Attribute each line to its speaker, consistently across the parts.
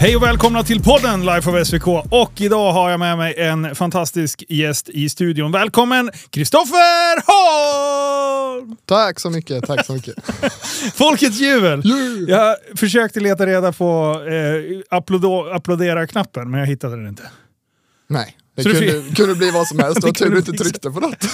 Speaker 1: Hej och välkomna till podden Life of SVK. Och idag har jag med mig en fantastisk gäst i studion. Välkommen Kristoffer Holm!
Speaker 2: Tack så mycket, tack så mycket.
Speaker 1: Folkets jubel! Jag försökte leta reda på eh, applådo- applådera-knappen, men jag hittade den inte.
Speaker 2: Nej, det
Speaker 1: Så det
Speaker 2: kunde, kunde bli vad som helst. Det var tur
Speaker 1: kunde
Speaker 2: du typ inte
Speaker 1: bli så.
Speaker 2: tryckte på något.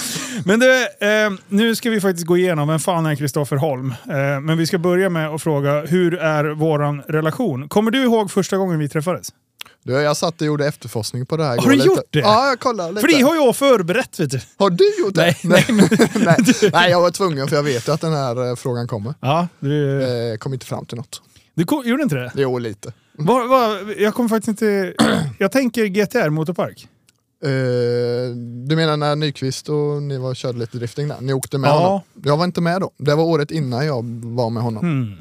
Speaker 1: Men du, eh, nu ska vi faktiskt gå igenom vem fan är Kristoffer Holm? Eh, men vi ska börja med att fråga, hur är våran relation? Kommer du ihåg första gången vi träffades?
Speaker 2: Du, jag satt och gjorde efterforskning på det här
Speaker 1: Har
Speaker 2: igår
Speaker 1: du
Speaker 2: lite.
Speaker 1: gjort det?
Speaker 2: Ja, jag kollade lite.
Speaker 1: För det har jag förberett vet du.
Speaker 2: Har du gjort det?
Speaker 1: Nej,
Speaker 2: nej. nej, jag var tvungen för jag vet ju att den här eh, frågan kommer.
Speaker 1: Ja, du,
Speaker 2: Eh, Jag kom inte fram till något.
Speaker 1: du ko- gjorde inte det?
Speaker 2: Jo, lite.
Speaker 1: Vad- vad- jag kommer faktiskt inte... Jag tänker GTR Motorpark.
Speaker 2: Eh, Du menar när Nyqvist och ni var, körde lite drifting där? Ni åkte med
Speaker 1: Ja.
Speaker 2: honom? Jag var inte med då. Det var året innan jag var med honom.
Speaker 1: Hmm.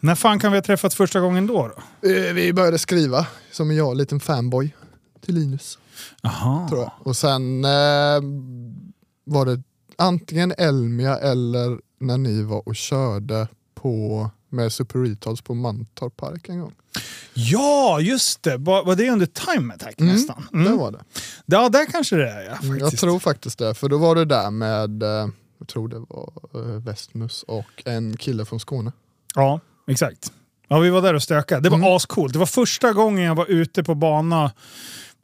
Speaker 1: När fan kan vi ha träffats första gången då? då?
Speaker 2: Eh, Vi började skriva, som jag, en liten fanboy till Linus. tror jag. Och sen eh, var det antingen Elmia eller när ni var och körde på med Super Retards på Mantorp Park en gång.
Speaker 1: Ja, just det. Var, var det under Time Attack
Speaker 2: Mm,
Speaker 1: nästan? Mm.
Speaker 2: Det var det. Mm,
Speaker 1: Ja, där kanske det är ja, faktiskt.
Speaker 2: Jag tror faktiskt det, för då var du där med, eh, jag tror det var eh, Westmus och en kille från Skåne.
Speaker 1: Ja, exakt. Ja, vi var där och stökade. Det var
Speaker 2: Mm.
Speaker 1: ascoolt. Det var första gången jag var ute på bana,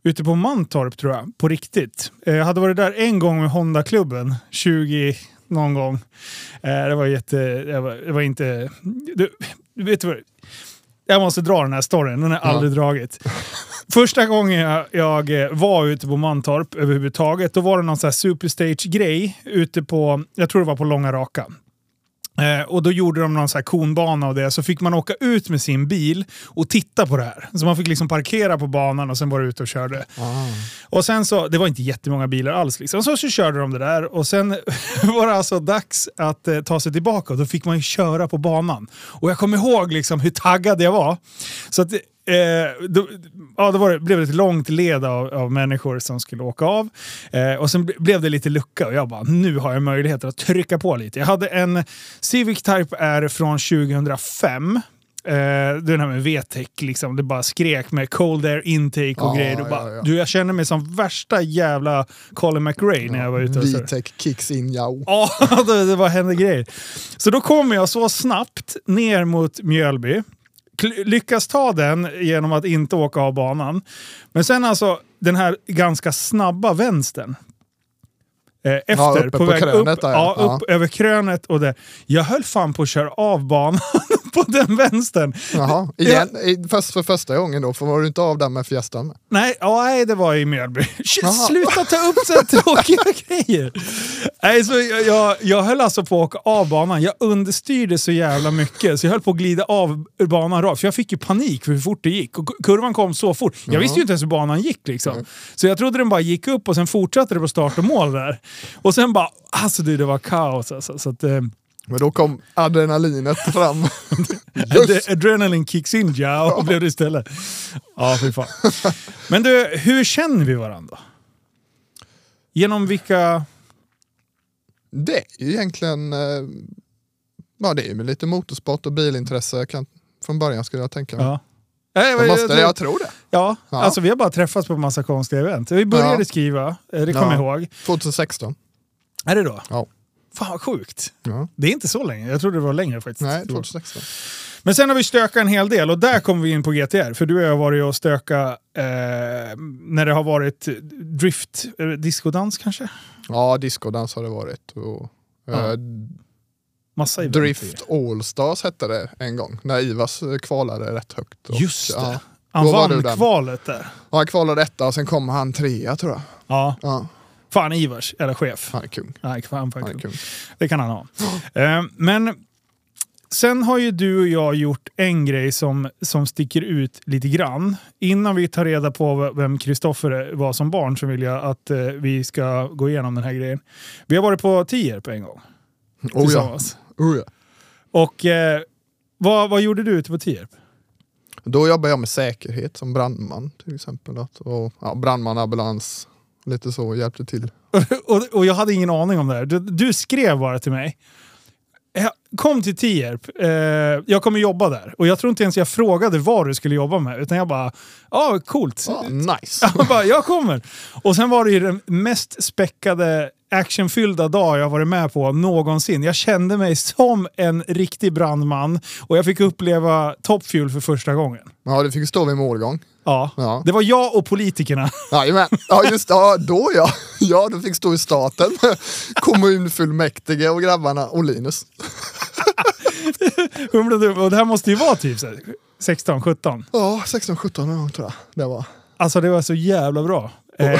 Speaker 1: ute på Mantorp tror jag, på riktigt. Eh, Jag hade varit där en gång med Honda-klubben, 20 någon gång. Eh, Det var jätte... Det var, det var inte... Du, du vet vad? Jag måste dra den här storyn, den har jag
Speaker 2: Ja.
Speaker 1: aldrig dragit. Första gången jag, jag eh, var ute på Mantorp överhuvudtaget, då var det någon sån här superstage-grej ute på, jag tror det var på Långa Raka. Eh, och då gjorde de någon så här konbana av det, så fick man åka ut med sin bil och titta på det här. Så man fick liksom parkera på banan och sen var det ute och körde. Och sen så, det var inte jättemånga bilar alls liksom. Så, så körde de det där och sen var det alltså dags att eh, ta sig tillbaka och då fick man ju köra på banan. Och jag kommer ihåg liksom hur taggad jag var. Så att, eh, då, ja, då var det, blev det ett långt led av, av människor som skulle åka av. Eh, och sen ble- blev det lite lucka och jag bara, nu har jag möjlighet att trycka på lite. Jag hade en Civic Type R från 2005. Eh, det är den här med VTEC, liksom. det bara skrek med cold air intake och
Speaker 2: Ja,
Speaker 1: grejer. Och bara,
Speaker 2: ja, ja.
Speaker 1: Du, jag känner mig som värsta jävla Colin McRae när jag var ute och så.
Speaker 2: Vitec kicks in, ja.
Speaker 1: Ja, det, det bara hände grejer. Så då kommer jag så snabbt ner mot Mjölby. Kl- Lyckas ta den genom att inte åka av banan. Men sen alltså den här ganska snabba vänstern. Eh, efter,
Speaker 2: Ja, uppe på krönet
Speaker 1: upp,
Speaker 2: där,
Speaker 1: ja,
Speaker 2: ja.
Speaker 1: upp över krönet och det. Jag höll fan på att köra av banan på den vänstern.
Speaker 2: Jaha, igen, i- fast för första gången då, för var du inte av där med Fiestan? med?
Speaker 1: Nej, ja, nej, det var i Mjölby. Shit,
Speaker 2: Jaha.
Speaker 1: Sluta ta upp så här tråkiga grejer! Nej, så jag, jag, jag höll alltså på att åka av banan. Jag understyrde så jävla mycket så jag höll på att glida av ur banan rakt. För jag fick ju panik för hur fort det gick. Och k- kurvan kom så fort. Jag visste ju inte ens hur banan gick liksom. Så jag trodde den bara gick upp och sen fortsatte det på start och mål där. Och sen bara, alltså du, det var kaos alltså. Så att, eh,
Speaker 2: Men då kom adrenalinet fram.
Speaker 1: Ad- adrenaline kicks in, ja, och blev det istället. Ja, fy fan. Men du, hur känner vi varandra? Genom vilka...
Speaker 2: Det är ju egentligen, eh, ja det är ju med lite motorsport och bilintresse jag kan, från början skulle jag tänka mig.
Speaker 1: Ja. Nej,
Speaker 2: Jag,
Speaker 1: jag-
Speaker 2: måste, jag tror det.
Speaker 1: ja,
Speaker 2: Ja.
Speaker 1: alltså vi har bara träffats på massa konstiga event. Vi började
Speaker 2: Ja.
Speaker 1: skriva, eh, det kommer
Speaker 2: Ja.
Speaker 1: jag ihåg.
Speaker 2: 2016.
Speaker 1: Är det då?
Speaker 2: Ja.
Speaker 1: Fan vad sjukt.
Speaker 2: Ja.
Speaker 1: Det är inte så länge. Jag trodde det var längre faktiskt.
Speaker 2: Nej, 2016.
Speaker 1: Men sen har vi stökat en hel del och där kommer vi in på GTR. För du och jag har varit och stökat eh, när det har varit drift, eh, diskodans kanske?
Speaker 2: Ja, discodans har det varit. Och,
Speaker 1: Ja.
Speaker 2: eh,
Speaker 1: Massa event.
Speaker 2: Drift Allstars hette det en gång, när Ivas eh, kvalade rätt högt. Och,
Speaker 1: Just det.
Speaker 2: Ja.
Speaker 1: Han
Speaker 2: Då var
Speaker 1: vann
Speaker 2: du den.
Speaker 1: kvalet där.
Speaker 2: Ja, Han kvalade etta och sen kom han trea tror jag.
Speaker 1: Ja.
Speaker 2: Ja,
Speaker 1: Fan Ivars, eller chef.
Speaker 2: han är kung.
Speaker 1: Nej, fan, fan,
Speaker 2: Han är kung.
Speaker 1: Det kan han ha. Eh, Men sen har ju du och jag gjort en grej som, som sticker ut lite grann. Innan vi tar reda på v- vem Kristoffer var som barn så vill jag att eh, vi ska gå igenom den här grejen. Vi har varit på Tierp en gång
Speaker 2: Oh ja.
Speaker 1: tillsammans.
Speaker 2: Oh ja.
Speaker 1: Och eh, vad, vad gjorde du ute på Tierp?
Speaker 2: Då jobbar jag med säkerhet som brandman till exempel. Att- Och, ja, brandman, ambulans, lite så, hjälpte till.
Speaker 1: Och, och jag hade ingen aning om det här. Du, du skrev bara till mig. Jag, Eh, kom till Tierp, eh, jag kommer jobba där. Och jag tror inte ens jag frågade vad du skulle jobba med, utan jag bara, ja coolt.
Speaker 2: Ja, nice.
Speaker 1: Han bara, jag kommer. Och sen var det ju den mest späckade actionfyllda dag jag varit med på någonsin. Jag kände mig som en riktig brandman och jag fick uppleva Top Fuel för första gången.
Speaker 2: Ja, du fick stå vid målgång.
Speaker 1: Ja.
Speaker 2: Ja.
Speaker 1: Det var jag och politikerna.
Speaker 2: Jajamän. Ja, just ja, då ja. Ja, du fick stå i staten, kommunfullmäktige och grabbarna och Linus.
Speaker 1: och det här måste ju vara typ 16-17.
Speaker 2: Ja, 16, 17 någon gång tror jag det var.
Speaker 1: Alltså det var så jävla bra. Eh,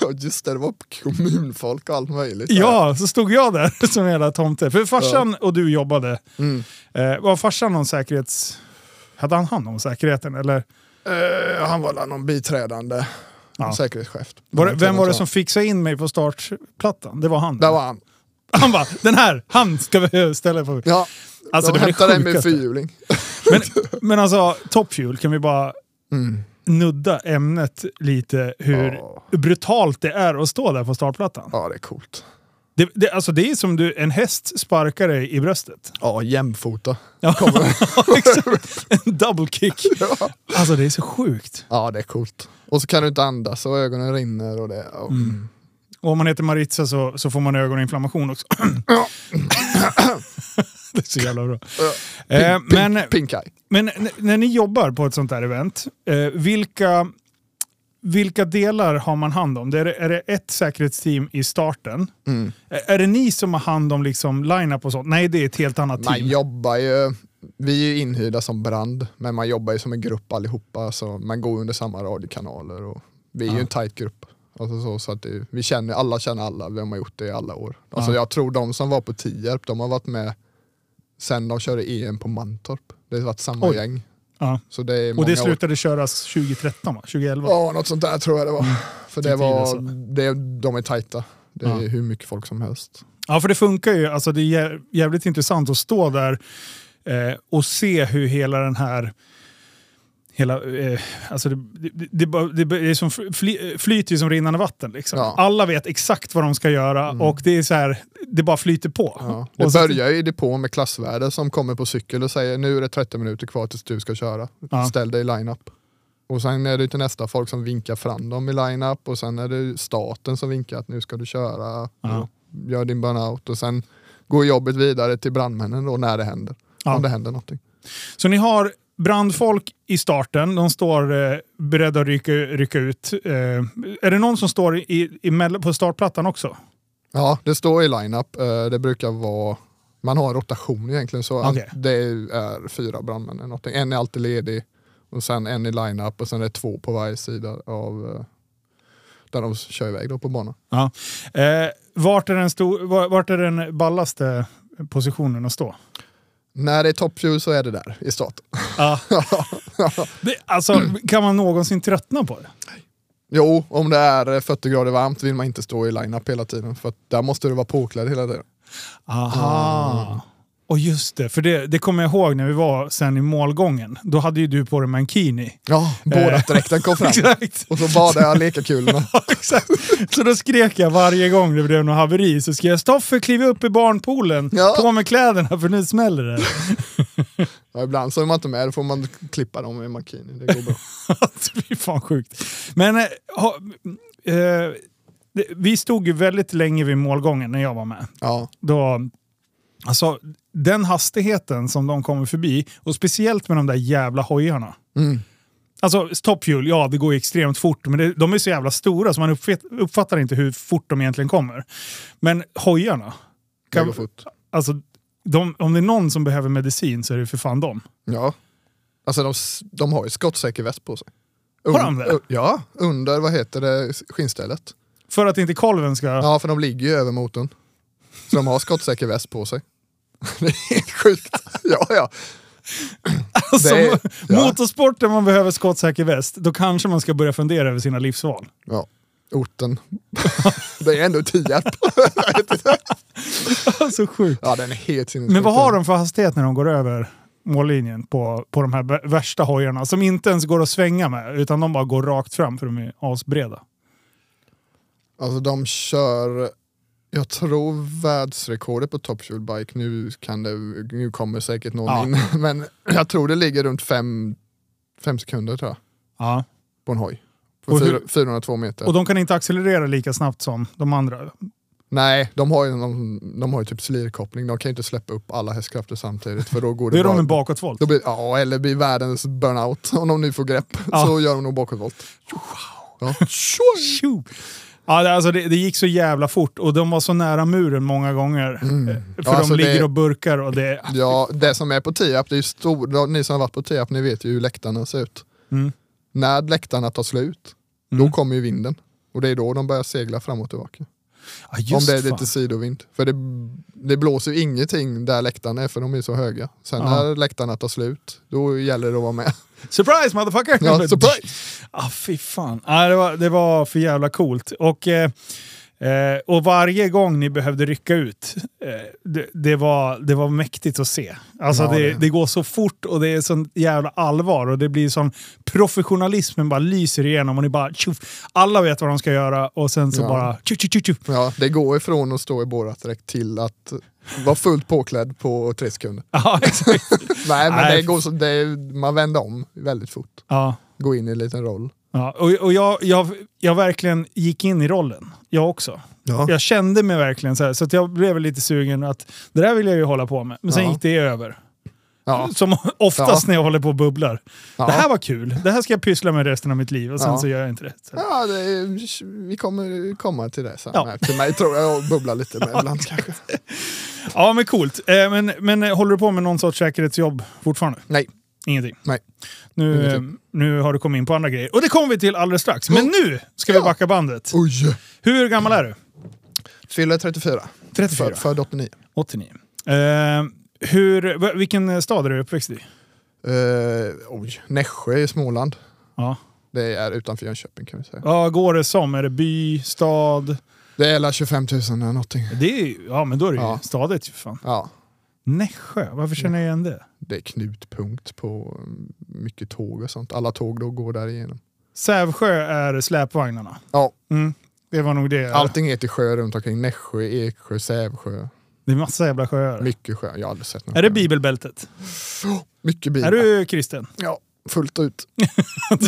Speaker 2: Ja, just det, det var kommunfolk och allt möjligt.
Speaker 1: ja, så stod jag där som hela tomte. För farsan och du jobbade.
Speaker 2: Mm.
Speaker 1: Eh, var farsan någon säkerhets... Hade han hand om säkerheten? Eller
Speaker 2: Eh, han var väl någon biträdande
Speaker 1: Ja.
Speaker 2: säkerhetschef.
Speaker 1: var det, vem var det som fixade in mig på startplattan? Det var han.
Speaker 2: Där var han.
Speaker 1: Han bara, den här, han ska vi ställa på.
Speaker 2: Ja,
Speaker 1: Alltså,
Speaker 2: de
Speaker 1: det var det
Speaker 2: hämtade en med
Speaker 1: sjukaste.
Speaker 2: fyrhjuling.
Speaker 1: Men, men alltså, toppfuel, kan vi bara nudda ämnet lite hur
Speaker 2: Mm. Ja.
Speaker 1: brutalt det är att stå där på startplattan?
Speaker 2: Ja, det är coolt.
Speaker 1: Det, det, alltså, det är som du, en häst sparkar dig i bröstet.
Speaker 2: Ja, jämfota.
Speaker 1: Ja, exakt. En double kick. Alltså det är så sjukt.
Speaker 2: Ja, det är coolt. Och så kan du inte andas och ögonen rinner och det. Och,
Speaker 1: Mm. Och om man heter Maritza så, så får man ögoninflammation också. det är så jävla bra. Eh,
Speaker 2: Pink,
Speaker 1: men
Speaker 2: pink eye.
Speaker 1: Men n- när ni jobbar på ett sånt här event, eh, vilka, vilka delar har man hand om? Det är, det- är det ett säkerhetsteam i starten?
Speaker 2: Mm.
Speaker 1: Ä- Är det ni som har hand om liksom line-up och sånt? Nej, det är ett helt annat
Speaker 2: Man
Speaker 1: team.
Speaker 2: jobbar ju, vi är ju inhyrda som brand, men man jobbar ju som en grupp allihopa, så man går under samma radiokanaler. Och vi är ju en tight grupp. Alltså så, så att det, vi känner, alla känner alla, vi har gjort det i alla år. Alltså
Speaker 1: Ja.
Speaker 2: Jag tror de som var på Tierp, de har varit med sen de körde EM på Mantorp. Det har varit samma
Speaker 1: Oj.
Speaker 2: gäng.
Speaker 1: Ja.
Speaker 2: Så det är
Speaker 1: Och
Speaker 2: många
Speaker 1: det
Speaker 2: år.
Speaker 1: slutade köras 2013, va? 2011?
Speaker 2: Ja, något sånt där tror jag det var. För det
Speaker 1: Till tiden så.
Speaker 2: var, det, de är tajta. Det är
Speaker 1: Ja.
Speaker 2: hur mycket folk som helst.
Speaker 1: Ja, för det funkar ju. Alltså, det är jä- jävligt intressant att stå där eh, och se hur hela den här... Hela, eh, alltså det, det, det, bara- det, det är som fly, flyter ju som rinnande vatten. Liksom.
Speaker 2: Ja. Mm.
Speaker 1: Alla vet exakt vad de ska göra och det är så här, det bara flyter på.
Speaker 2: Ja.
Speaker 1: Och
Speaker 2: Det
Speaker 1: så-
Speaker 2: börjar ju i depån med klassvärden som kommer på cykel och säger nu är det 30 minuter kvar tills du ska köra.
Speaker 1: Ja.
Speaker 2: Ställ dig i line-up. Och sen är det ju till nästa folk som vinkar fram dem i line-up och sen är det staten som vinkar att nu ska du köra,
Speaker 1: Ja.
Speaker 2: gör din burnout och sen går jobbet vidare till brandmännen då när det händer.
Speaker 1: Ja.
Speaker 2: Om det händer någonting.
Speaker 1: Så ni har brandfolk i starten, de står eh, beredda att rycka, rycka ut. Eh, är det någon som står i, i, mell- på startplattan också?
Speaker 2: Ja, det står i line-up. Eh, Det brukar vara, man har en rotation egentligen så att
Speaker 1: Okej.
Speaker 2: det är fyra brandmän eller någonting. En är alltid ledig och sen en i line-up och sen är det två på varje sida av eh, där de kör iväg då på banan.
Speaker 1: Ja. Eh, vart, är den stor, var- vart är den ballaste positionen att stå?
Speaker 2: När det är toppview så är det där i starten.
Speaker 1: Ja. Det, alltså, kan man någonsin tröttna på det?
Speaker 2: Jo, om det är eh, 40 grader varmt vill man inte stå i line-up hela tiden för att där måste du vara påklädd hela tiden.
Speaker 1: Aha. Ah. Och just det, för det, det kommer jag ihåg när vi var sen i målgången. Då hade ju du på dig mankini.
Speaker 2: Ja,
Speaker 1: Eh.
Speaker 2: båda dräkten kom fram.
Speaker 1: Exakt.
Speaker 2: Och så badade jag lekakulorna.
Speaker 1: Ja, exakt. Så då skrek jag varje gång det blev något haveri. Så skrek jag “Stoffe, kliv upp i barnpoolen!
Speaker 2: Ja.
Speaker 1: På med kläderna för nu smäller det!”
Speaker 2: Ja, ibland så är man inte med, då får man klippa dem i makini. Det går bra.
Speaker 1: Alltså, Fy fan sjukt. Men eh, ha, eh, det, vi stod ju väldigt länge vid målgången när jag var med.
Speaker 2: Ja,
Speaker 1: Då, alltså, den hastigheten som de kommer förbi, och speciellt med de där jävla hojarna.
Speaker 2: Mm.
Speaker 1: Alltså topphjul, ja det går ju extremt fort, men det, de är så jävla stora så man uppfatt, uppfattar inte hur fort de egentligen kommer. Men hojarna,
Speaker 2: det
Speaker 1: Kan-
Speaker 2: går fort.
Speaker 1: alltså, de, om det är någon som behöver medicin så är det för fan dem.
Speaker 2: Ja. Alltså de, s- de har ju skottsäker väst på sig.
Speaker 1: Har de det?
Speaker 2: u- Ja, under vad heter det, skinnstället.
Speaker 1: För att inte kolven ska...
Speaker 2: Ja, för de ligger ju över motorn. Så de har skottsäker väst på sig. Det är helt sjukt. Ja, ja.
Speaker 1: Alltså,
Speaker 2: Det är- ja.
Speaker 1: Motorsport där man behöver skottsäker väst, då kanske man ska börja fundera över sina livsval.
Speaker 2: ja. Orten. Det är ändå Tierp.
Speaker 1: Alltså sjukt.
Speaker 2: Ja, den är helt sinnessjuk.
Speaker 1: Men vad har de för hastighet när de går över mållinjen på, på de här vä- värsta hojarna som inte ens går att svänga med utan de bara går rakt fram för de är asbreda.
Speaker 2: Alltså de kör Jag tror världsrekordet på top fuel bike, nu, kan det, nu kommer säkert någon
Speaker 1: Ja.
Speaker 2: in, men jag tror det ligger runt fem, fem sekunder tror jag,
Speaker 1: Ja.
Speaker 2: på en hoj. På
Speaker 1: Och hur-
Speaker 2: fyra, 402 meter.
Speaker 1: Och de kan inte accelerera lika snabbt som de andra.
Speaker 2: Nej, de har ju, någon, de har ju typ slirkoppling, de kan ju inte släppa upp alla hästkrafter samtidigt för då går det,
Speaker 1: Då är de
Speaker 2: bara-
Speaker 1: en bakåtvolt.
Speaker 2: Då blir, ja, eller blir världens burnout om de nu får grepp.
Speaker 1: Ja.
Speaker 2: Så gör de nog bakåtvolt. Ja.
Speaker 1: Tjo! Ja, det- alltså det, det gick så jävla fort och de var så nära muren många gånger. Eh, För
Speaker 2: Ja, alltså
Speaker 1: de ligger
Speaker 2: det-
Speaker 1: och burkar och det...
Speaker 2: ja, det som är på Tierp, det är ju stor, ni som har varit på Tierp, ni vet ju hur läktarna ser ut.
Speaker 1: Mm.
Speaker 2: När läktarna tar slut,
Speaker 1: Mm.
Speaker 2: då kommer ju vinden. Och det är då de börjar segla fram och tillbaka.
Speaker 1: Ja, just
Speaker 2: Om det är
Speaker 1: fan.
Speaker 2: lite sidovind. För det, det blåser ju ingenting där läktarna är för de är så höga. Sen
Speaker 1: Ja.
Speaker 2: när läktarna tar slut, då gäller det att vara med.
Speaker 1: Surprise motherfucker!
Speaker 2: Ja, surprise!
Speaker 1: Ah, fy fan. Ah, det, var, det var för jävla coolt. Och, eh, eh, och varje gång ni behövde rycka ut, eh, det, det, var, det var mäktigt att se. Alltså
Speaker 2: Ja,
Speaker 1: det,
Speaker 2: det-
Speaker 1: det går så fort och det är sån jävla allvar och det blir som professionalismen bara lyser igenom och ni bara tjoff. Alla vet vad de ska göra och sen så
Speaker 2: Ja.
Speaker 1: bara tjoff, tjoff, tjoff, tjoff.
Speaker 2: Ja, det går ifrån att stå i bårat direkt till att vara fullt påklädd på tre sekunder.
Speaker 1: Ja, exakt.
Speaker 2: Nej, men
Speaker 1: Nej.
Speaker 2: det går så, det är, man vänder om väldigt fort.
Speaker 1: Ja.
Speaker 2: Gå in i en liten roll.
Speaker 1: Ja, och och jag, jag, jag verkligen gick in i rollen, jag också.
Speaker 2: Ja.
Speaker 1: Jag kände mig verkligen så här, så att jag blev lite sugen att det där vill jag ju hålla på med. Men sen
Speaker 2: Ja.
Speaker 1: gick det över.
Speaker 2: Ja,
Speaker 1: Som oftast
Speaker 2: Ja.
Speaker 1: när jag håller på och bubblar.
Speaker 2: ja.
Speaker 1: Det här var kul, det här ska jag pyssla med resten av mitt liv och sen
Speaker 2: Ja.
Speaker 1: så gör jag inte det. Så.
Speaker 2: ja det är, vi kommer komma till det sen.
Speaker 1: Ja.
Speaker 2: Ja. Till mig tror jag, jag bubblar lite med ibland kanske.
Speaker 1: Ja men coolt. Eh, Men, men eh, håller du på med någon sorts säkerhetsjobb fortfarande?
Speaker 2: Nej.
Speaker 1: Ingenting?
Speaker 2: Nej.
Speaker 1: Nu, eh, nu har du kommit in på andra grejer. Och det kommer vi till alldeles strax. Men nu ska vi
Speaker 2: Ja.
Speaker 1: backa bandet.
Speaker 2: Oj!
Speaker 1: Hur gammal är du?
Speaker 2: Fyller 34.
Speaker 1: 34.
Speaker 2: För, född 89.
Speaker 1: 89. Eh, hur, v- vilken stad är du uppväxt i?
Speaker 2: Eh, oj, Nässjö i Småland.
Speaker 1: Ja.
Speaker 2: Det är utanför Jönköping kan vi säga.
Speaker 1: ja, går det som? Är det by, stad?
Speaker 2: Det är alla 25 000 eller någonting.
Speaker 1: Det är, ju- ja, men då är det ju
Speaker 2: Ja.
Speaker 1: stadigt ju fan.
Speaker 2: Ja,
Speaker 1: Nässjö, varför känner jag igen det?
Speaker 2: det är knutpunkt på mm, mycket tåg och sånt. Alla tåg då går där igenom.
Speaker 1: Sävsjö är släpvagnarna.
Speaker 2: Ja.
Speaker 1: Mm. Det var nog det.
Speaker 2: Allting heter sjö runt omkring. Nässjö, Eksjö, Sävsjö.
Speaker 1: Det är massa jävla sjöar.
Speaker 2: Mycket sjö. Jag har aldrig sett någon
Speaker 1: Är det
Speaker 2: sjö.
Speaker 1: bibelbältet?
Speaker 2: Mycket bil.
Speaker 1: Är du kristen?
Speaker 2: Ja, fullt ut.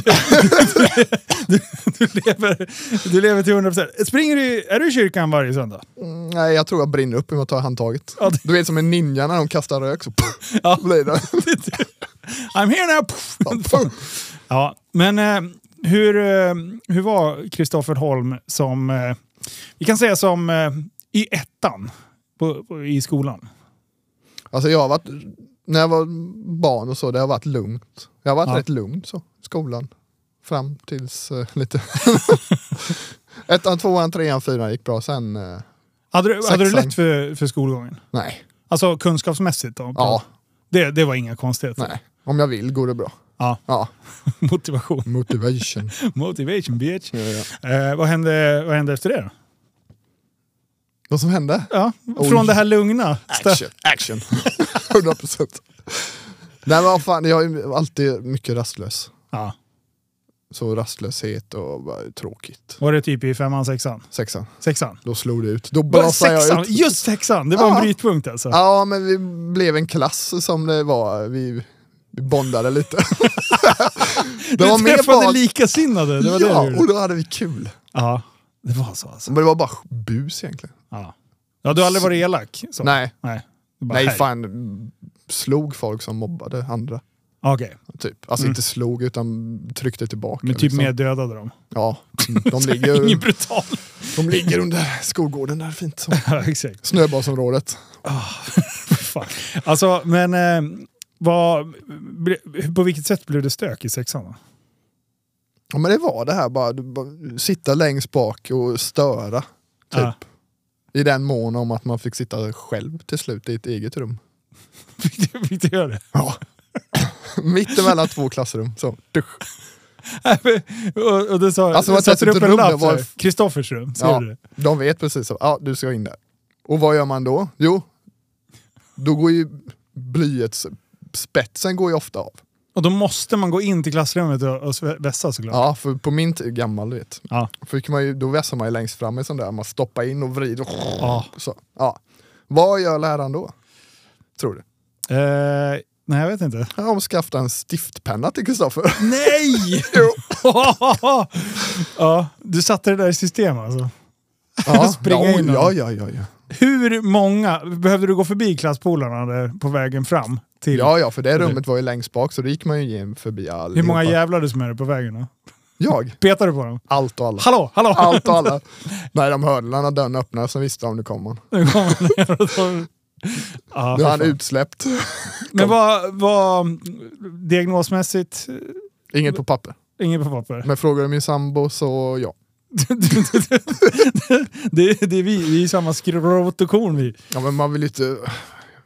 Speaker 1: Du lever, du lever till 100%. Springer du, är du i kyrkan varje söndag?
Speaker 2: Mm, nej, jag tror jag brinner upp om att ta handtaget.
Speaker 1: Ja, det-
Speaker 2: Du vet som en ninja när de kastar rök så
Speaker 1: Ja.
Speaker 2: blir det.
Speaker 1: I'm here now! Puff. Ja, men eh, hur, eh, hur var Kristoffer Holm som, eh, vi kan säga som eh, i ettan på, på, i skolan?
Speaker 2: Alltså jag har varit, när jag var barn och så, det har varit lugnt. Jag har varit
Speaker 1: Ja.
Speaker 2: rätt lugn så, i skolan. Fram tills eh, lite... Ettan, tvåan, trean, fyran gick bra sen. Eh,
Speaker 1: Hade du, hade du
Speaker 2: Sexan.
Speaker 1: lätt för, för skolgången?
Speaker 2: nej,
Speaker 1: Alltså kunskapsmässigt? Då,
Speaker 2: ja,
Speaker 1: det, det var inga konstigheter?
Speaker 2: nej. Om jag vill går det bra.
Speaker 1: Ja.
Speaker 2: Ja,
Speaker 1: Motivation.
Speaker 2: motivation.
Speaker 1: Motivation bitch.
Speaker 2: ja, ja.
Speaker 1: Eh, vad, hände, vad hände efter det då?
Speaker 2: Vad som hände?
Speaker 1: Ja,
Speaker 2: Oj.
Speaker 1: från det här lugna. stä-
Speaker 2: Action, action. 100 procent. Nej men vad fan, jag är ju alltid mycket rastlös.
Speaker 1: Ja.
Speaker 2: Så rastlöshet och bara tråkigt.
Speaker 1: Var det typ i femman, sexan?
Speaker 2: Sexan,
Speaker 1: Sexan?
Speaker 2: då slog det ut. Då
Speaker 1: Var det
Speaker 2: blossade jag
Speaker 1: sexan?
Speaker 2: ut.
Speaker 1: Just sexan! Det var
Speaker 2: Ja.
Speaker 1: en brytpunkt alltså.
Speaker 2: Ja men vi blev en klass som det var. Vi, vi bondade lite. det
Speaker 1: du träffade
Speaker 2: bara-
Speaker 1: likasinnade, det var det
Speaker 2: ja,
Speaker 1: du gjorde.
Speaker 2: och då hade vi kul.
Speaker 1: Ja, det var så alltså.
Speaker 2: Men det var bara bus egentligen.
Speaker 1: Ja, ja du har aldrig varit elak? Så.
Speaker 2: Nej,
Speaker 1: Nej, Det bara,
Speaker 2: nej
Speaker 1: "Hej."
Speaker 2: fan. Slog folk som mobbade andra.
Speaker 1: Okej,
Speaker 2: Typ. Alltså
Speaker 1: Mm.
Speaker 2: inte slog utan tryckte tillbaka.
Speaker 1: men typ
Speaker 2: liksom.
Speaker 1: mer dödade dem.
Speaker 2: Ja, de ligger,
Speaker 1: Ingen brutal.
Speaker 2: de ligger under skolgården där fint. Så.
Speaker 1: ja, exakt.
Speaker 2: Snöbasområdet.
Speaker 1: Fan. Alltså, men eh, vad, ble- på vilket sätt blev det stök i sexan? då?
Speaker 2: Ja men det var det här bara, du, bara sitta längst bak och störa. Typ.
Speaker 1: Ja.
Speaker 2: I den mån om att man fick sitta själv till slut i ett eget rum.
Speaker 1: Fick du- Fick du göra det?
Speaker 2: Ja. Mitt emellan två klassrum. Så. dusch.
Speaker 1: och, och du sa,
Speaker 2: Alltså,
Speaker 1: du
Speaker 2: vad
Speaker 1: satte
Speaker 2: tätt
Speaker 1: upp
Speaker 2: ett
Speaker 1: en
Speaker 2: rum
Speaker 1: lapp
Speaker 2: det var-
Speaker 1: var... Kristoffers rum, skrev
Speaker 2: Ja.
Speaker 1: du det?
Speaker 2: De vet precis, att, ja du ska in där. Och vad gör man då? Jo, då går ju blyets spetsen går ju ofta av.
Speaker 1: Och då måste man gå in till klassrummet och, och sve- vässa såklart.
Speaker 2: Ja, för på min tid, gammal du vet.
Speaker 1: Ja.
Speaker 2: Fick man ju, då vässar man ju längst fram i sån där, man stoppar in och vrider.
Speaker 1: Ja.
Speaker 2: Så, ja. Vad gör läraren då? Tror du?
Speaker 1: Eh, nej, jag vet inte.
Speaker 2: Ja, Hon skaffade en stiftpenna till Kristoffer.
Speaker 1: Nej!
Speaker 2: Jo.
Speaker 1: ja, du satte det där i system alltså.
Speaker 2: Ja,
Speaker 1: Springa
Speaker 2: ja,
Speaker 1: in och-
Speaker 2: ja, ja, ja, ja.
Speaker 1: Hur många, behövde du gå förbi klasspolarna där på vägen fram? Till,
Speaker 2: Ja, ja, för det rummet var ju längst bak så då gick man ju igen förbi allihopa.
Speaker 1: hur många jävlar du smörde på vägen? Då?
Speaker 2: Jag?
Speaker 1: Petade du på dem?
Speaker 2: Allt och alla.
Speaker 1: Hallå, hallå!
Speaker 2: Allt och alla. Nej, de hörde när dörren öppnades så visste de nu kom han.
Speaker 1: Nu kommer han ner och tar- Ja,
Speaker 2: Nu
Speaker 1: för
Speaker 2: är han
Speaker 1: fan.
Speaker 2: utsläppt.
Speaker 1: Men vad, vad diagnosmässigt, eh,
Speaker 2: Inget på papper.
Speaker 1: inget på papper.
Speaker 2: Men frågar du min sambo så ja.
Speaker 1: det, det är vi, vi är samma skrot och korn vi.
Speaker 2: Ja men man vill ju inte,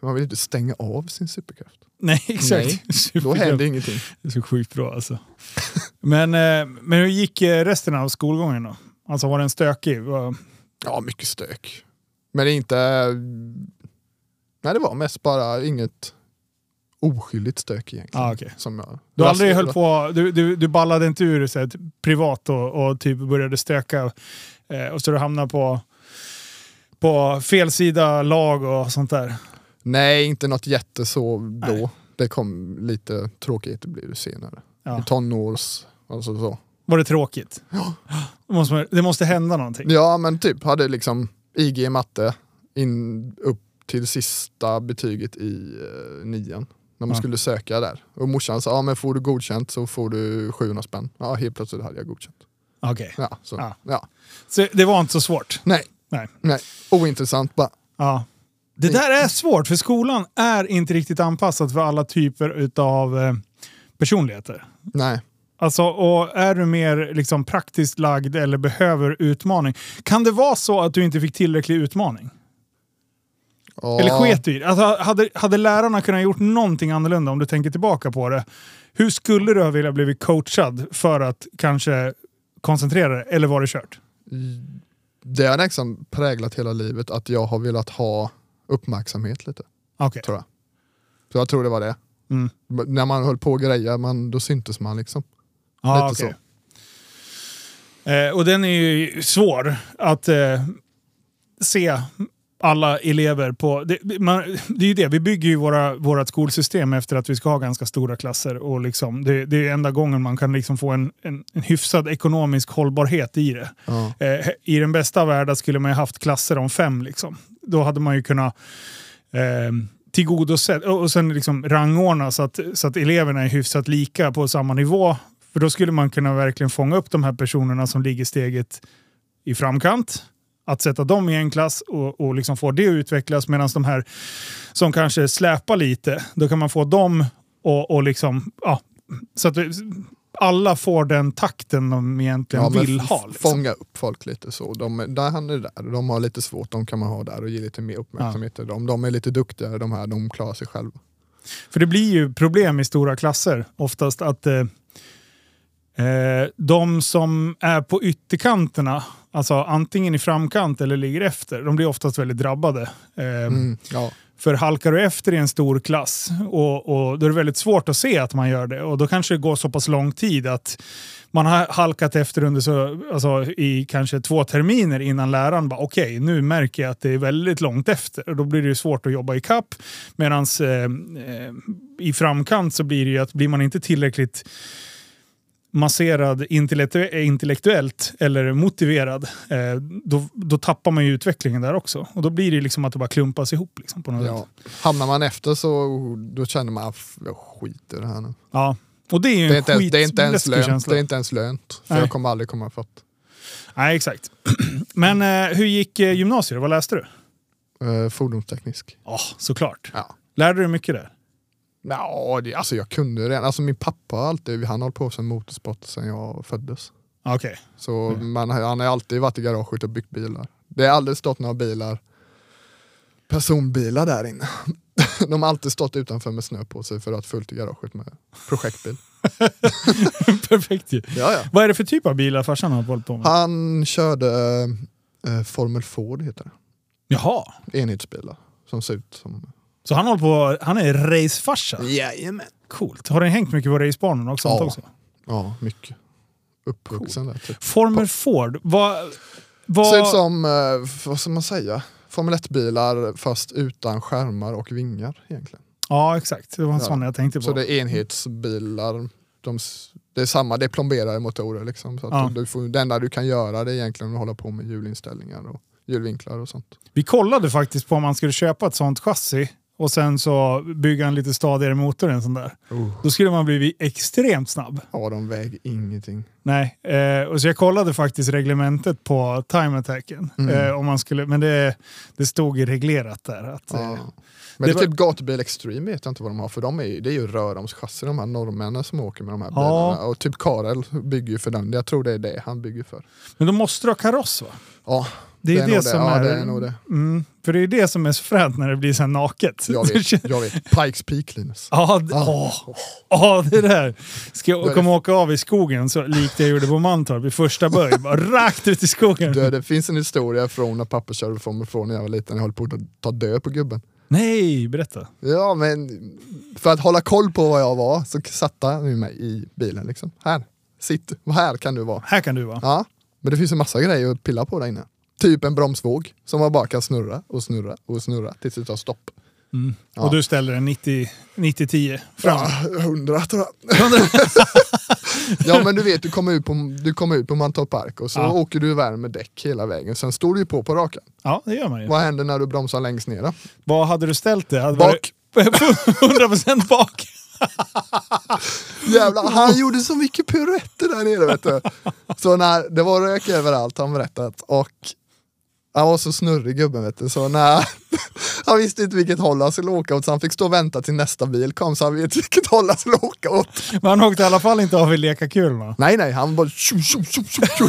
Speaker 2: man vill ju inte stänga av sin superkraft.
Speaker 1: Nej, exakt.
Speaker 2: Nej, Då
Speaker 1: Superkul.
Speaker 2: händer ingenting.
Speaker 1: Det är så sjukt bra alltså. Men, eh, men hur gick eh, resten av skolgången då? Alltså var den stökig? Var-
Speaker 2: Ja, mycket stök. Men det är inte... Nej, det var mest bara inget oskyldigt stök egentligen.
Speaker 1: Ah, okej.
Speaker 2: Som jag,
Speaker 1: Du har aldrig höll på, du, du, du ballade inte ur så här, t- privat och, och typ började stöka eh, och så du hamnade på, på fel sida lag och sånt där.
Speaker 2: Nej, inte något jätte så då.
Speaker 1: Nej.
Speaker 2: Det kom lite tråkigt, det blev det senare.
Speaker 1: Ja.
Speaker 2: I tonårs... Alltså så.
Speaker 1: Var det tråkigt?
Speaker 2: Ja.
Speaker 1: Det måste, man- det måste hända någonting.
Speaker 2: ja, men typ hade liksom IG i matte in, upp till sista betyget i eh, nian. När man
Speaker 1: Ja.
Speaker 2: skulle söka där. Och morsan sa, ja men får du godkänt så får du 700 spänn. Ja, helt plötsligt hade jag godkänt.
Speaker 1: Okej.
Speaker 2: Ja, så,
Speaker 1: Ja.
Speaker 2: Ja.
Speaker 1: Så det var inte så svårt?
Speaker 2: Nej.
Speaker 1: Nej.
Speaker 2: Nej, ointressant bara.
Speaker 1: Ja. Det där är svårt, för skolan är inte riktigt anpassad för alla typer av personligheter.
Speaker 2: Nej.
Speaker 1: Alltså, och är du mer liksom praktiskt lagd eller behöver utmaning. Kan det vara så att du inte fick tillräcklig utmaning?
Speaker 2: Ja.
Speaker 1: Eller sket du i det? alltså, hade, hade lärarna kunnat gjort någonting annorlunda om du tänker tillbaka på det? Hur skulle du ha velat bli coachad för att kanske koncentrera dig? Eller var det kört?
Speaker 2: Det har liksom präglat hela livet att jag har velat ha uppmärksamhet lite,
Speaker 1: Okej.
Speaker 2: tror jag. Så jag tror det var det.
Speaker 1: Mm.
Speaker 2: Men När man höll på och grejer, man, då syntes man liksom.
Speaker 1: Ja,
Speaker 2: Lite
Speaker 1: okej. Eh, och den är ju svår att eh, se alla elever på. Det, det- man, det är ju det, vi bygger ju våra, vårt skolsystem efter att vi ska ha ganska stora klasser. Och liksom, det, det är enda gången man kan liksom få en, en, en hyfsad ekonomisk hållbarhet i det.
Speaker 2: Ja.
Speaker 1: Eh, I den bästa av världar skulle man ju haft klasser om fem. Liksom. Då hade man ju kunnat eh, tillgodose och och sen liksom rangordna så att, så att eleverna är hyfsat lika på samma nivå. För då skulle man kunna verkligen fånga upp de här personerna som ligger steget i framkant. Att sätta dem i en klass och, och liksom få det att utvecklas medan de här som kanske släpar lite, då kan man få dem och, och liksom, ja, så att alla får den takten de egentligen
Speaker 2: Ja, men
Speaker 1: vill
Speaker 2: f-
Speaker 1: ha. Liksom.
Speaker 2: Fånga upp folk lite så. De, där han är där, de har lite svårt, de kan man ha där och ge lite mer uppmärksamhet till dem. De är lite duktigare de här, de klarar sig själva.
Speaker 1: För det blir ju problem i stora klasser oftast att eh, eh, de som är på ytterkanterna, alltså antingen i framkant eller ligger efter, de blir oftast väldigt drabbade. Eh,
Speaker 2: Mm. Ja.
Speaker 1: För halkar du efter i en stor klass och, och då är det väldigt svårt att se att man gör det och då kanske det går så pass lång tid att man har halkat efter under så, alltså, i kanske två terminer innan läraren bara okej, nu märker jag att det är väldigt långt efter och då blir det ju svårt att jobba i kapp. Medan eh, eh, i framkant så blir det ju att blir man inte tillräckligt masserad intellektu- intellektuellt eller motiverad, eh, då, då tappar man ju utvecklingen där också. Och då blir det ju liksom att det bara klumpas ihop liksom, på något sätt.
Speaker 2: Ja. Hamnar man efter så då känner man, "Aff, jag skiter i det här nu.
Speaker 1: Ja. Och det är ju
Speaker 2: Det är,
Speaker 1: en
Speaker 2: inte ens, det, är inte ens
Speaker 1: skitläskig
Speaker 2: lönt,
Speaker 1: känsla.
Speaker 2: det är inte ens lönt, för
Speaker 1: Nej.
Speaker 2: jag kommer aldrig komma ifatt.
Speaker 1: Nej, exakt. Men eh, hur gick eh, gymnasiet? Vad läste du?
Speaker 2: Uh, fordonsteknisk.
Speaker 1: Ja, såklart.
Speaker 2: Ja.
Speaker 1: Lärde du mycket där?
Speaker 2: Ja, det, alltså jag kunde det. Alltså min pappa har alltid, han har hållit på som motorsport sedan jag föddes.
Speaker 1: Ja, Okej.
Speaker 2: Så
Speaker 1: Mm.
Speaker 2: man, har- han har alltid varit i garaget och byggt bilar. Det har aldrig stått några bilar, personbilar där inne. De har alltid stått utanför med snö på sig för att ha fullt i garaget med projektbil.
Speaker 1: Perfekt ju.
Speaker 2: Ja, ja.
Speaker 1: Vad är det för typ av bilar farsan har hållit på med?
Speaker 2: Han körde eh, eh, Formel Ford heter
Speaker 1: Jaha.
Speaker 2: det. Enhetsbilar som ser ut som
Speaker 1: Så han håller på, han är racefarsa.
Speaker 2: Jajamän.
Speaker 1: Coolt. Har den hängt mycket på racebanorna och sånt
Speaker 2: Ja.
Speaker 1: också?
Speaker 2: Ja, mycket. Uppvuxen där typ.
Speaker 1: Formel Ford, vad...
Speaker 2: Ser ut
Speaker 1: vad
Speaker 2: som, eh, vad ska man säga, Formel 1-bilar fast utan skärmar och vingar egentligen.
Speaker 1: ja, exakt. Det var en
Speaker 2: Ja.
Speaker 1: sån jag tänkte på.
Speaker 2: Så det är enhetsbilar, de, s- det är samma, det är plomberade motorer liksom. Så att
Speaker 1: Ja.
Speaker 2: du, du får, det enda du kan göra det är egentligen att hålla på med hjulinställningar och hjulvinklar och sånt.
Speaker 1: Vi kollade faktiskt på om man skulle köpa ett sånt chassi och sen så bygga en lite stadigare motor än sån där. Då skulle man bli extremt snabb.
Speaker 2: Ja, de väger ingenting.
Speaker 1: Nej, eh, och så jag kollade faktiskt reglementet på time attacken.
Speaker 2: Mm.
Speaker 1: Eh, om man skulle, men det, det stod reglerat där. Att,
Speaker 2: Ja.
Speaker 1: eh,
Speaker 2: Men det
Speaker 1: var-
Speaker 2: är typ Gatubil Extreme vet jag inte vad de har för de är, ju- det är ju röromschassi de här norrmännen som åker med de här
Speaker 1: Ja.
Speaker 2: bilarna. Och typ Karel bygger ju för den, jag tror det är det han bygger för.
Speaker 1: men då måste du ha kaross va?
Speaker 2: Ja,
Speaker 1: Det är det,
Speaker 2: nog
Speaker 1: som
Speaker 2: Ja,
Speaker 1: är...
Speaker 2: det är nog det.
Speaker 1: Mm, för det är det som är så fränt när det blir så här naket.
Speaker 2: Jag vet, jag vet. Pikes Peak Linus.
Speaker 1: Ja, d-
Speaker 2: Ah.
Speaker 1: åh, åh, det där. Ska
Speaker 2: Då är
Speaker 1: jag
Speaker 2: det-
Speaker 1: komma åka av i skogen så likt jag gjorde på Mantorp i första böj. Bara rakt ut i skogen.
Speaker 2: Du, det finns en historia från när pappa körde från mig från när jag var liten, jag höll på att ta död på gubben.
Speaker 1: Nej, berätta.
Speaker 2: Ja men, för att hålla koll på vad jag var så satte han ju mig i bilen liksom. Här, sitt, här kan du vara.
Speaker 1: Här kan du va?
Speaker 2: Ja, men det finns en massa grejer att pilla på där inne. Typ en bromsvåg som man bara kan snurra och snurra och snurra tills det tar stopp. Ja.
Speaker 1: Och du ställer den 90 90-10 fram.
Speaker 2: Ja, 100 tror jag. ja men du vet, du kommer ut på, du kommer ut på Mantorp Park och så
Speaker 1: Ja.
Speaker 2: åker du och värmer däck hela vägen. Sen står du ju på på rakan.
Speaker 1: Ja, det gör man ju.
Speaker 2: Vad händer när du bromsar längst ner då?
Speaker 1: Vad hade du ställt det? Hade
Speaker 2: Bak.
Speaker 1: varit- 100% bak.
Speaker 2: Jävlar, han gjorde så mycket piruetter där nere vet du. Så när, det var rök överallt har han berättat och han var så snurrig gubben vet du. Så när, han visste inte vilket håll han skulle åka åt så han fick stå och vänta till nästa bil kom så han vet vilket håll han skulle åka åt.
Speaker 1: Men han åkte i alla fall inte av i lekakulorna.
Speaker 2: Nej nej, han bara tjo, tjo, tjo, tjo, tjo.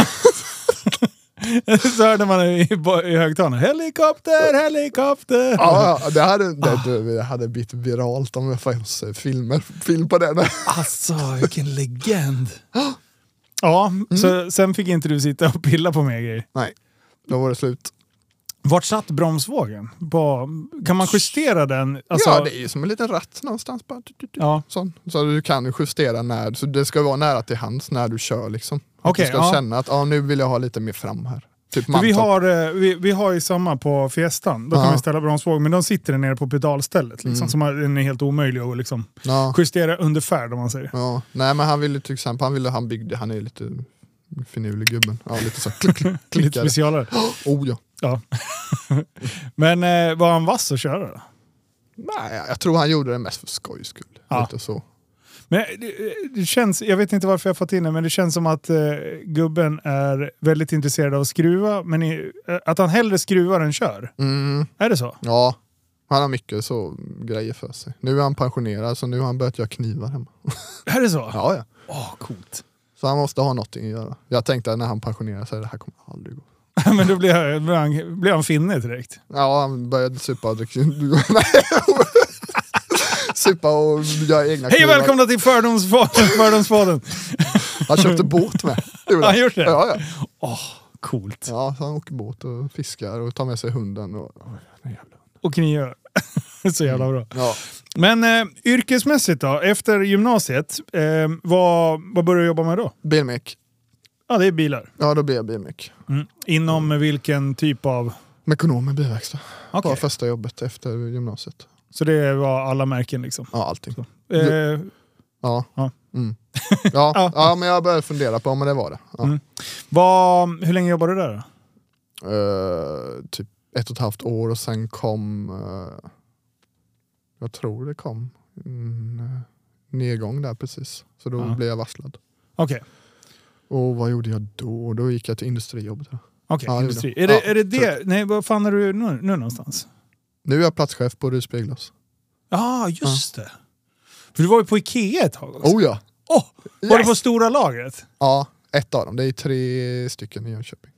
Speaker 1: Så hörde man i, i högtalarna. Helikopter, helikopter!
Speaker 2: Ja, ja, det hade,
Speaker 1: Ah.
Speaker 2: det, det hade blivit viralt om jag fanns eh, filmer, film på det.
Speaker 1: Alltså, vilken legend. Ja, så, sen fick inte du sitta och pilla på mer grejer.
Speaker 2: Nej, då var det slut.
Speaker 1: Vart satt bromsvågen? På, kan man justera den? Alltså,
Speaker 2: ja, det är ju som en liten ratt någonstans bara.
Speaker 1: ja.
Speaker 2: Sån. Så du kan justera när, så det ska vara nära till hands när du kör liksom. Att
Speaker 1: Okej,
Speaker 2: du ska
Speaker 1: ja.
Speaker 2: känna att ah, nu vill jag ha lite mer fram här. Typ
Speaker 1: För vi,
Speaker 2: Mantorp.
Speaker 1: har, eh, vi, vi har ju samma på Fiestan. Då kan
Speaker 2: Ja. Mm.
Speaker 1: vi ställa bromsvåg, men de sitter där nere på pedalstället. Liksom, Som är, den är helt omöjlig att liksom,
Speaker 2: Ja.
Speaker 1: justera under färd om man säger.
Speaker 2: Ja. Nej men han ville till exempel, han ville, han byggde, han är ju lite finurlig gubben. Ja, lite så klick, klick,
Speaker 1: Lite
Speaker 2: klickare.
Speaker 1: specialare.
Speaker 2: Oh ja.
Speaker 1: Ja. men eh, var han vass att köra då?
Speaker 2: Nej, jag tror han gjorde det mest för skojs skull.
Speaker 1: Ja.
Speaker 2: Lite så.
Speaker 1: Men eh, det, det känns, jag vet inte varför jag fått in det, men det känns som att eh, gubben är väldigt intresserad av att skruva, men i, eh, att han hellre skruvar än kör.
Speaker 2: Mm,
Speaker 1: Är det så?
Speaker 2: ja. Han har mycket så grejer för sig. Nu är han pensionerad så nu har han börjat göra knivar hemma.
Speaker 1: Är det så?
Speaker 2: Ja, ja.
Speaker 1: Åh, coolt.
Speaker 2: Så han måste ha någonting att göra. Jag tänkte att när han pensionerar sig, det här kommer aldrig gå.
Speaker 1: men då blir, jag, blir, han, blir han finne direkt.
Speaker 2: Ja, han började supa och dricka... Nej. supa och göra egna
Speaker 1: Hej och
Speaker 2: knivar.
Speaker 1: välkomna till Fördomsfaden! Fördomsfaden.
Speaker 2: Han köpte båt med. Det gjorde
Speaker 1: Har han gjort det?
Speaker 2: Ja, ja.
Speaker 1: Coolt.
Speaker 2: ja, så han åker båt och fiskar och tar med sig hunden. Och...
Speaker 1: Och knivar. så jävla bra.
Speaker 2: Ja.
Speaker 1: Men eh, yrkesmässigt då? Efter gymnasiet, eh, vad, vad började du jobba med då?
Speaker 2: Bilmek.
Speaker 1: Ja, det är bilar.
Speaker 2: Ja, då blev jag bilmek.
Speaker 1: Mm. Inom vilken typ av...
Speaker 2: Mekonom i bilverkstad.
Speaker 1: Okej.
Speaker 2: Bara första jobbet efter gymnasiet.
Speaker 1: Så det var alla märken liksom?
Speaker 2: Ja, allting.
Speaker 1: Eh,
Speaker 2: Ja.
Speaker 1: Ja.
Speaker 2: Mm. Ja.
Speaker 1: Ja.
Speaker 2: ja. men jag började fundera på om det var det. Ja.
Speaker 1: Mm. vad, hur länge jobbade du där då?
Speaker 2: Eh, typ ett och ett halvt år och sen kom, eh, jag tror det kom, en eh, nedgång där precis. Så då
Speaker 1: Ja.
Speaker 2: blev jag varslad.
Speaker 1: Okej,
Speaker 2: Och vad gjorde jag då? Då gick jag till industrijobbet. då.
Speaker 1: okej.
Speaker 2: Ja, det
Speaker 1: industri.
Speaker 2: gjorde
Speaker 1: Är
Speaker 2: jag.
Speaker 1: det,
Speaker 2: Ja,
Speaker 1: är det det? Nej, vad fan är du nu, nu någonstans?
Speaker 2: Nu är jag platschef på Ryds Bilglas.
Speaker 1: Ja, ah, just det. För du var ju på Ikea ett tag också.
Speaker 2: Oh ja!
Speaker 1: Åh, Var
Speaker 2: Yes!
Speaker 1: du på stora lagret?
Speaker 2: Ja, ett av dem. Det är tre stycken i Jönköping.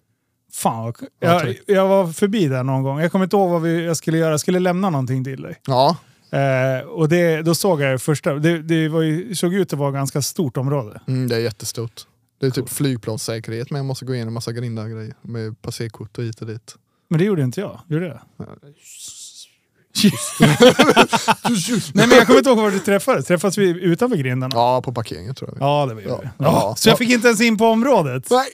Speaker 1: Fan vad kul.
Speaker 2: Ja,
Speaker 1: jag,
Speaker 2: trevligt.
Speaker 1: jag var förbi där någon gång. Jag kommer inte ihåg vad vi, jag skulle göra. Jag skulle lämna någonting till dig.
Speaker 2: Ja,
Speaker 1: Eh, och det, då såg jag det första. Det, det var ju, såg ut att vara ett ganska stort område.
Speaker 2: mm, det är jättestort. Det är typ flygplanssäkerhet men jag måste gå igenom massa grindar och grejer med passerkort och hit och dit.
Speaker 1: Men det gjorde inte jag. Gjorde jag? Nej men jag kommer inte ihåg var du träffades. Träffades vi utanför grindarna? Ja,
Speaker 2: Ja, på parkeringen tror jag.
Speaker 1: det var
Speaker 2: Ja.
Speaker 1: vi. Ja.
Speaker 2: Ja.
Speaker 1: Så jag fick inte ens in på området.
Speaker 2: Nej,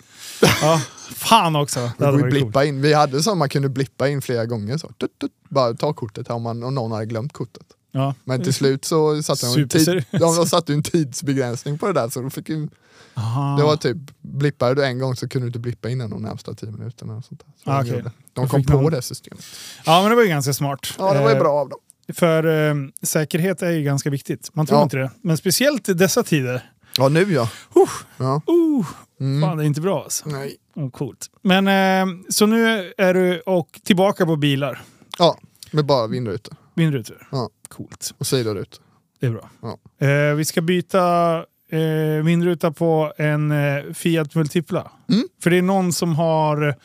Speaker 1: Ja. Fan också. Det hade
Speaker 2: vi
Speaker 1: varit coolt.
Speaker 2: blippa in. Vi hade så man kunde blippa in flera gånger. Så. Tut, tut. Bara ta kortet här om, man, om någon hade glömt kortet.
Speaker 1: Ja.
Speaker 2: Men till slut så satte de, en tid,
Speaker 1: Superseriöst.
Speaker 2: ja, de satte ju en tidsbegränsning på det där. Så de fick ju,
Speaker 1: Aha.
Speaker 2: Det var typ, blippade du en gång så kunde du inte blippa innan de närmsta tio minuterna. Och sånt där. Så
Speaker 1: Ah,
Speaker 2: de
Speaker 1: okej.
Speaker 2: gjorde.
Speaker 1: Då
Speaker 2: de kom
Speaker 1: fick
Speaker 2: på
Speaker 1: man-
Speaker 2: det systemet.
Speaker 1: ja men det var ju ganska smart.
Speaker 2: Ja, det var ju
Speaker 1: Eh,
Speaker 2: bra av dem.
Speaker 1: För eh, säkerhet är ju ganska viktigt. Man tror
Speaker 2: Ja.
Speaker 1: inte det. Men speciellt i dessa tider.
Speaker 2: Ja, nu ja.
Speaker 1: Uff.
Speaker 2: ja.
Speaker 1: Uh,
Speaker 2: Mm.
Speaker 1: Fan det är inte bra alltså.
Speaker 2: Nej.
Speaker 1: Oh, coolt. Men eh, så nu är du och tillbaka på bilar.
Speaker 2: Ja, med bara vindrutor
Speaker 1: Vindrutor.
Speaker 2: Ja.
Speaker 1: Coolt.
Speaker 2: och sidorutor.
Speaker 1: Det är bra.
Speaker 2: Ja.
Speaker 1: Eh, vi ska byta eh, vindruta på en eh, Fiat Multipla.
Speaker 2: Mm.
Speaker 1: För det är någon som har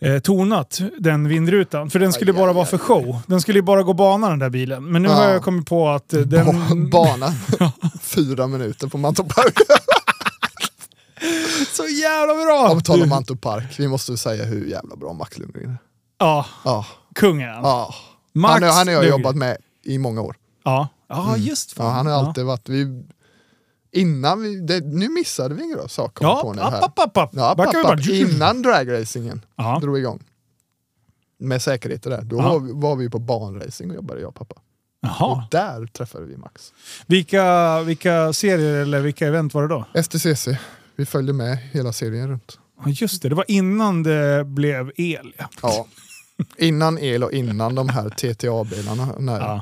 Speaker 1: eh, tonat den vindrutan. För den skulle
Speaker 2: Aj,
Speaker 1: bara
Speaker 2: aj,
Speaker 1: vara
Speaker 2: aj.
Speaker 1: för show. Den skulle ju bara gå bana den där bilen. Men nu
Speaker 2: Ja.
Speaker 1: har jag kommit på att eh, den...
Speaker 2: Ba- Bana. Fyra minuter på Mantorp Park.
Speaker 1: Så jävla bra!
Speaker 2: Om tal om Mantorp Park, vi måste säga hur jävla bra Max Lundgren är.
Speaker 1: Ja,
Speaker 2: Ja,
Speaker 1: kungen.
Speaker 2: ja.
Speaker 1: Max
Speaker 2: Han, är- han har jag
Speaker 1: Lundgren.
Speaker 2: jobbat med i många år.
Speaker 1: Ja, ja just fan.
Speaker 2: Ja, han har alltid varit... Vi, innan vi, det, nu missade vi en grej, sak kom jag
Speaker 1: Ja,
Speaker 2: på nu
Speaker 1: ja
Speaker 2: här.
Speaker 1: app, app, app.
Speaker 2: Ja,
Speaker 1: Backar vi
Speaker 2: pappa,
Speaker 1: bara.
Speaker 2: innan dragracingen
Speaker 1: Ja.
Speaker 2: drog igång. Med säkerhet och det där. Då
Speaker 1: Ja.
Speaker 2: var, vi, var vi på banracing och jobbade jag och pappa. Och
Speaker 1: Jaha.
Speaker 2: där träffade vi Max.
Speaker 1: Vilka, vilka serier eller vilka event var det då?
Speaker 2: STCC, vi följde med hela serien runt.
Speaker 1: Ja, Just det, det var innan det blev el. Ja.
Speaker 2: Ja. Innan el och innan de här TTA-bilarna. När, ja.
Speaker 1: Ja.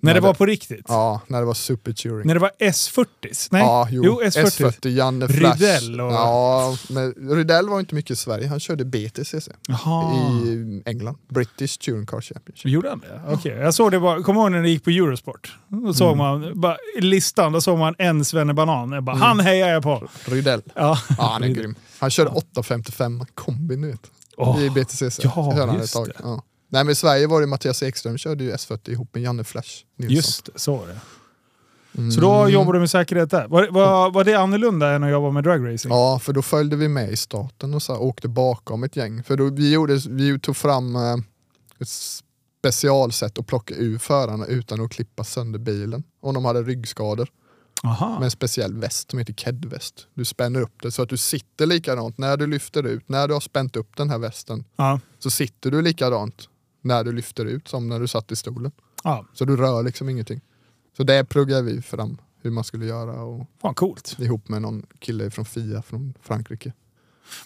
Speaker 1: När det
Speaker 2: det-
Speaker 1: var på riktigt?
Speaker 2: när det var super touring.
Speaker 1: När det var S40? Nej,
Speaker 2: Ja, jo,
Speaker 1: S40.
Speaker 2: S40. Janne Flash.
Speaker 1: Rydell och-
Speaker 2: Ja, men Rydell var inte mycket i Sverige, han körde BTCC
Speaker 1: Jaha.
Speaker 2: i England. British Touring Car Championship.
Speaker 1: Gjorde han det? Okej, jag såg det bara. Kommer ihåg när det gick på Eurosport? Då såg
Speaker 2: Mm.
Speaker 1: man bara, i listan, då såg man en Svenne Banan. Jag bara,
Speaker 2: Mm.
Speaker 1: Han hejar jag på!
Speaker 2: Rydell.
Speaker 1: Ja,
Speaker 2: Ja, han är grym. Han körde 855 kombi nu vet.
Speaker 1: Åh,
Speaker 2: I BTCC.
Speaker 1: ja,
Speaker 2: Körde han ett
Speaker 1: just
Speaker 2: tag.
Speaker 1: det.
Speaker 2: Ja. Nej men i Sverige var det Mattias Ekström körde ju S40 ihop med Janne Flash Nilsson.
Speaker 1: just det. Så var det. Så
Speaker 2: Mm.
Speaker 1: då jobbade du med säkerhet där. Var, var, var det annorlunda än att jobba med dragracing?
Speaker 2: Ja, för då följde vi med i staten och så här, åkte bakom ett gäng. För då, vi, gjorde, vi tog fram eh, ett specialsätt att plocka ur förarna utan att klippa sönder bilen. Om de hade ryggskador.
Speaker 1: Aha.
Speaker 2: Med en speciell väst som heter kedväst. Du spänner upp det så att du sitter likadant när du lyfter ut. När du har spänt upp den här västen
Speaker 1: Ja.
Speaker 2: så sitter du likadant när du lyfter ut som när du satt i stolen.
Speaker 1: ja,
Speaker 2: Så du rör liksom ingenting. Så det pluggade vi fram hur man skulle göra och
Speaker 1: fan coolt.
Speaker 2: ihop med någon kille från FIA från Frankrike.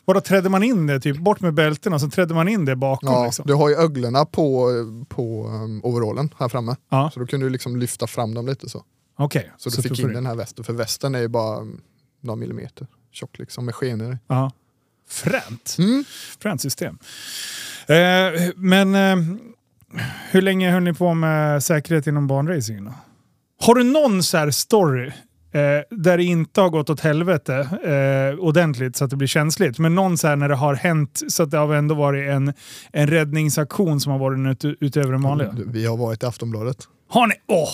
Speaker 1: Och då trädde man in det, typ bort med bältena, så trädde man in det bakom
Speaker 2: Ja,
Speaker 1: liksom.
Speaker 2: Du har ju öglorna på, på um, overallen här framme.
Speaker 1: Ja,
Speaker 2: Så då kunde du liksom lyfta fram dem lite så.
Speaker 1: okej.
Speaker 2: Så du fick in den här västen. För västen är ju bara um, några millimeter tjock liksom med skenor i.
Speaker 1: Ja. Fränt.
Speaker 2: Mm.
Speaker 1: Fränt system. Eh, men eh, hur länge höll ni på med säkerhet inom barnracing? Då? Har du någon så här story eh, där det inte har gått åt helvete eh, ordentligt så att det blir känsligt? Men någon så här när det har hänt så att det har ändå varit en, en räddningsaktion som har varit ut, utöver den vanliga?
Speaker 2: Du, Vi har varit i Aftonbladet.
Speaker 1: Har ni? Åh!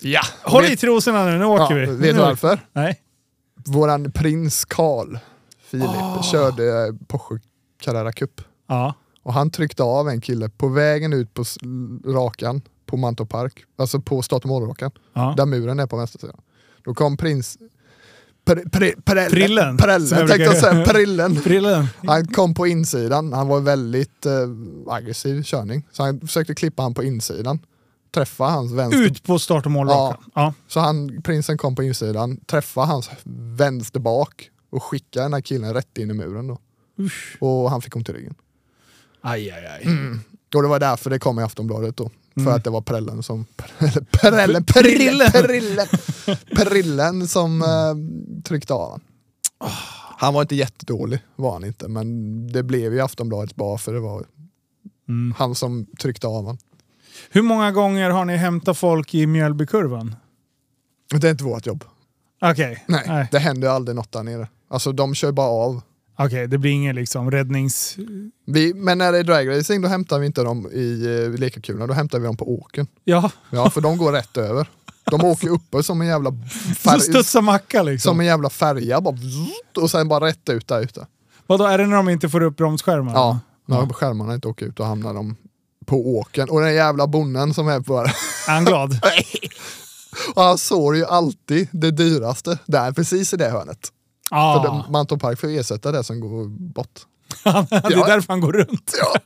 Speaker 2: Ja!
Speaker 1: håll i
Speaker 2: vet,
Speaker 1: trosorna nu, nu åker vi.
Speaker 2: ja, vet
Speaker 1: nu,
Speaker 2: du varför?
Speaker 1: Nej.
Speaker 2: Våran prins Carl Philip
Speaker 1: Ah.
Speaker 2: körde eh, Porsche Carrera Cup.
Speaker 1: Ja.
Speaker 2: Och han tryckte av en kille på vägen ut på s- rakan på Mantorp Park, alltså på Statomolrakan,
Speaker 1: ja.
Speaker 2: där muren är på vänstersidan. Då kom prins... Pr, pr, prällen,
Speaker 1: Prillen, som jag
Speaker 2: Prällen, tänkte
Speaker 1: brukar
Speaker 2: jag säga.
Speaker 1: göra.
Speaker 2: Prillen.
Speaker 1: Brillen.
Speaker 2: Han kom på insidan, han var väldigt eh, aggressiv körning. Så han försökte klippa han på insidan, träffa hans vänster...
Speaker 1: Ut på start och mål
Speaker 2: Ja.
Speaker 1: rakan. Ja.
Speaker 2: Så han, prinsen kom på insidan, träffa hans vänster bak och skicka den här killen rätt in i muren då.
Speaker 1: Usch.
Speaker 2: Och han fick ont i ryggen.
Speaker 1: Aj, aj, aj.
Speaker 2: Mm. Och det var därför det kom i Aftonbladet då.
Speaker 1: Mm.
Speaker 2: För att det var prällen som... Prällen, prällen, prillen, prillen, prillen som
Speaker 1: Mm.
Speaker 2: eh, tryckte av han. Han var inte jättedålig, var han inte. Men det blev ju Aftonbladet bara för det var
Speaker 1: Mm.
Speaker 2: han som tryckte av han.
Speaker 1: Hur många gånger har ni hämtat folk i Mjölbykurvan?
Speaker 2: Det är inte vårt jobb.
Speaker 1: Okej,
Speaker 2: Nej,
Speaker 1: Nej.
Speaker 2: det händer ju aldrig något där nere. Alltså de kör bara av.
Speaker 1: Okej, det blir ingen liksom räddnings...
Speaker 2: Vi, men när det är dragracing då hämtar vi inte dem i eh, lekakulorna, då hämtar vi dem på åken.
Speaker 1: Ja,
Speaker 2: Ja, för de går rätt över. De åker uppe som en jävla
Speaker 1: som
Speaker 2: färg,
Speaker 1: studsar macka liksom.
Speaker 2: som en jävla färja bara vzzt, och sen bara rätt ut där ute.
Speaker 1: Vadå, är det när de inte får upp bromsskärmarna?
Speaker 2: Ja, när skärmarna inte åker ut och hamnar de på åken och den jävla bonden som är på
Speaker 1: Är han glad?
Speaker 2: Och han sår ju alltid det dyraste där, precis i det hörnet. För
Speaker 1: Ja,
Speaker 2: de- Mantorp Park får ersätta det som går bort.
Speaker 1: det är därför han går runt.
Speaker 2: Ja.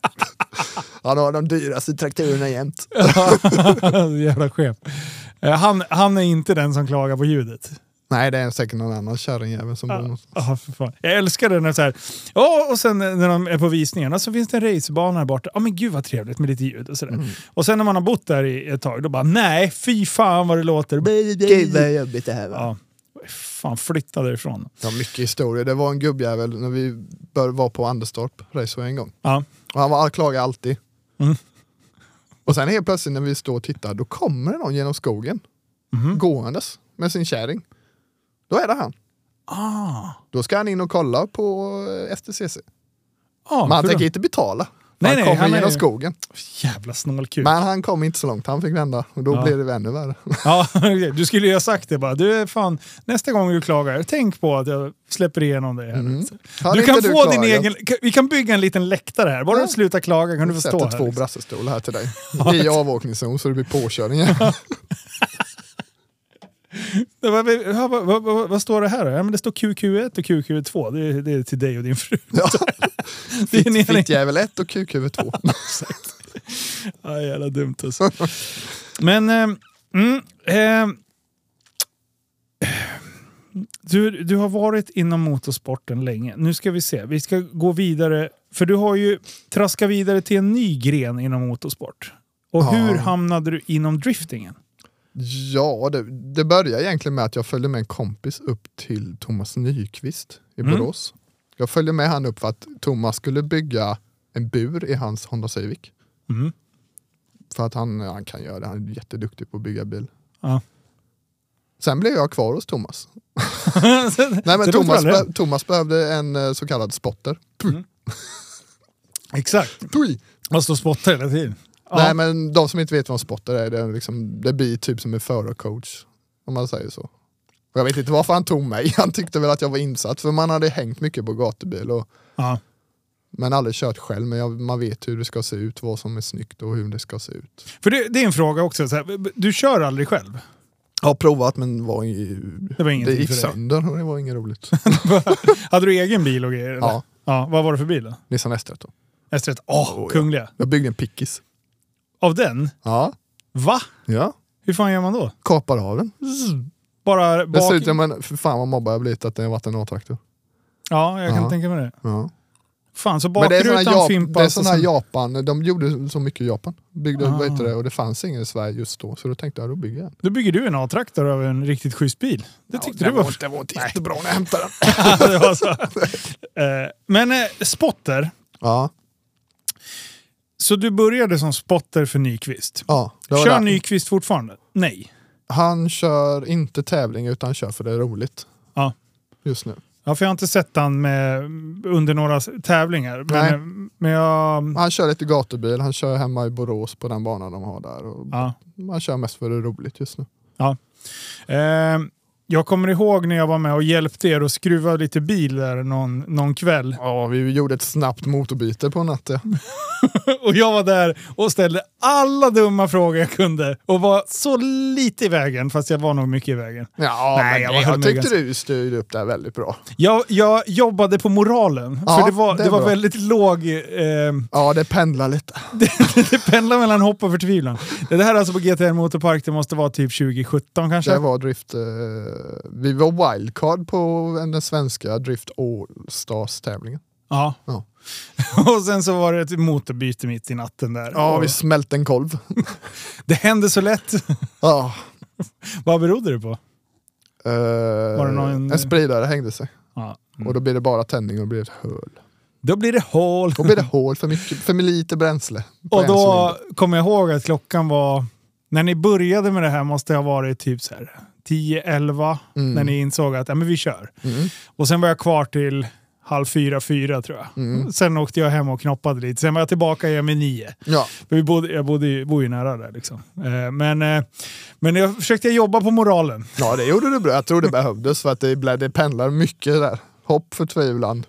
Speaker 2: Han har de dyraste traktorerna jämt.
Speaker 1: Jävla chef. Eh, Han, han är inte den som klagar på ljudet.
Speaker 2: Nej, det är säkert någon annan kärringjävel som bor någonstans.
Speaker 1: Ja, för fan. Jag älskar det när så här. Ja, och sen när de är på visningarna så finns det en racerbana här borta. Ja, men gud vad trevligt med lite ljud och sådär.
Speaker 2: Mm.
Speaker 1: Och sen när man har bott där i ett tag, då bara nej, fy fan vad det låter.
Speaker 2: Gud vad jobbigt det här
Speaker 1: Ja, fan flytta därifrån.
Speaker 2: Ja, mycket historia. Det var en gubbjävel när vi bör, var på Anderstorp Raceway en gång.
Speaker 1: Ja.
Speaker 2: Och han var, klagade alltid.
Speaker 1: Mm.
Speaker 2: Och sen helt plötsligt när vi står och tittar, då kommer det någon genom skogen.
Speaker 1: Mhm.
Speaker 2: Gåendes med sin kärring. Då är det han.
Speaker 1: Ah.
Speaker 2: Då ska han in och kolla på eh, STCC.
Speaker 1: Ja,
Speaker 2: Men han
Speaker 1: för då-
Speaker 2: tänker inte betala.
Speaker 1: Nej,
Speaker 2: han
Speaker 1: nej,
Speaker 2: kommer
Speaker 1: han är
Speaker 2: genom
Speaker 1: ju-
Speaker 2: skogen.
Speaker 1: Jävla snålkuk.
Speaker 2: Men han kom inte så långt, han fick vända. Och då
Speaker 1: Ja.
Speaker 2: blev det ännu värre.
Speaker 1: Ja, du skulle ju ha sagt det bara. Du, fan, nästa gång du klagar, tänk på att jag släpper igenom dig här.
Speaker 2: Hade
Speaker 1: Du
Speaker 2: Mm. inte
Speaker 1: kan få din
Speaker 2: klagat?
Speaker 1: egen... Vi kan bygga en liten läktare här. Bara
Speaker 2: Ja.
Speaker 1: du slutar klaga kan du få
Speaker 2: Sätter
Speaker 1: stå här.
Speaker 2: två
Speaker 1: liksom.
Speaker 2: brassestolar här till dig. I avåkningszon så det blir påkörningar.
Speaker 1: Det var- ja, Vad, vad, vad, vad står det här då? Ja, men det står QQ1 och QQ2. Det, är- det är till dig och din fru.
Speaker 2: Ja.
Speaker 1: Det är en
Speaker 2: Fitt-
Speaker 1: enig-
Speaker 2: Fittjävel 1 och kukhuvud 2.
Speaker 1: Exakt. Ja, jävla dumt alltså. Men... ehm, mm, ehm, du, du har varit inom motorsporten länge. Nu ska vi se. Vi ska gå vidare. För du har ju traskat vidare till en ny gren inom motorsport. Och
Speaker 2: Ja.
Speaker 1: hur hamnade du inom driftingen?
Speaker 2: Ja, det, det började egentligen med att jag följde med en kompis upp till Thomas Nyqvist i
Speaker 1: Mm.
Speaker 2: Borås. Jag följde med han upp för att Thomas skulle bygga en bur i hans Honda Civic.
Speaker 1: Mm.
Speaker 2: För att han, ja, han kan göra det, han är jätteduktig på att bygga bil.
Speaker 1: Ja.
Speaker 2: Sen blev jag kvar hos Thomas. Nej,
Speaker 1: Det
Speaker 2: men
Speaker 1: låter
Speaker 2: Thomas,
Speaker 1: aldrig.
Speaker 2: be- Thomas behövde en eh, så kallad spotter.
Speaker 1: Exakt.
Speaker 2: Tui.
Speaker 1: Man står och spottar hela tiden. Ja.
Speaker 2: Nej, men de som inte vet vad en spotter är, det, är liksom, det blir typ som en förarcoach. Om man säger så. Och jag vet inte varför han tog mig. Han tyckte väl att jag var insatt, för man hade hängt mycket på gatubil. Och,
Speaker 1: Ja.
Speaker 2: men aldrig kört själv, men jag, man vet hur det ska se ut, vad som är snyggt och hur det ska se ut.
Speaker 1: För det, det är en fråga också. Så här, du kör aldrig själv?
Speaker 2: Jag har provat men var i,
Speaker 1: Det var ingenting
Speaker 2: det gick
Speaker 1: för dig.
Speaker 2: sönder och det var inget roligt.
Speaker 1: Hade du egen bil och grejer? eller?
Speaker 2: ja,
Speaker 1: ja. Vad var det för bil då?
Speaker 2: Nissan S13.
Speaker 1: S30? Åh,
Speaker 2: Oh, ja.
Speaker 1: kungliga.
Speaker 2: Jag byggde en pickis.
Speaker 1: Av den?
Speaker 2: Ja.
Speaker 1: Va?
Speaker 2: ja.
Speaker 1: Hur fan gör man då?
Speaker 2: Kapade av den.
Speaker 1: Bara bak...
Speaker 2: Dessutom, men för fan vad mobbad jag blivit att det har varit en A-traktor.
Speaker 1: Ja, jag kan
Speaker 2: Ja.
Speaker 1: tänka mig det.
Speaker 2: Ja.
Speaker 1: Fan, så
Speaker 2: Men det är
Speaker 1: bakrutan
Speaker 2: såna, Jap- det
Speaker 1: fimpas
Speaker 2: är
Speaker 1: och
Speaker 2: såna
Speaker 1: sen-
Speaker 2: Japan, de gjorde så mycket i Japan. Byggde,
Speaker 1: Ah.
Speaker 2: vad heter det, och det fanns ingen i Sverige just då, så då tänkte jag då bygger jag en.
Speaker 1: Då bygger du en A-traktor av en riktigt schysst bil. Det tyckte du var...
Speaker 2: det var inte jättebra när jag hämtade den.
Speaker 1: det var så. Eh, Men eh, spotter.
Speaker 2: Ja,
Speaker 1: Så du började som spotter för Nyqvist.
Speaker 2: ja det var
Speaker 1: Kör
Speaker 2: där.
Speaker 1: Nyqvist fortfarande? Nej.
Speaker 2: Han kör inte tävling utan han kör för det är roligt.
Speaker 1: Ja.
Speaker 2: Just nu.
Speaker 1: Ja, för jag har inte sett han med, under några s- tävlingar. Men, eh, men jag...
Speaker 2: Han kör lite gatubil, han kör hemma i Borås på den banan de har där. Och
Speaker 1: Ja.
Speaker 2: Han kör mest för det är roligt just nu.
Speaker 1: Eh, jag kommer ihåg när jag var med och hjälpte er att skruva lite bil där någon, någon kväll.
Speaker 2: Ja, vi gjorde ett snabbt motorbyte på natten.
Speaker 1: Och jag var där och ställde alla dumma frågor jag kunde och var så lite i vägen, fast jag var nog mycket i vägen.
Speaker 2: Ja,
Speaker 1: Nej, jag
Speaker 2: men jag,
Speaker 1: var-
Speaker 2: det,
Speaker 1: höll
Speaker 2: jag
Speaker 1: mig
Speaker 2: tyckte du styrde upp det här väldigt bra.
Speaker 1: Jag, jag jobbade på moralen,
Speaker 2: Ja,
Speaker 1: för det var,
Speaker 2: det
Speaker 1: det
Speaker 2: är
Speaker 1: var
Speaker 2: bra.
Speaker 1: väldigt låg... Eh,
Speaker 2: Ja, det pendlar lite.
Speaker 1: det pendlar mellan hopp och förtvivlan. Det här är alltså på GTR Motorpark, det måste vara typ 2017 kanske?
Speaker 2: Det var drift... Eh, vi var wildcard på den svenska Drift All-Stars-tävlingen.
Speaker 1: Ja.
Speaker 2: Ja.
Speaker 1: och sen så var det ett motorbyte mitt i natten där.
Speaker 2: Ja,
Speaker 1: Och
Speaker 2: vi smälte en kolv.
Speaker 1: Det hände så lätt.
Speaker 2: ja,
Speaker 1: Vad berodde det på?
Speaker 2: eh,
Speaker 1: det någon- Mm.
Speaker 2: En spridare hängde sig.
Speaker 1: Ja.
Speaker 2: Och då blir det bara tändning och det blir ett hål.
Speaker 1: Då blir det hål.
Speaker 2: Då blir det hål för, mycket, för lite bränsle. på
Speaker 1: Och
Speaker 2: en
Speaker 1: då
Speaker 2: cylinder.
Speaker 1: kommer jag ihåg att klockan var, när ni började med det här måste det ha varit typ så här 10-11
Speaker 2: Mm.
Speaker 1: när ni insåg att ja, men vi kör.
Speaker 2: Mm.
Speaker 1: Och sen var jag kvar till halv fyra, fyra tror jag.
Speaker 2: Mm.
Speaker 1: Sen åkte jag hem och knoppade lite. Sen var jag tillbaka igen vid nio.
Speaker 2: Ja,
Speaker 1: För vi bodde, jag bodde, ju- bor ju nära där liksom. Eh, Men, eh, men jag försökte jobba på moralen.
Speaker 2: ja, det gjorde du bra. Jag tror det behövdes för att det, blev- det pendlar mycket där. Hopp, förtvivlan,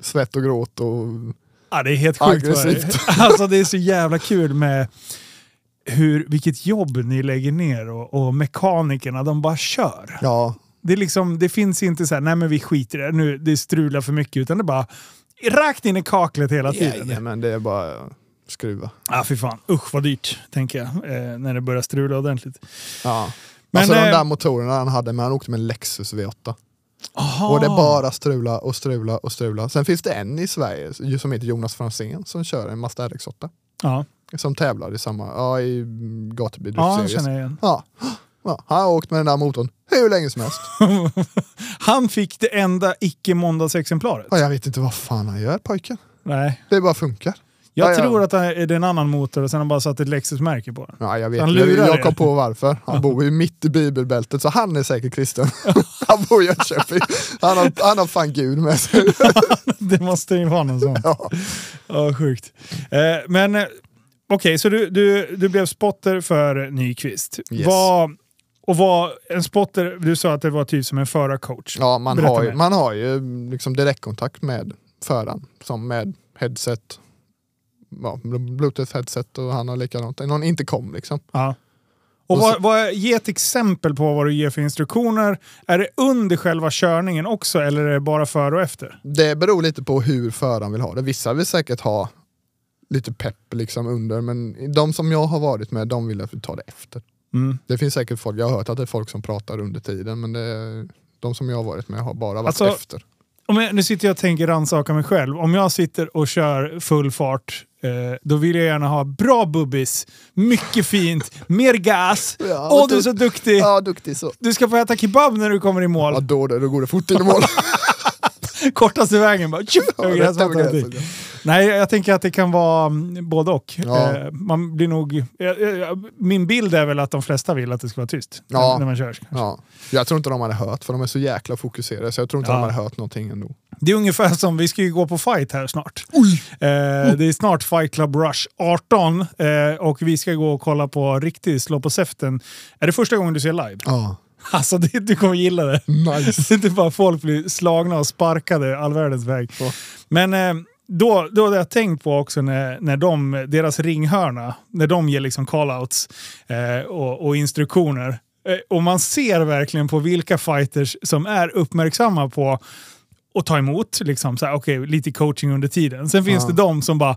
Speaker 2: svett och gråt och
Speaker 1: Ja, det är helt sjukt. vad det är.
Speaker 2: Aggressivt.
Speaker 1: Alltså det är så jävla kul med hur, vilket jobb ni lägger ner och, och mekanikerna, de bara kör.
Speaker 2: Ja,
Speaker 1: Det, är liksom, det finns inte så här, nej men vi skiter i det, nu, det strular för mycket, utan det är bara rakt in i kaklet hela tiden.
Speaker 2: men det är bara att skruva.
Speaker 1: Ja, fy fan. Usch vad dyrt, tänker jag, eh, när det börjar strula ordentligt.
Speaker 2: Ja.
Speaker 1: Men,
Speaker 2: alltså de
Speaker 1: eh,
Speaker 2: där motorerna han hade, men han åkte med en Lexus V8.
Speaker 1: Aha.
Speaker 2: Och det är bara strula och strula och strula. Sen finns det en i Sverige ju som heter Jonas Franzén som kör en Mazda RX8.
Speaker 1: Ja,
Speaker 2: Som tävlar i samma, ja i gatubil
Speaker 1: ja han
Speaker 2: series.
Speaker 1: känner jag igen.
Speaker 2: ja. ja, han har åkt med den där motorn hur länge som helst.
Speaker 1: Han fick det enda icke-måndagsexemplaret.
Speaker 2: Ja, jag vet inte vad fan han gör pojken.
Speaker 1: Nej.
Speaker 2: Det bara funkar.
Speaker 1: Jag
Speaker 2: Ja, ja.
Speaker 1: tror att det är det är en annan motor och sen har han bara satt ett Lexus-märke på den.
Speaker 2: Ja, jag vet.
Speaker 1: Han
Speaker 2: Jag,
Speaker 1: lurar er.
Speaker 2: jag kom på varför. Han bor ju mitt i bibelbältet, så han är säkert kristen. han bor i Jönköping. Han har, han har fan Gud med sig.
Speaker 1: Det måste ju vara någon sån.
Speaker 2: Ja.
Speaker 1: Ja, sjukt. Eh, men eh, okej, så du, du, du blev spotter för Nyqvist.
Speaker 2: Yes.
Speaker 1: Vad- och var en spotter, du sa att det var typ som en förarcoach.
Speaker 2: Ja, man
Speaker 1: Berätta
Speaker 2: har, ju,
Speaker 1: mer.
Speaker 2: man har ju liksom direktkontakt med föraren, som med headset, ja, bl- bluetooth headset och han har likadant. Någon inte kom liksom.
Speaker 1: Ja. Och
Speaker 2: Och
Speaker 1: vad, vad, ge ett exempel på vad du ger för instruktioner. Är det under själva körningen också eller är det bara före och efter?
Speaker 2: Det beror lite på hur föraren vill ha det. Vissa vill säkert ha lite pepp liksom under, men de som jag har varit med, de vill att vi tar det efter.
Speaker 1: Mm.
Speaker 2: Det finns säkert folk, jag har hört att det är folk som pratar under tiden, men det, de som jag har varit med har bara varit
Speaker 1: Alltså,
Speaker 2: efter.
Speaker 1: Om jag, nu sitter jag och tänker rannsaka mig själv. Om jag sitter och kör full fart, eh, då vill jag gärna ha bra bubbis, mycket fint, mer gas.
Speaker 2: Ja,
Speaker 1: Åh,
Speaker 2: men
Speaker 1: du är
Speaker 2: du-
Speaker 1: så duktig!
Speaker 2: Ja, duktig så.
Speaker 1: Du ska få äta kebab när du kommer i mål.
Speaker 2: Ja, då, då, då går det fort in i mål.
Speaker 1: Kortaste vägen bara tjup,
Speaker 2: Ja,
Speaker 1: över
Speaker 2: rätt över
Speaker 1: gräsmattan.
Speaker 2: gränsen.
Speaker 1: Nej, jag tänker att det kan vara mm, både och.
Speaker 2: Ja.
Speaker 1: Eh, man blir nog, jag- jag- jag- min bild är väl att de flesta vill att det ska vara tyst
Speaker 2: Ja.
Speaker 1: när, när man kör.
Speaker 2: Ja. Jag tror inte de hade hört, för de är så jäkla fokuserade, så jag tror inte
Speaker 1: Ja.
Speaker 2: de hade hört någonting ändå.
Speaker 1: Det är ungefär som, vi ska ju gå på fight här snart. Eh, det är snart Fight Club Rush 18 eh, och vi ska gå och kolla på riktigt slå på säften. Är det första gången du ser live?
Speaker 2: Ja.
Speaker 1: Alltså det, du kommer gilla det.
Speaker 2: Nice.
Speaker 1: Så inte bara folk blir slagna och sparkade all världens väg.
Speaker 2: Ja.
Speaker 1: Men eh, då, då hade jag tänkt på också när, när de, deras ringhörna, när de ger liksom call-outs eh, och, och instruktioner. Eh, och man ser verkligen på vilka fighters som är uppmärksamma på att ta emot, liksom, så här, okej, lite coaching under tiden. Sen finns
Speaker 2: Ja.
Speaker 1: det de som bara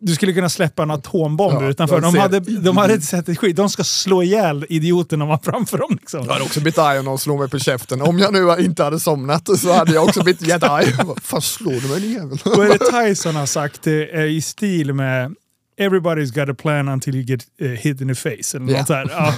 Speaker 1: du skulle kunna släppa en atombomb
Speaker 2: Ja,
Speaker 1: utanför.
Speaker 2: de
Speaker 1: De,
Speaker 2: ser-
Speaker 1: hade, de hade inte sett ett skit. De ska slå ihjäl idioterna man framför dem. Liksom.
Speaker 2: Jag hade också bitt arg om någon slog mig på käften. Om jag nu inte hade somnat så hade jag också blivit jättearg. Jag bara, Fan slår du mig din jävel?
Speaker 1: Vad är det Tyson har sagt eh, eh, i stil med Everybody's got a plan until you get eh, hit in the face. Eller
Speaker 2: Ja.
Speaker 1: något så här. Ja.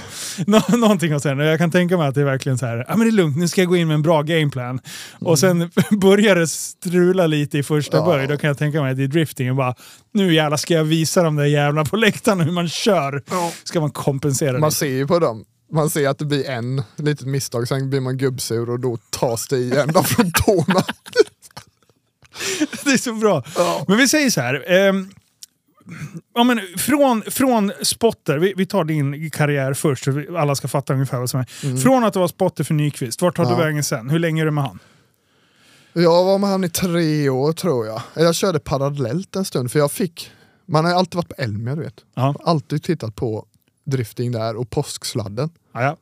Speaker 1: Nå- någonting och sen. Jag kan tänka mig att det är verkligen så här, ja men det är lugnt, nu ska jag gå in med en bra gameplan. Och sen börjar det strula lite i första
Speaker 2: Mm. Ja.
Speaker 1: böj, då kan jag tänka mig att det är drifting och bara, nu jävlar ska jag visa de där jävlarna på läktaren hur man kör. Ska man kompensera
Speaker 2: Man
Speaker 1: det?
Speaker 2: ser ju på dem. Man ser att det blir en litet misstag, sen blir man gubbsur och då tas det igen ända från tårna.
Speaker 1: Det är så bra.
Speaker 2: Ja.
Speaker 1: Men vi säger så här. ehm, ja, men från, från spotter, vi, vi tar din karriär först så vi- alla ska fatta ungefär vad som är. Från att du var spotter för Nyqvist, vart tar
Speaker 2: Ja.
Speaker 1: du vägen sen? Hur länge är du med han?
Speaker 2: Jag var med han i tre år tror jag. Eller Jag körde parallellt en stund för jag fick, man har ju alltid varit på Elmia du vet.
Speaker 1: Ja.
Speaker 2: Alltid tittat på drifting där och påsksladden.
Speaker 1: Ah, Ja, ja.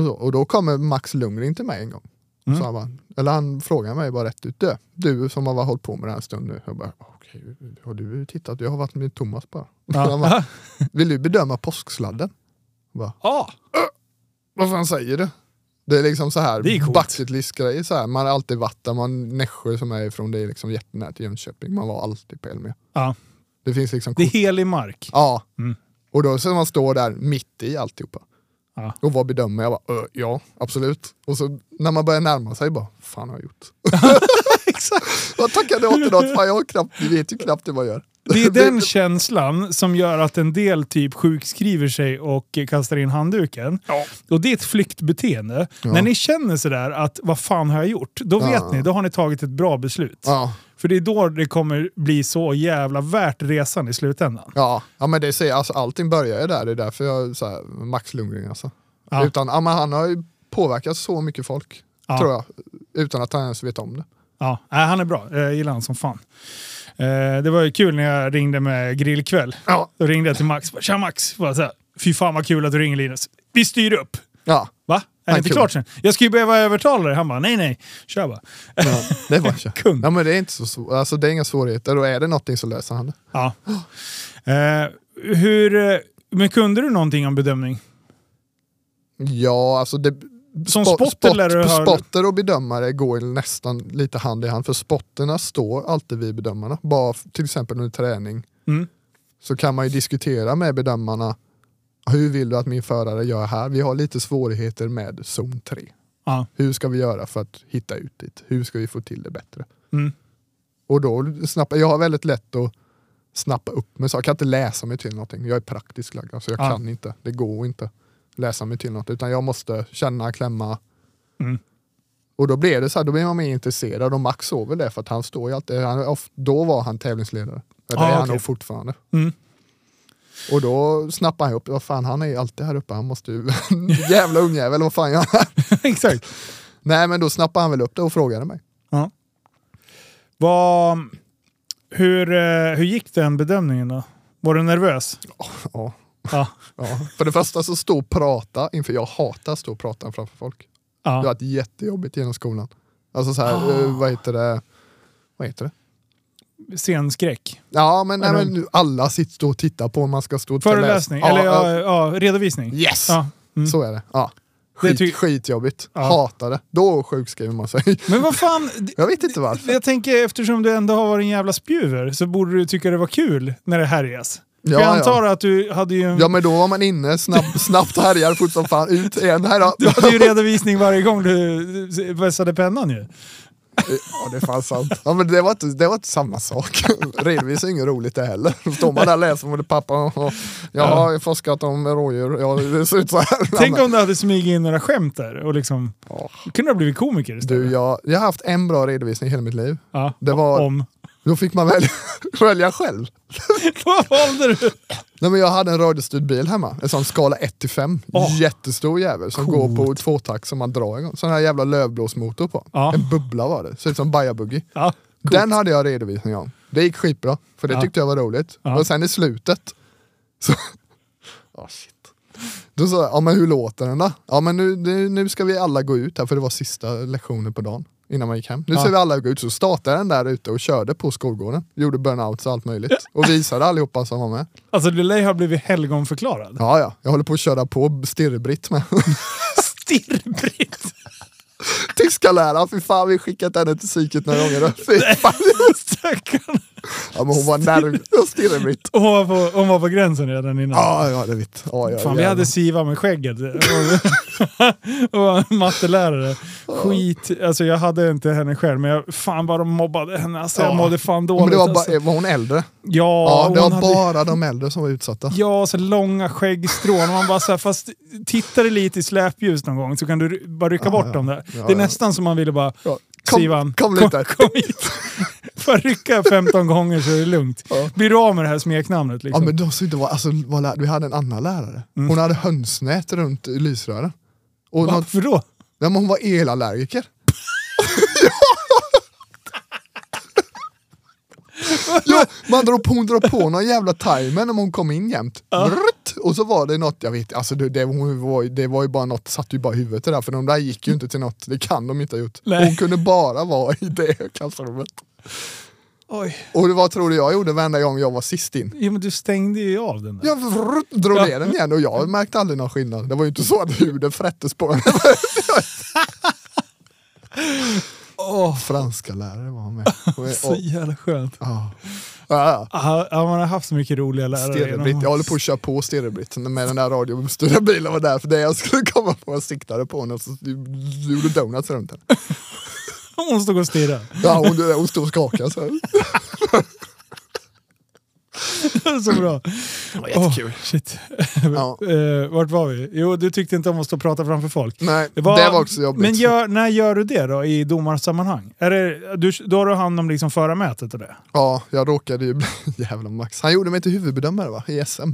Speaker 2: Och, så, och då kommer Max Lundgren till mig en gång.
Speaker 1: Mm.
Speaker 2: Så han bara, eller han frågade mig bara rätt ut. Du, du som har bara hållit på med det här en stund nu. Jag bara, okej, har du tittat? Jag har varit med Thomas bara. Han bara, vill du bedöma påsksladden? Jag bara,
Speaker 1: Ja.
Speaker 2: vad fan säger du? Det är liksom så här,
Speaker 1: Det är coolt.
Speaker 2: bucket list grejer så här. Man har alltid varit där, man Nässjö som är ifrån, det är liksom jättenära till Jönköping. Man var alltid på Elmia.
Speaker 1: Ja.
Speaker 2: Det finns liksom
Speaker 1: Det är helig mark.
Speaker 2: Ja.
Speaker 1: Mm.
Speaker 2: Och då så man står där mitt i alltihopa.
Speaker 1: Ja.
Speaker 2: Och vad bedömer jag? Bara, "Ö, ja, absolut. Och så när man börjar närma sig bara, fan har jag gjort?
Speaker 1: Exakt.
Speaker 2: Vad tackade åt idag? Fan, jag har knappt, du vet ju knappt hur man gör.
Speaker 1: Det är den känslan som gör att en del typ sjukskriver sig och eh, kastar in handduken. Och det är ett flyktbeteende. När ni känner sådär att vad fan har jag gjort? Då
Speaker 2: Ja.
Speaker 1: vet ni, då har ni tagit ett bra beslut.
Speaker 2: Ja,
Speaker 1: För det är då det kommer bli så jävla värt resan i slutändan.
Speaker 2: ja. ja men det säger, alltså, allting börjar ju där. Det är därför jag så här, Max Lundgren alltså.
Speaker 1: Ja.
Speaker 2: Utan, ja, men han har ju påverkat så mycket folk,
Speaker 1: Ja.
Speaker 2: tror jag. Utan att han ens vet om det.
Speaker 1: äh, Ja, nej, han är bra. Jag gillar han som fan. Eh, det var ju kul när jag ringde med grillkväll.
Speaker 2: Ja.
Speaker 1: Då ringde jag till Max. Bara, Tja Max! Bara så här, Fy fan vad kul att du ringer Linus. Vi styr upp!
Speaker 2: Ja,
Speaker 1: Va? Är det
Speaker 2: Ah,
Speaker 1: inte
Speaker 2: kul.
Speaker 1: klart sen? Jag skulle ju behöva övertala dig. Han bara, nej nej, kör bara.
Speaker 2: ja det var jag.
Speaker 1: Kung.
Speaker 2: Ja, men det är inte så svårt. Alltså, det är inga svårigheter och är det någonting så löser han det.
Speaker 1: Ja. Eh, hur, eh, men kunde du någonting om bedömning?
Speaker 2: Ja, alltså det...
Speaker 1: Som
Speaker 2: spo-
Speaker 1: spotter lär du ha-
Speaker 2: spotter och bedömare går nästan lite hand i hand för spotterna står alltid vid bedömarna. Bara f- till exempel under träning
Speaker 1: Mm.
Speaker 2: så kan man ju diskutera med bedömarna hur vill du att min förare gör här? Vi har lite svårigheter med zon 3.
Speaker 1: Ja.
Speaker 2: Hur ska vi göra för att hitta ut dit? Hur ska vi få till det bättre?
Speaker 1: Mm.
Speaker 2: Och då snappa, jag har väldigt lätt att snappa upp mig, så jag kan inte läsa mig till någonting. Jag är praktisk lagd, alltså jag
Speaker 1: Ja.
Speaker 2: kan inte. Det går inte läsa mig till något, utan jag måste känna, klämma.
Speaker 1: Mm.
Speaker 2: Och då blir det så här, då blir man mer intresserad och Max såg väl det för att han står ju alltid, han, är of- då var han tävlingsledare. Eller
Speaker 1: Ah,
Speaker 2: det är han
Speaker 1: okej.
Speaker 2: nog fortfarande.
Speaker 1: Mm.
Speaker 2: Och då snappar han upp, vad fan han är ju alltid här uppe, han måste ju, jävla ungjävel, vad fan gör han här?
Speaker 1: Exakt.
Speaker 2: Nej men då snappar han väl upp det och frågade mig.
Speaker 1: Vad, hur, eh, hur gick den bedömningen då? Var du nervös?
Speaker 2: Ja.
Speaker 1: Ja.
Speaker 2: Ja. För det första så stå och prata inför, jag hatar att stå och prata framför folk.
Speaker 1: Ja.
Speaker 2: Det har varit jättejobbigt genom skolan. Alltså så här,
Speaker 1: Ah.
Speaker 2: eh, vad heter det? Vad heter det?
Speaker 1: Scenskräck?
Speaker 2: Ja men, nej,
Speaker 1: Eller-
Speaker 2: men nu alla sitter och tittar på om man ska stå och
Speaker 1: Föreläsning?
Speaker 2: läsa.
Speaker 1: Eller
Speaker 2: Ja,
Speaker 1: ja, ja, redovisning?
Speaker 2: ja. Yes!
Speaker 1: Ja. Mm.
Speaker 2: Så är det. Ja.
Speaker 1: Det
Speaker 2: Skit,
Speaker 1: ty-
Speaker 2: skitjobbigt.
Speaker 1: Ja.
Speaker 2: Hatar det. Då sjukskriver man sig.
Speaker 1: Men vad fan, det-
Speaker 2: Jag vet inte varför.
Speaker 1: jag tänker eftersom du ändå har varit en jävla spjuver så borde du tycka det var kul när det härjas. För
Speaker 2: Ja,
Speaker 1: jag
Speaker 2: ja.
Speaker 1: antar att du hade ju, en,
Speaker 2: Ja men då var man inne, snabbt, snabbt härjade fort som fan, ut igen. Här då.
Speaker 1: du hade ju redovisning varje gång du vässade pennan ju.
Speaker 2: Ja det är fan sant. Ja, men det, var inte, det var inte samma sak. Redovis är inget roligt det heller. Står man där och läser med pappa och och- jag har forskat om rådjur, ja, det ser ut så här.
Speaker 1: Tänk om du hade smugit in några skämt där och liksom...
Speaker 2: Ja.
Speaker 1: Då kunde du ha blivit komiker istället.
Speaker 2: Du, jag, jag har haft en bra redovisning i hela mitt liv.
Speaker 1: ja.
Speaker 2: Det var,
Speaker 1: Om.
Speaker 2: då fick man välja, välja själv.
Speaker 1: Vad valde du?
Speaker 2: Nej, men jag hade en radiostyrd bil hemma, en sån skala 1-5.
Speaker 1: Åh.
Speaker 2: Jättestor jävel som
Speaker 1: Coolt.
Speaker 2: går på tvåtakt som man drar igång. Sån här jävla lövblåsmotor på.
Speaker 1: Ja.
Speaker 2: En bubbla var det, ser ut som bajabuggy.
Speaker 1: Ja, coolt.
Speaker 2: Den hade jag redovisning om. Det gick skitbra, för det
Speaker 1: Ja.
Speaker 2: tyckte jag var roligt.
Speaker 1: Ja.
Speaker 2: Och sen i slutet, så... Ah, shit. Då sa jag, ja men hur låter den då? Ja men nu, nu, nu ska vi alla gå ut här, för det var sista lektionen på dagen innan man gick hem. Nu
Speaker 1: Ja.
Speaker 2: ska vi alla gå ut, så startade den där ute och körde på skolgården. Gjorde burnouts och allt möjligt. Och visade allihopa som var med.
Speaker 1: Alltså du lär ju ha blivit helgonförklarad.
Speaker 2: Ja ja, jag håller på att köra på stirrbritt med.
Speaker 1: Stirrbritt!
Speaker 2: Tyskarläraren, fy fan vi har skickat henne till psyket några gånger. Fy fan.
Speaker 1: Stackarn.
Speaker 2: Ja men hon var nervös, stirrbritt.
Speaker 1: Hon, var på- hon var på gränsen redan innan.
Speaker 2: Ja, ja det vet. Ja, ja,
Speaker 1: Fan, vi
Speaker 2: jävlar.
Speaker 1: hade Siva med skägget. Och- och mattelärare. Skit. Alltså jag hade inte henne själv, men jag fan vad de mobbade henne. Alltså jag
Speaker 2: Ja.
Speaker 1: mådde fan dåligt.
Speaker 2: Men det var,
Speaker 1: alltså.
Speaker 2: bara, var hon äldre?
Speaker 1: Ja,
Speaker 2: Ja, det
Speaker 1: hon
Speaker 2: var
Speaker 1: hade-
Speaker 2: bara de äldre som var utsatta.
Speaker 1: Ja, så långa skäggstrån. Man bara så här, fast tittar du lite i släpljus någon gång så kan du ry- bara rycka bort dem där.
Speaker 2: Ja,
Speaker 1: det är
Speaker 2: ja.
Speaker 1: nästan som man ville bara,
Speaker 2: Ja, kom-
Speaker 1: Sivan,
Speaker 2: kom
Speaker 1: kom
Speaker 2: lite.
Speaker 1: liksom. hit. bara rycka 15 gånger så är det lugnt.
Speaker 2: Ja.
Speaker 1: Blir du av med det här smeknamnet
Speaker 2: Ja,
Speaker 1: liksom?
Speaker 2: men de som inte var, alltså, var lär, vi hade en annan lärare.
Speaker 1: Mm.
Speaker 2: Hon hade hönsnät runt i lysrören. Och någon,
Speaker 1: Varför då?
Speaker 2: nej, men hon var elallergiker. ja. jo, man drog på, hon drog på någon jävla timer när hon kom in jämt. Brrrt, Och så var det något, jag vet alltså det, det, hon var, ju- det var ju bara något, satt ju bara i huvudet det där för de där gick ju inte till något, det kan de inte ha gjort.
Speaker 1: Nej.
Speaker 2: Hon kunde bara vara i det klassrummet.
Speaker 1: Oj.
Speaker 2: Och vad tror du jag gjorde varenda gång jag var sist in?
Speaker 1: Ja, men du stängde ju av den där.
Speaker 2: Jag vrrt, drog
Speaker 1: Ja.
Speaker 2: ner den igen och jag märkte aldrig någon skillnad. Det var ju inte så att huden frättes på en.
Speaker 1: Åh,
Speaker 2: Franska lärare var med. Och,
Speaker 1: så jävla skönt.
Speaker 2: ja. Ja,
Speaker 1: Ja, ja, man har haft så mycket roliga lärare.
Speaker 2: Stereobritt. Jag håller på att köra på Stereobritt med den där radiostyrda bilen var där för det jag skulle komma på jag siktade på henne och så gjorde donuts runt henne.
Speaker 1: Hon stod och stirrade.
Speaker 2: Ja, hon, hon stod och skakade så här.
Speaker 1: så bra.
Speaker 2: jättekul.
Speaker 1: Åh, shit.
Speaker 2: Ja.
Speaker 1: Eh, vart var vi? Jo, du tyckte inte om att stå och prata framför folk.
Speaker 2: Nej, det
Speaker 1: Vad-
Speaker 2: var, också jobbigt.
Speaker 1: Men gör, när gör du det då i domarsammanhang? Är det, du, då har du hand om liksom förarmötet och det?
Speaker 2: Ja, jag råkade ju bli... Jävla Max. Han gjorde mig till huvudbedömare va, i SM.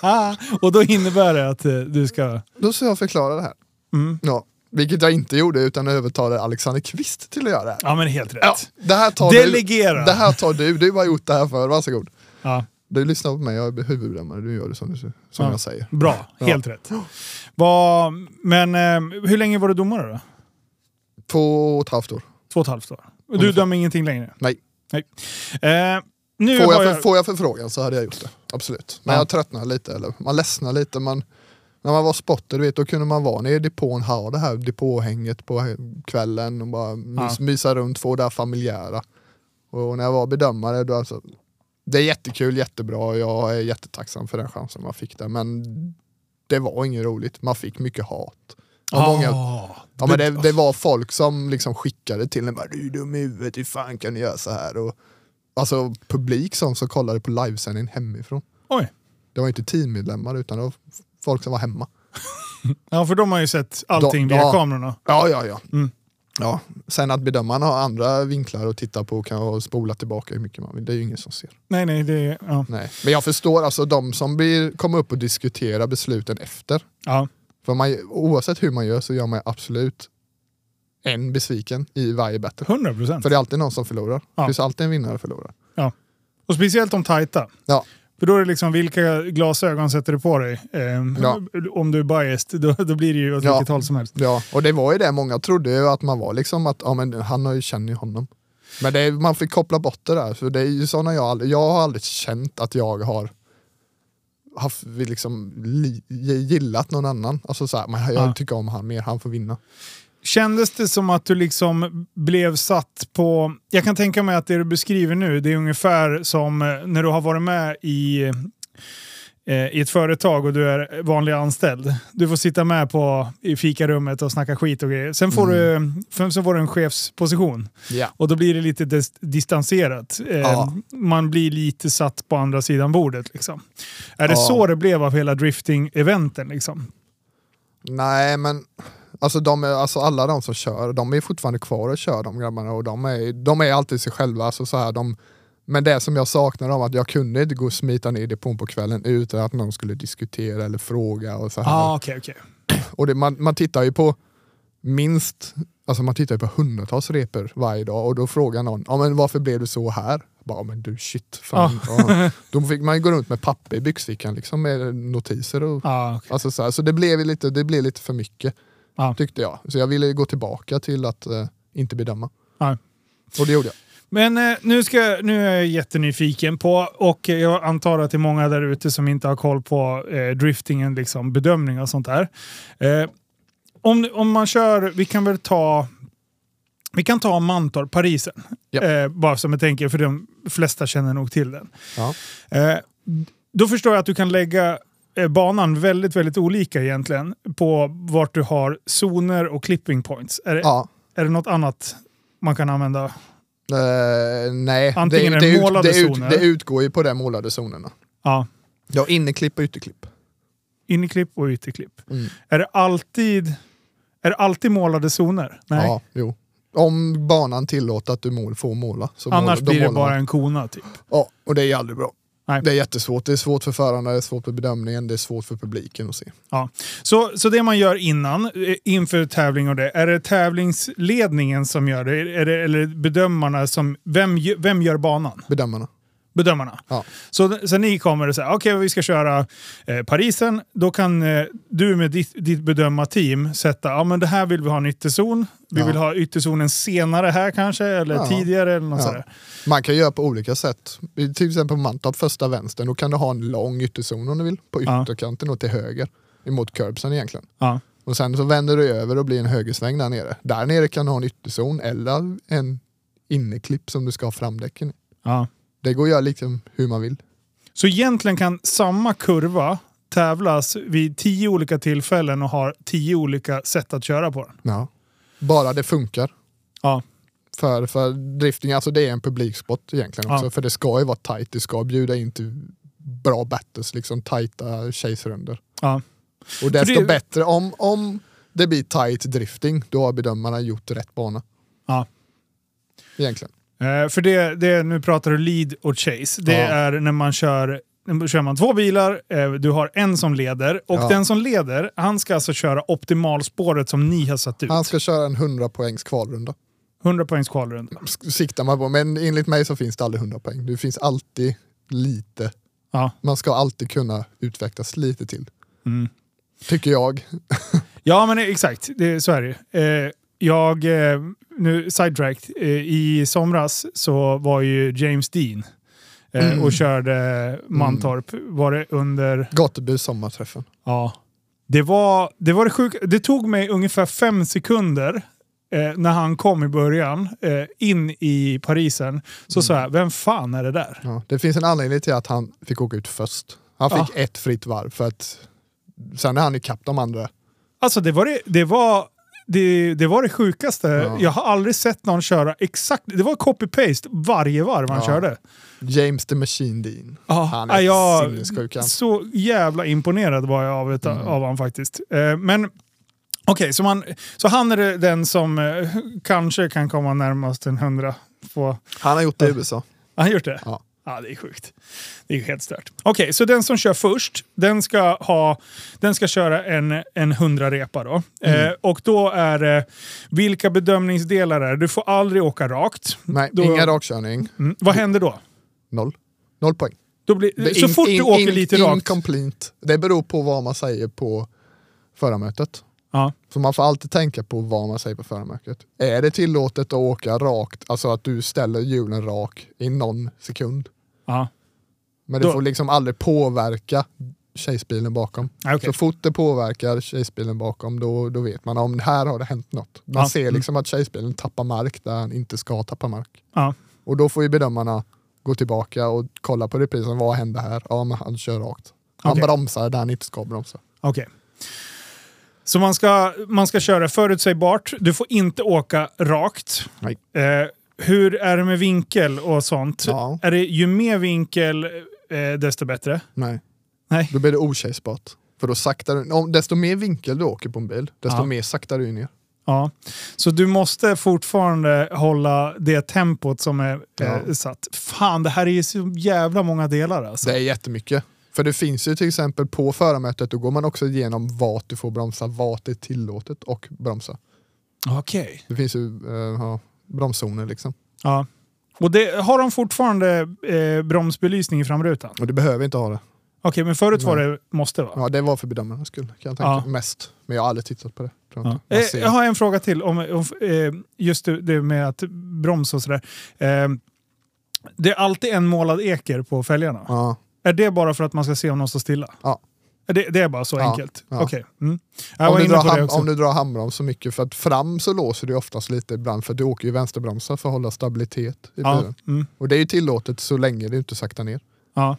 Speaker 1: Ah, och då innebär det att eh, du ska...
Speaker 2: Då ska jag förklara det här.
Speaker 1: Mm.
Speaker 2: Ja. Vilket jag inte gjorde utan övertalade Alexander Kvist till att göra det här.
Speaker 1: Ja, men helt rätt.
Speaker 2: Ja, det här tar
Speaker 1: Delegera!
Speaker 2: du. Det här tar du. Du har gjort det här för. Varsågod.
Speaker 1: Ja,
Speaker 2: Du lyssnar på mig, jag är huvudbedömare. Du gör det som, du, som
Speaker 1: Ja.
Speaker 2: jag säger.
Speaker 1: bra,
Speaker 2: Ja.
Speaker 1: helt rätt. Vad- men eh, hur länge var du domare då?
Speaker 2: Två och ett halvt år.
Speaker 1: Två och ett halvt år? Du
Speaker 2: Ungefär.
Speaker 1: dömer ingenting längre?
Speaker 2: Nej.
Speaker 1: Eh, nu
Speaker 2: Får
Speaker 1: har
Speaker 2: jag,
Speaker 1: jag...
Speaker 2: för, får jag förfrågan så hade jag gjort det. Absolut. Men
Speaker 1: Ja.
Speaker 2: jag tröttnade lite, eller man ledsnade lite. Man, när man var spotter, du vet, då kunde man vara nere i depån, ha det här depåhänget på kvällen och bara mys, mysa runt, få det här familjära. Och när jag var bedömare, då alltså, det är jättekul, jättebra och jag är jättetacksam för den chansen man fick där. Men det var inget roligt, man fick mycket hat. Av många,
Speaker 1: Ah,
Speaker 2: Ja men det, alltså- det var folk som liksom skickade till en bara du är dum i huvudet, hur fan kan du göra så här? Och, alltså publik som, som kollade på livesändningen hemifrån.
Speaker 1: Oj.
Speaker 2: Det var inte teammedlemmar utan det var f- folk som var hemma.
Speaker 1: Ja, för de har ju sett allting
Speaker 2: Då-
Speaker 1: via
Speaker 2: ja.
Speaker 1: kamerorna.
Speaker 2: Ja, ja, ja.
Speaker 1: Mm.
Speaker 2: ja. Sen att bedömarna har andra vinklar att titta på och kan spola tillbaka hur mycket man vill, det är ju ingen som ser.
Speaker 1: Nej, nej, det är... Ja.
Speaker 2: Nej. Men jag förstår alltså de som blir, kommer upp och diskuterar besluten efter.
Speaker 1: ja.
Speaker 2: För man, oavsett hur man gör så gör man absolut en besviken i varje battle.
Speaker 1: 100 procent.
Speaker 2: För det är alltid någon som förlorar.
Speaker 1: Ja.
Speaker 2: Det finns alltid en vinnare och förlorare.
Speaker 1: Och speciellt de tajta.
Speaker 2: Ja.
Speaker 1: För då är det liksom vilka glasögon sätter du på dig? Ehm,
Speaker 2: Ja.
Speaker 1: Om du är biased, då, då blir det ju åt
Speaker 2: Ja.
Speaker 1: vilket håll som helst.
Speaker 2: Ja, och det var ju det många trodde ju att man var liksom att ja, men han har ju känner ju honom. Men det är, man fick koppla bort det där, för det är ju såna jag aldrig, jag har aldrig känt att jag har haft, vi liksom li, gillat någon annan. Alltså så här, man, jag
Speaker 1: Ja.
Speaker 2: tycker om han mer, han får vinna.
Speaker 1: Kändes det som att du liksom blev satt på... Jag kan tänka mig att det du beskriver nu, det är ungefär som eh, när du har varit med i, eh, i ett företag och du är vanlig anställd. Du får sitta med på, i fikarummet och snacka skit och grejer. Sen får,
Speaker 2: Mm.
Speaker 1: du, sen så får du en chefsposition.
Speaker 2: Ja.
Speaker 1: Och då blir det lite dis- distanserat. Eh,
Speaker 2: Ja.
Speaker 1: Man blir lite satt på andra sidan bordet. Liksom. Är det
Speaker 2: Ja.
Speaker 1: så det blev av hela drifting-eventen? Liksom?
Speaker 2: Nej men, alltså, de är, alltså alla de som kör, de är fortfarande kvar och kör de grabbarna och de är, de är alltid sig själva. Alltså, så här, de, men det som jag saknar av att jag kunde inte gå och smita ner i depån på kvällen utan att någon skulle diskutera eller fråga och så här.
Speaker 1: Ah, okay, okay.
Speaker 2: Och det, man, man tittar ju på minst, alltså man tittar ju på hundratals repor varje dag och då frågar någon, ja men varför blev du så här? Bara, "Ja, men du shit, fan. Ja. Då fick man ju gå runt med papper i byxfickan liksom med notiser och
Speaker 1: Ah, okay.
Speaker 2: Alltså så här, så det blev, ju lite, det blev lite för mycket
Speaker 1: Ja.
Speaker 2: tyckte jag. Så jag ville ju gå tillbaka till att eh, inte bedöma.
Speaker 1: Ja.
Speaker 2: Och det gjorde jag.
Speaker 1: Men eh, nu, ska, nu är jag jättenyfiken på, och eh, jag antar att det är många där ute som inte har koll på eh, driftingen, liksom, bedömning och sånt där. Eh, om, om man kör, vi kan väl ta, vi kan ta Mantorp, Parisen.
Speaker 2: Ja.
Speaker 1: Eh, bara som ett enkelt, för de flesta känner nog till den.
Speaker 2: Ja.
Speaker 1: Eh, då förstår jag att du kan lägga eh, banan väldigt, väldigt olika egentligen på vart du har zoner och clipping points. Är, det-
Speaker 2: Ja.
Speaker 1: är det något annat man kan använda?
Speaker 2: Eh, nej,
Speaker 1: Antingen är det målade
Speaker 2: det,
Speaker 1: zoner.
Speaker 2: det utgår ju på de målade zonerna.
Speaker 1: Ja,
Speaker 2: Ja, inneklipp och ytterklipp.
Speaker 1: inneklipp och ytterklipp.
Speaker 2: Mm.
Speaker 1: Är det alltid, är det alltid målade zoner? Nej.
Speaker 2: Ja, jo. Om banan tillåter att du mål, får måla. Så mål-
Speaker 1: Annars
Speaker 2: då
Speaker 1: blir det
Speaker 2: målar man.
Speaker 1: bara en kona typ.
Speaker 2: Ja, och det är ju aldrig bra.
Speaker 1: Nej.
Speaker 2: Det är jättesvårt. Det är svårt för förarna, det är svårt för bedömningen, det är svårt för publiken att se.
Speaker 1: Så, så det man gör innan, eh, inför tävling och det, är det tävlingsledningen som gör det? Är det eller bedömarna som, vem, gö- vem gör banan?
Speaker 2: Bedömarna.
Speaker 1: Bedömarna.
Speaker 2: Ja.
Speaker 1: Så, så ni kommer och säger, okej vi ska köra eh, Parisen, då kan eh, du med ditt, ditt bedömarteam sätta, ja men det här vill vi ha en ytterzon, vi
Speaker 2: Ja.
Speaker 1: vill ha ytterzonen senare här kanske, eller
Speaker 2: Ja.
Speaker 1: tidigare eller något
Speaker 2: Ja.
Speaker 1: sådär.
Speaker 2: Man kan göra på olika sätt. I- Till exempel på Mantorp, första vänstern, då kan du ha en lång ytterzon om du vill. På
Speaker 1: Ja.
Speaker 2: ytterkanten och till höger. Emot curbsen egentligen.
Speaker 1: Ja.
Speaker 2: Och sen så vänder du över och blir en högersväng där nere. Där nere kan du ha en ytterzon eller en inneklipp som du ska ha framdäcken i.
Speaker 1: Ja.
Speaker 2: Det går att göra liksom hur man vill.
Speaker 1: Så egentligen kan samma kurva tävlas vid tio olika tillfällen och har tio olika sätt att köra på den.
Speaker 2: Ja. Bara det funkar.
Speaker 1: Ja.
Speaker 2: För, för drifting, alltså det är en publiksport egentligen också.
Speaker 1: Ja.
Speaker 2: För det ska ju vara tight, det ska bjuda in till bra battles, liksom tajta chase-runder.
Speaker 1: Ja.
Speaker 2: Och desto
Speaker 1: det-
Speaker 2: bättre, om, om det blir tight drifting, då har bedömarna gjort rätt bana.
Speaker 1: Ja.
Speaker 2: Egentligen.
Speaker 1: Eh, för det, det, nu pratar du lead och chase. Det
Speaker 2: Ja.
Speaker 1: är när man kör då kör man två bilar, eh, du har en som leder och
Speaker 2: Ja.
Speaker 1: den som leder, han ska alltså köra optimalspåret som ni har satt ut.
Speaker 2: Han ska köra en 100 poängs kvalrunda.
Speaker 1: 100 poängs kvalrunda.
Speaker 2: S- Siktar man på, men enligt mig så finns det aldrig 100 poäng. Det finns alltid lite.
Speaker 1: Ja.
Speaker 2: Man ska alltid kunna utvecklas lite till.
Speaker 1: Mm.
Speaker 2: Tycker jag.
Speaker 1: Ja, men eh, exakt. Det, så är det ju. eh, Jag, eh, nu sidetracked, eh, i somras så var ju James Dean eh,
Speaker 2: Mm.
Speaker 1: och körde Mantorp. Var det under...
Speaker 2: Gateby sommarträffen.
Speaker 1: Ja. Det var det, var det sjuka. Det tog mig ungefär fem sekunder eh, när han kom i början eh, in i Parisen. Så
Speaker 2: Mm.
Speaker 1: sa jag, vem fan är det där?
Speaker 2: Ja. Det finns en anledning till att han fick åka ut först. Han fick ett fritt varv för att sen är han ikapp de andra.
Speaker 1: Alltså det var det, det var det, det var det sjukaste.
Speaker 2: Ja.
Speaker 1: Jag har aldrig sett någon köra exakt. Det var copy-paste varje varv han
Speaker 2: Ja.
Speaker 1: körde.
Speaker 2: James the Machine Dean.
Speaker 1: Ja,
Speaker 2: Han är
Speaker 1: jag-
Speaker 2: sinnessjuk han.
Speaker 1: Så jävla imponerad var jag av, ett,
Speaker 2: Mm.
Speaker 1: av han faktiskt. Eh, men okej, så, man- så han är det- den som eh, kanske kan komma närmast en hundra. På,
Speaker 2: Han har gjort det i USA.
Speaker 1: har han gjort det?
Speaker 2: Ja.
Speaker 1: Ja, det är sjukt. Det är ju helt stört. Okej, så den som kör först, den ska, ha, den ska köra en, en 100 repa då.
Speaker 2: Mm.
Speaker 1: Eh, och då är det, vilka bedömningsdelar är det? Du får aldrig åka rakt.
Speaker 2: Nej,
Speaker 1: Då-
Speaker 2: ingen rakkörning.
Speaker 1: Mm. Vad händer då?
Speaker 2: Noll. Noll poäng.
Speaker 1: då blir,
Speaker 2: Det är
Speaker 1: så
Speaker 2: in-
Speaker 1: fort du
Speaker 2: in-
Speaker 1: åker
Speaker 2: in-
Speaker 1: lite rakt.
Speaker 2: Incomplete. Det beror på vad man säger på förarmötet.
Speaker 1: Ja.
Speaker 2: Så man får alltid tänka på vad man säger på förarmötet. Är det tillåtet att åka rakt, alltså att du ställer hjulen rak i någon sekund.
Speaker 1: Ja.
Speaker 2: Men det
Speaker 1: Då-
Speaker 2: får liksom aldrig påverka tjejsbilen bakom.
Speaker 1: Ah, okej.
Speaker 2: Så fort det påverkar tjejsbilen bakom då, då vet man om här har det hänt något. Man
Speaker 1: Ja. Mm.
Speaker 2: ser liksom att tjejsbilen tappar mark där han inte ska tappa mark.
Speaker 1: Ja.
Speaker 2: Och då får ju bedömarna gå tillbaka och kolla på reprisen, vad hände här? Ja men han kör rakt. Han
Speaker 1: Okej.
Speaker 2: bromsar där han inte ska bromsa.
Speaker 1: Okej. Så man ska, man ska köra förutsägbart. Du får inte åka rakt.
Speaker 2: Nej.
Speaker 1: Eh, hur är det med vinkel och sånt?
Speaker 2: Ja.
Speaker 1: Är det ju mer vinkel, eh, desto bättre?
Speaker 2: Nej.
Speaker 1: Nej.
Speaker 2: Då blir det otjejsbart. För då saktar du, om, desto mer vinkel du åker på en bil, desto
Speaker 1: Ja.
Speaker 2: mer saktar du ner.
Speaker 1: Ja. Så du måste fortfarande hålla det tempot som är eh,
Speaker 2: Ja.
Speaker 1: satt. Fan, det här är ju så jävla många delar alltså.
Speaker 2: Det är jättemycket. För det finns ju till exempel på förarmötet, då går man också igenom vart du får bromsa, vart det är tillåtet och bromsa.
Speaker 1: Okej.
Speaker 2: Det finns ju eh, ja, bromszoner liksom.
Speaker 1: Ja. Och det, har de fortfarande eh, bromsbelysning i framrutan? Okej,
Speaker 2: Och du behöver inte ha det.
Speaker 1: men förut var
Speaker 2: Nej.
Speaker 1: det måste va?
Speaker 2: Ja, det var för bedömarnas skull kan jag tänka
Speaker 1: Ja.
Speaker 2: mest. Men jag har aldrig tittat på det. Tror
Speaker 1: Ja.
Speaker 2: jag, inte. Man
Speaker 1: Eh,
Speaker 2: ser-
Speaker 1: jag har en fråga till om, om eh, just det- det med att bromsa och sådär. Eh, det är alltid en målad eker på fälgarna.
Speaker 2: ja.
Speaker 1: Är det bara för att man ska se om någon står stilla?
Speaker 2: Ja.
Speaker 1: Är Det, det är bara så
Speaker 2: Ja,
Speaker 1: enkelt?
Speaker 2: ja.
Speaker 1: Okej. Mm. Jag
Speaker 2: om,
Speaker 1: var
Speaker 2: du
Speaker 1: inne
Speaker 2: drar
Speaker 1: på det
Speaker 2: ham-
Speaker 1: också.
Speaker 2: om du drar handbroms så mycket, för att fram så låser du oftast lite ibland, för du åker ju vänsterbromsar för att hålla stabilitet i
Speaker 1: ja.
Speaker 2: bilen.
Speaker 1: Mm.
Speaker 2: Och det är ju tillåtet så länge du inte saktar ner.
Speaker 1: Ja.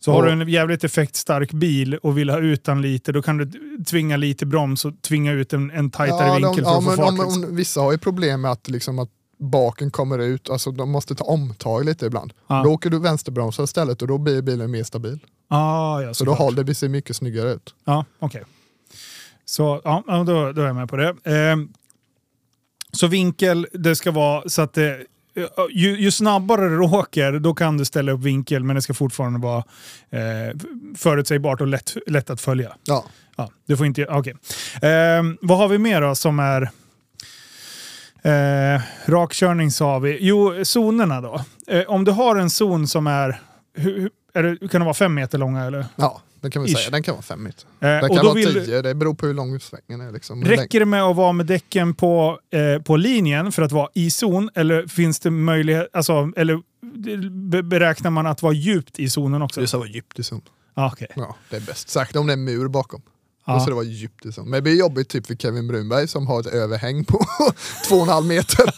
Speaker 1: Så
Speaker 2: Och-
Speaker 1: har du en jävligt effektstark bil och vill ha ut den lite, då kan du tvinga lite broms och tvinga ut en, en tajtare
Speaker 2: de-
Speaker 1: vinkel för
Speaker 2: ja,
Speaker 1: att få
Speaker 2: men
Speaker 1: fart.
Speaker 2: om,
Speaker 1: liksom.
Speaker 2: om, Vissa har ju problem med att, liksom, att baken kommer ut, alltså de måste ta omtag lite ibland.
Speaker 1: Ja.
Speaker 2: Då åker du vänsterbromsar istället och då blir bilen mer stabil.
Speaker 1: ah, ja,
Speaker 2: Så då
Speaker 1: såklart.
Speaker 2: håller det sig mycket snyggare ut.
Speaker 1: Ja, okej. Så ja, ja, då, då är jag med på det. Ehm, så vinkel, det ska vara så att det, eh, ju, ju snabbare du åker, då kan du ställa upp vinkel, men det ska fortfarande vara eh, förutsägbart och lätt, lätt att följa.
Speaker 2: Ja.
Speaker 1: Ja, du får inte... Okej. Ehm, vad har vi mer då som är... Eh, rakkörning sa vi. Jo, zonerna då. Eh, om du har en zon som är... Hur, hur- är det, kan det vara fem meter långa? Eller?
Speaker 2: ja, det kan vi
Speaker 1: Ish.
Speaker 2: säga. Den kan vara fem meter.
Speaker 1: Eh,
Speaker 2: Den
Speaker 1: och
Speaker 2: kan
Speaker 1: då
Speaker 2: vara
Speaker 1: vill,
Speaker 2: tio, det beror på hur lång svängen är. Liksom. Hur länge-
Speaker 1: Räcker det med att vara med däcken på, eh, på linjen för att vara i zon eller finns det möjlighet, alltså, eller be- beräknar man att vara djupt i zonen också?
Speaker 2: Det ska vara djupt i zon.
Speaker 1: Ah, okej.
Speaker 2: Ja, det är bäst. Särskilt om det är en mur bakom. Då
Speaker 1: Ja.
Speaker 2: ska det vara djupt i zon. Men det blir jobbigt typ för Kevin Brunberg som har ett överhäng på två och en halv meter.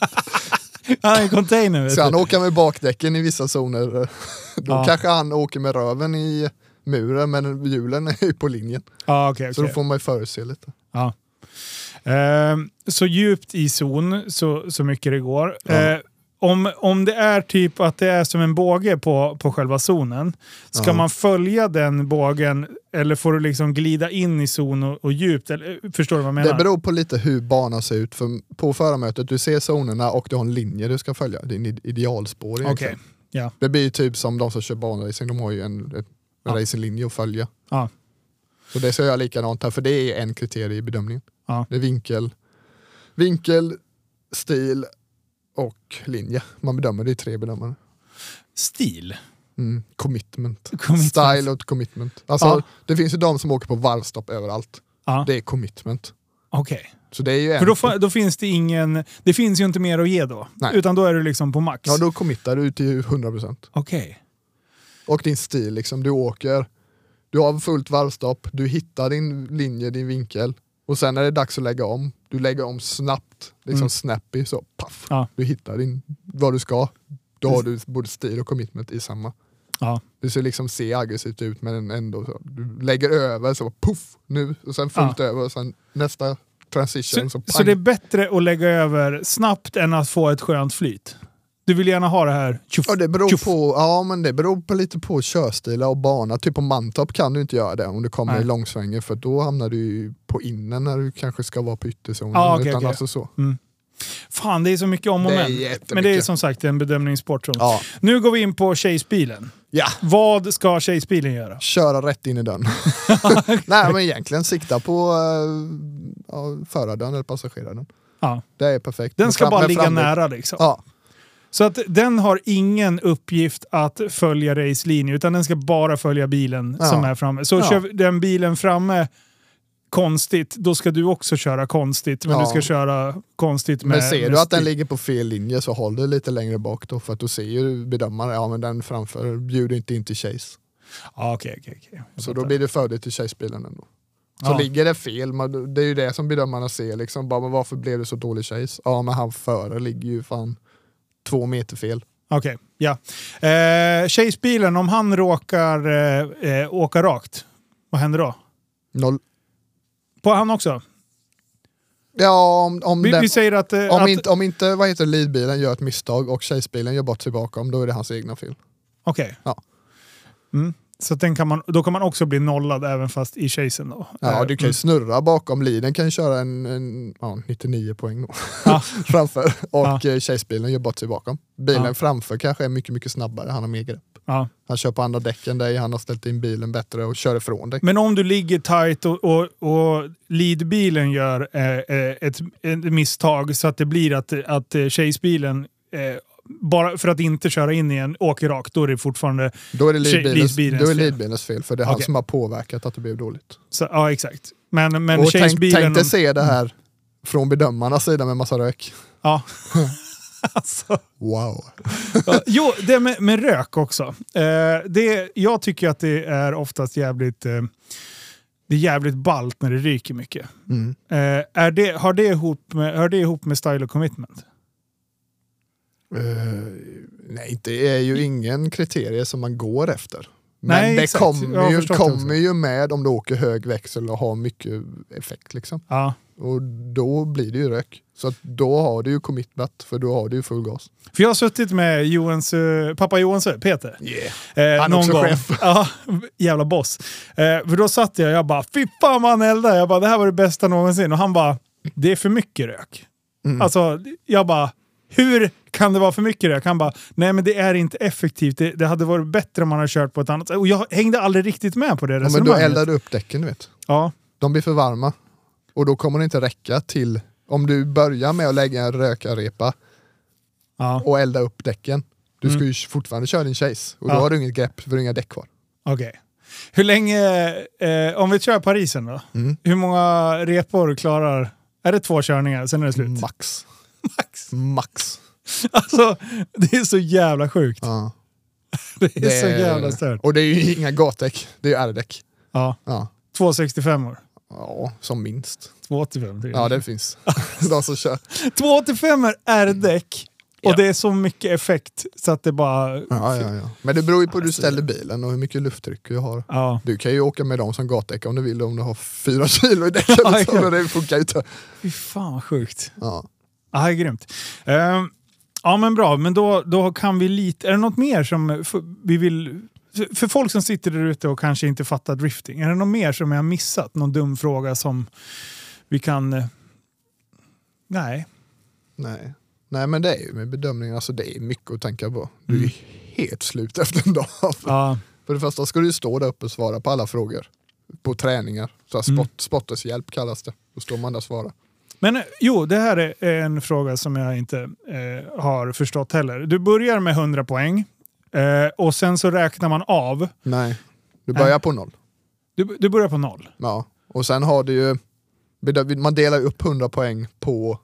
Speaker 1: Han är i Ah, container vet
Speaker 2: Ska han
Speaker 1: du.
Speaker 2: åka med bakdäcken i vissa zoner, då
Speaker 1: Ja.
Speaker 2: kanske han åker med röven i muren men hjulen är ju på linjen.
Speaker 1: Ah, okej,
Speaker 2: Så då
Speaker 1: okej.
Speaker 2: får man ju förutse lite.
Speaker 1: Ja. Ehm, så djupt i zon så, så mycket det går.
Speaker 2: Ja.
Speaker 1: Eh, om, om det är typ att det är som en båge på, på själva zonen, ska
Speaker 2: Ja.
Speaker 1: man följa den bågen eller får du liksom glida in i zon och, och djupt? Eller, förstår du vad jag menar?
Speaker 2: Det beror på lite hur banan ser ut. För på förarmötet, du ser zonerna och du har en linje du ska följa. Din id- idealspår
Speaker 1: Okej.
Speaker 2: egentligen.
Speaker 1: Ja.
Speaker 2: Det blir ju typ som de som kör banracing, de har ju en, en
Speaker 1: Ja.
Speaker 2: racinglinje att följa.
Speaker 1: Ja.
Speaker 2: Så det ska jag göra likadant här, för det är en kriterie i bedömningen.
Speaker 1: Ja.
Speaker 2: Det är vinkel, vinkel, stil och linje. Man bedömer, det är tre bedömare.
Speaker 1: Stil.
Speaker 2: Mm. Commitment.
Speaker 1: Commitment.
Speaker 2: Style och commitment. Alltså,
Speaker 1: Ja.
Speaker 2: Det finns ju de som åker på varvstopp överallt.
Speaker 1: Ja.
Speaker 2: Det är commitment.
Speaker 1: Okej.
Speaker 2: Så det är ju en...
Speaker 1: För då, fa- då finns det ingen... Det finns ju inte mer att ge då.
Speaker 2: Nej.
Speaker 1: Utan då är du liksom på max.
Speaker 2: Ja, då committar du till 100%.
Speaker 1: Okej.
Speaker 2: Och din stil, liksom, du åker, du har fullt varvstopp, du hittar din linje, din vinkel och sen är det dags att lägga om. Du lägger om snabbt, liksom
Speaker 1: Mm.
Speaker 2: snappy, så paff.
Speaker 1: Ja.
Speaker 2: Du hittar din, vad du ska. Då har du både stil och commitment i samma.
Speaker 1: Ja.
Speaker 2: Du ser liksom se aggressivt ut men ändå så. Du lägger över så puff nu och sen fullt över och sen nästa transition så,
Speaker 1: Så,
Speaker 2: pang.
Speaker 1: så det är bättre att lägga över snabbt än att få ett skönt flyt? Du vill gärna ha det här... Tjuff,
Speaker 2: Ja, det beror
Speaker 1: tjuff.
Speaker 2: på, ja men det beror på lite på körstilar och bana. Typ på Mantorp kan du inte göra det om du kommer
Speaker 1: Nej.
Speaker 2: i långsvängen för då hamnar du ju på innen när du kanske ska vara på ytterzonen.
Speaker 1: Ja, Ah, okej,
Speaker 2: utan
Speaker 1: okej.
Speaker 2: alltså så.
Speaker 1: Fan, det är så mycket om och
Speaker 2: Det är
Speaker 1: men.
Speaker 2: jättemycket.
Speaker 1: Men det är som sagt en bedömningssport. tror jag.
Speaker 2: Ja.
Speaker 1: Nu går vi in på tjejsbilen.
Speaker 2: ja,
Speaker 1: Vad ska tjejsbilen göra?
Speaker 2: köra rätt in i dörren. Nej men egentligen sikta på uh, ja, förardörren eller passageraren.
Speaker 1: Ja.
Speaker 2: Det är perfekt.
Speaker 1: Den
Speaker 2: Med
Speaker 1: ska
Speaker 2: fram-
Speaker 1: bara
Speaker 2: med
Speaker 1: ligga
Speaker 2: framdäck.
Speaker 1: nära liksom.
Speaker 2: Ja,
Speaker 1: Så att den har ingen uppgift att följa racelinjen utan den ska bara följa bilen
Speaker 2: Ja.
Speaker 1: som är framme. Så
Speaker 2: Ja.
Speaker 1: kör den bilen framme konstigt, då ska du också köra konstigt. Men
Speaker 2: Ja.
Speaker 1: du ska köra konstigt med...
Speaker 2: men ser
Speaker 1: med
Speaker 2: du att den
Speaker 1: stil.
Speaker 2: ligger på fel linje så håll dig lite längre bak då för att då ser ju bedömaren, ja men den framför bjuder inte in till chase.
Speaker 1: Ja, okej, okej, okej. Jag
Speaker 2: Så
Speaker 1: fattar.
Speaker 2: då blir det fördel till chasebilen ändå. Så
Speaker 1: Ja.
Speaker 2: ligger det fel, man, det är ju det som bedömarna ser liksom. Bara, men varför blev det så dålig chase? Ja men han före ligger ju fan två meter fel.
Speaker 1: Okej, ja. Eh, Chasebilen, om han råkar eh, eh, åka rakt, vad händer då?
Speaker 2: Noll.
Speaker 1: På han också?
Speaker 2: Ja om, om,
Speaker 1: Vi,
Speaker 2: den,
Speaker 1: vi säger att... Eh,
Speaker 2: om,
Speaker 1: att
Speaker 2: inte, om inte vad heter det, leadbilen gör ett misstag och chasebilen gör bort sig bakom, då är det hans egna fel.
Speaker 1: Okej.
Speaker 2: Ja.
Speaker 1: Mm. Så att den kan man, då kan man också bli nollad även fast i chasen då?
Speaker 2: Ja
Speaker 1: Eh,
Speaker 2: du kan ju snurra bakom, leaden kan ju köra en, en ja, 99 poäng då.
Speaker 1: Ja.
Speaker 2: framför
Speaker 1: Ja.
Speaker 2: och ja. chasebilen gör bort sig bakom. Bilen
Speaker 1: Ja.
Speaker 2: framför kanske är mycket, mycket snabbare, han har mer grepp.
Speaker 1: Ja.
Speaker 2: Han kör på andra däcken dig, han har ställt in bilen bättre och kör ifrån dig.
Speaker 1: Men om du ligger tight och, och, och leadbilen gör eh, eh, ett, ett misstag så att det blir att, att eh, chasebilen, eh, bara för att inte köra in i en, åker rakt, då är det fortfarande...
Speaker 2: Då är det
Speaker 1: Tjej-
Speaker 2: leadbilens,
Speaker 1: leadbilens
Speaker 2: då är det
Speaker 1: fel.
Speaker 2: leadbilens fel, för det är han
Speaker 1: Okej.
Speaker 2: som har påverkat att det blev dåligt.
Speaker 1: Så, ja, exakt. Men, men Mm.
Speaker 2: och tänk,
Speaker 1: chasebilen...
Speaker 2: tänk dig se det här från bedömarnas sida med massa rök.
Speaker 1: ja. alltså.
Speaker 2: Wow.
Speaker 1: Ja, jo, det med, med rök också. Eh, det, jag tycker att det är oftast jävligt, eh, det är jävligt ballt när det ryker mycket.
Speaker 2: Mm.
Speaker 1: Eh, är det, har, det ihop med, har det ihop med style och commitment?
Speaker 2: Eh, nej, det är ju ingen kriterie som man går efter. Men
Speaker 1: Nej,
Speaker 2: det
Speaker 1: exakt. Jag har
Speaker 2: kommer, ju,
Speaker 1: förstått det också.
Speaker 2: kommer ju med om du åker hög växel och har mycket effekt. Liksom.
Speaker 1: Ja.
Speaker 2: Och då blir det ju rök. Så att då har du ju commitment, för då har du ju full gas.
Speaker 1: För jag har suttit med Johans, eh, pappa Johans Peter.
Speaker 2: Yeah.
Speaker 1: Eh,
Speaker 2: Han är
Speaker 1: någon
Speaker 2: också
Speaker 1: gång.
Speaker 2: chef.
Speaker 1: Ja, jävla boss. Eh, för då satt jag och jag bara, fy fan vad han eldar. Jag bara, det här var det bästa någonsin. Och han bara, det är för mycket rök.
Speaker 2: Mm.
Speaker 1: Alltså, jag bara, hur kan det vara för mycket rök? Han bara, nej men det är inte effektivt. Det, det hade varit bättre om man hade kört på ett annat sätt. Och jag hängde aldrig riktigt med på det
Speaker 2: Ja, men då
Speaker 1: resonemanget.
Speaker 2: eldar du upp däcken, du vet.
Speaker 1: Ja,
Speaker 2: De blir för varma och då kommer det inte räcka till om du börjar med att lägga en rökarrepa
Speaker 1: ja
Speaker 2: och elda upp däcken. Du ska ju fortfarande köra din chase och då
Speaker 1: Mm. Ja.
Speaker 2: har du inget grepp för du har inga däck kvar.
Speaker 1: okej. Hur länge, eh, om vi kör Parisen då.
Speaker 2: Mm.
Speaker 1: Hur många repor klarar, är det två körningar, sen är det slut?
Speaker 2: Max.
Speaker 1: Max.
Speaker 2: Max.
Speaker 1: Alltså, det är så jävla sjukt.
Speaker 2: Ja.
Speaker 1: Det är så jävla stört.
Speaker 2: Och det är ju inga gatdäck, det är ju R-däck.
Speaker 1: Ja,
Speaker 2: Ja.
Speaker 1: 265 år.
Speaker 2: ja, som minst.
Speaker 1: 285 till.
Speaker 2: Ja, det finns. De som kör.
Speaker 1: 285 är R-däck och det är så mycket effekt så att det bara...
Speaker 2: Ja, ja, ja. Men det beror ju på hur du ställer bilen och hur mycket lufttryck du har.
Speaker 1: Ja.
Speaker 2: Du kan ju åka med dem som gatdäck om du vill om du har fyra kilo i däcken.
Speaker 1: Ja,
Speaker 2: liksom,
Speaker 1: ja.
Speaker 2: men det funkar ju inte.
Speaker 1: Fy fan vad sjukt.
Speaker 2: Ja.
Speaker 1: Ja, det är grymt. Ehm, ja, men bra. Men då, då kan vi lite... Är det något mer som f- vi vill... för- För folk som sitter där ute och kanske inte fattar drifting, är det något mer som jag har missat? Någon dum fråga som vi kan... eh, Nej.
Speaker 2: Nej. Nej men det är ju med bedömningen, alltså det är mycket att tänka på. Du är helt slut efter en dag.
Speaker 1: Ja,
Speaker 2: För det första ska du ju stå där uppe och svara på alla frågor. På träningar. Så här spot,
Speaker 1: Mm.
Speaker 2: Spottershjälp kallas det. Då står man där och svarar.
Speaker 1: Men eh, jo, det här är en fråga som jag inte eh, har förstått heller. Du börjar med 100 poäng eh, och sen så räknar man av.
Speaker 2: Nej. Du börjar på noll.
Speaker 1: Du, du börjar på noll.
Speaker 2: Ja. Och sen har du ju... bedö- Man delar upp 100 poäng på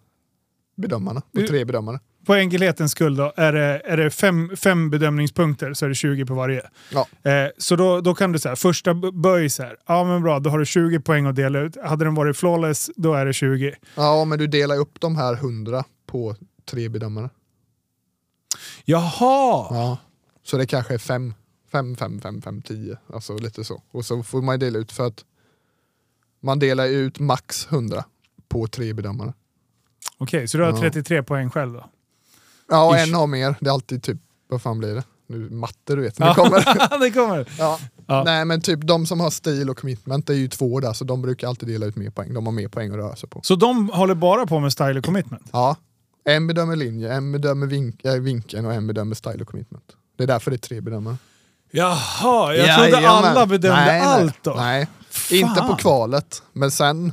Speaker 2: bedömarna. På
Speaker 1: Du-
Speaker 2: tre bedömare.
Speaker 1: På enkelhetens skull då, är det, är det fem, fem bedömningspunkter så är det 20 på varje.
Speaker 2: Ja.
Speaker 1: Eh, så då, då kan du säga, första b- böj så här, ja men bra, då har du 20 poäng att dela ut. Hade den varit flawless, då är det 20.
Speaker 2: Ja, men du delar upp de här 100 på tre bedömare.
Speaker 1: Jaha!
Speaker 2: Ja. Så det kanske är 5, 5, 5, 5, 5, 10. Alltså lite så. Och så får man ju dela ut för att man delar ut max 100 på tre bedömare.
Speaker 1: Okej, så du har
Speaker 2: Ja.
Speaker 1: 33 poäng själv då?
Speaker 2: Ja, och
Speaker 1: Ish.
Speaker 2: en har mer. Det är alltid typ, vad fan blir det? Nu, matte du vet, när
Speaker 1: Ja.
Speaker 2: det kommer.
Speaker 1: det kommer!
Speaker 2: Ja.
Speaker 1: Ja.
Speaker 2: Nej men typ de som har stil och commitment det är ju två där så de brukar alltid dela ut mer poäng. De har mer poäng att röra sig på.
Speaker 1: Så de håller bara på med style och commitment?
Speaker 2: Ja. En bedömer linje, en bedömer vink- äh, vinkeln och en bedömer style och commitment. Det är därför det är tre bedömare.
Speaker 1: Jaha, jag trodde
Speaker 2: Jajamän.
Speaker 1: alla bedömde
Speaker 2: nej, nej.
Speaker 1: allt då.
Speaker 2: Nej,
Speaker 1: Fan.
Speaker 2: inte på kvalet. Men sen,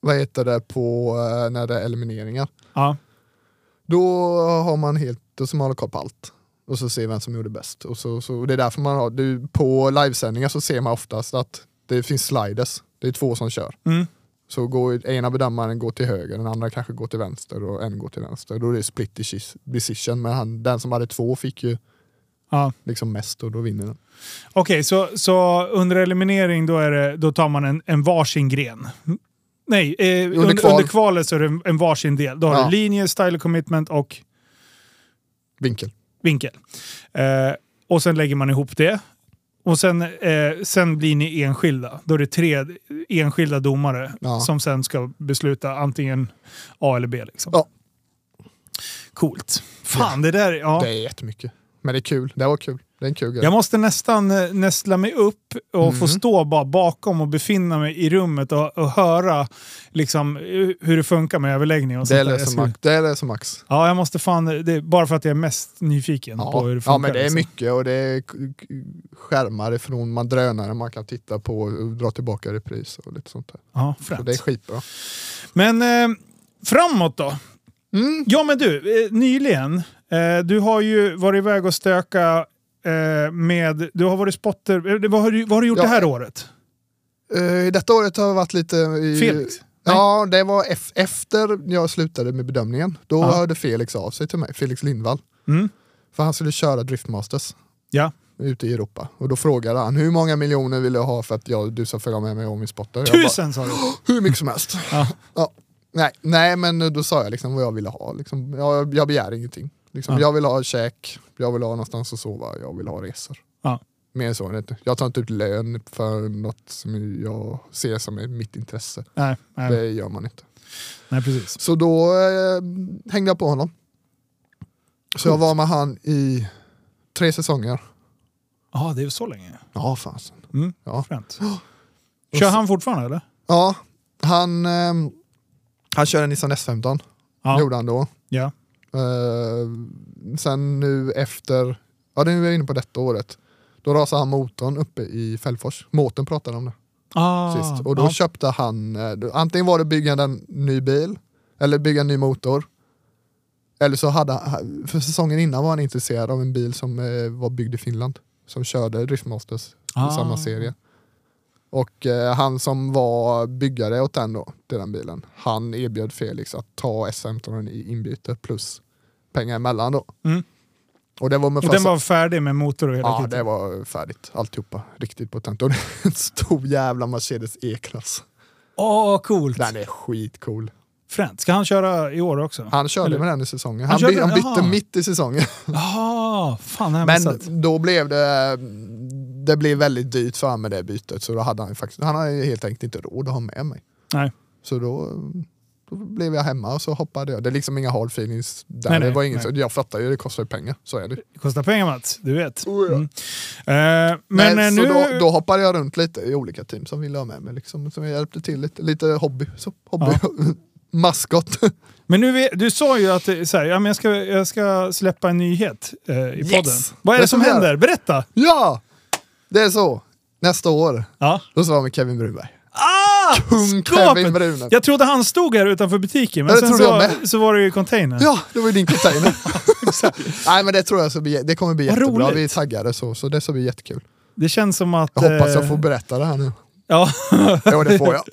Speaker 2: vad heter det, på eh, när det är elimineringar.
Speaker 1: Ja.
Speaker 2: Då har man helt, då som håller koll på allt. Och så ser vem som gjorde bäst. Och så, så, och det är därför man har, du, på livesändningar så ser man oftast att det finns sliders. Det är två som kör.
Speaker 1: Mm.
Speaker 2: Så går, ena bedömaren går till höger, den andra kanske går till vänster och en går till vänster. Då är det split deci- decision. Men han, den som hade två fick ju
Speaker 1: Ja.
Speaker 2: liksom mest och då vinner den.
Speaker 1: Okej, så, så under eliminering då, är det, då tar man en, en varsin gren? Nej, eh, under, under,
Speaker 2: kval.
Speaker 1: kvalet så är det en, en varsin del. Då har
Speaker 2: Ja.
Speaker 1: du linje, style och commitment och
Speaker 2: Vinkel.
Speaker 1: vinkel. Eh, och sen lägger man ihop det. Och sen, eh, sen blir ni enskilda. Då är det tre enskilda domare
Speaker 2: Ja.
Speaker 1: som sen ska besluta antingen A eller B. Liksom.
Speaker 2: Ja.
Speaker 1: Coolt. Fan, det där... Ja.
Speaker 2: Det är jättemycket. Men det är kul. Det var kul. Det är en kul grej.
Speaker 1: Jag måste nästan eh, nästla mig upp och få
Speaker 2: Mm.
Speaker 1: stå bara bakom och befinna mig i rummet och, och höra liksom, eh, hur det funkar med överläggning och
Speaker 2: Det
Speaker 1: sånt där.
Speaker 2: är det
Speaker 1: Jag
Speaker 2: som
Speaker 1: skulle-
Speaker 2: max. Det är det som max.
Speaker 1: Ja, jag måste fan, eh, det är bara för att jag är mest nyfiken på hur
Speaker 2: Ja.
Speaker 1: det funkar.
Speaker 2: ja, men det är
Speaker 1: liksom.
Speaker 2: mycket och det är k- k- skärmar ifrån man drönare man kan titta på och dra tillbaka repris och lite sånt där.
Speaker 1: Ja,
Speaker 2: Så
Speaker 1: fränt.
Speaker 2: det är skitbra.
Speaker 1: Men eh, framåt då?
Speaker 2: Mm.
Speaker 1: Ja, men du, eh, nyligen, eh, du har ju varit iväg och stöka eh, med, du har varit spotter, eh, vad har du, vad har du gjort
Speaker 2: Ja.
Speaker 1: det här året?
Speaker 2: Eh, detta året har jag varit lite... I,
Speaker 1: Felix?
Speaker 2: Ja, det var ef- efter jag slutade med bedömningen. Då
Speaker 1: Ja.
Speaker 2: hörde Felix av sig till mig, Felix Lindvall.
Speaker 1: Mm.
Speaker 2: För han skulle köra Driftmasters
Speaker 1: Ja.
Speaker 2: ute i Europa. Och då frågade han hur många miljoner vill jag ha för att jag, du ska följa med mig om min spotter? Jag bara,
Speaker 1: Tusen sa du?
Speaker 2: Hur mycket som helst.
Speaker 1: Ja.
Speaker 2: Ja. Nej, nej, men då sa jag liksom vad jag ville ha. Liksom, jag, jag begär ingenting. Liksom,
Speaker 1: Ja.
Speaker 2: Jag vill ha käk, jag vill ha någonstans att sova, jag vill ha resor.
Speaker 1: Ja.
Speaker 2: Mer än så är det inte. Jag tar inte ut lön för något som jag ser som är mitt intresse.
Speaker 1: Nej, nej,
Speaker 2: Det gör man inte.
Speaker 1: nej, precis.
Speaker 2: Så då eh, hängde jag på honom. Så jag var med han i tre säsonger.
Speaker 1: Ja, det är så länge.
Speaker 2: Ja, fasen.
Speaker 1: Mm.
Speaker 2: Ja.
Speaker 1: Fränt. Kör han fortfarande eller?
Speaker 2: Ja, han, ehm, han kör en Nissan S15.
Speaker 1: Ja.
Speaker 2: Gjorde han då.
Speaker 1: ja.
Speaker 2: Eh, sen nu efter, ja det är nu jag inne på detta året, då rasade han motorn uppe i Fällfors. Måten pratade om det
Speaker 1: Ah,
Speaker 2: sist. Och då
Speaker 1: ja.
Speaker 2: köpte han, eh, då- antingen var det bygga en ny bil, eller bygga en ny motor. Eller så hade han, för säsongen innan var han intresserad av en bil som eh, var byggd i Finland. Som körde Driftmasters
Speaker 1: Ah.
Speaker 2: i samma serie. Och eh, han som var byggare åt den då, till den bilen, han erbjöd Felix att ta S15 i inbyte plus pengar emellan då.
Speaker 1: Mm.
Speaker 2: Och det var med
Speaker 1: Och den var färdig med motor och hela
Speaker 2: Ja,
Speaker 1: kitten?
Speaker 2: det var färdigt alltihopa. Riktigt potent. Och det är en stor jävla Mercedes E-klass.
Speaker 1: Åh, coolt!
Speaker 2: Den är skitcool.
Speaker 1: Fränt. Ska han köra i år också?
Speaker 2: Han körde
Speaker 1: Eller-
Speaker 2: med den i säsongen.
Speaker 1: Han
Speaker 2: Han,
Speaker 1: körde
Speaker 2: by-
Speaker 1: den?
Speaker 2: han bytte
Speaker 1: Jaha.
Speaker 2: mitt i säsongen.
Speaker 1: Ah, fan, det har jag
Speaker 2: Men
Speaker 1: missat.
Speaker 2: då blev det, det blev väldigt dyrt för honom med det bytet. Så då hade han faktiskt, han hade ju helt enkelt inte råd att ha med mig.
Speaker 1: Nej.
Speaker 2: Så då, då blev jag hemma och så hoppade jag. Det är liksom inga hard feelings där.
Speaker 1: Nej,
Speaker 2: det
Speaker 1: nej,
Speaker 2: var inget,
Speaker 1: nej.
Speaker 2: så- Jag fattar ju, det kostar ju pengar. Så är det.
Speaker 1: Det kostar pengar Mats, du vet.
Speaker 2: Oh, ja.
Speaker 1: Mm. Eh, men
Speaker 2: Men
Speaker 1: eh,
Speaker 2: så
Speaker 1: nu...
Speaker 2: då, då hoppade jag runt lite i olika team som ville ha med mig. Liksom, som jag hjälpte till lite. Lite hobby. Så, hobby. maskot.
Speaker 1: Men nu, vet- du sa ju att eh, så här, ja, men jag, ska, jag ska släppa en nyhet eh, i
Speaker 2: Yes!
Speaker 1: podden. Vad är det,
Speaker 2: Det
Speaker 1: som
Speaker 2: ska vi
Speaker 1: händer? Berätta!
Speaker 2: ja! Det är så. Nästa år,
Speaker 1: Ja.
Speaker 2: då ska jag med Kevin Bruberg.
Speaker 1: Ah!
Speaker 2: Kung Kevin
Speaker 1: Skapet!
Speaker 2: Bruberg.
Speaker 1: Jag trodde han stod här utanför butiken, men
Speaker 2: Ja, det
Speaker 1: sen
Speaker 2: trodde jag
Speaker 1: så, så var det ju containern.
Speaker 2: Ja, det var ju din container. Nej men det tror jag så blir, det kommer bli
Speaker 1: Vad
Speaker 2: jättebra.
Speaker 1: roligt.
Speaker 2: Vi är taggade så, så det ska bli jättekul.
Speaker 1: Det känns som att...
Speaker 2: Jag hoppas jag
Speaker 1: eh,
Speaker 2: får berätta det här nu.
Speaker 1: Ja,
Speaker 2: Jo det får jag.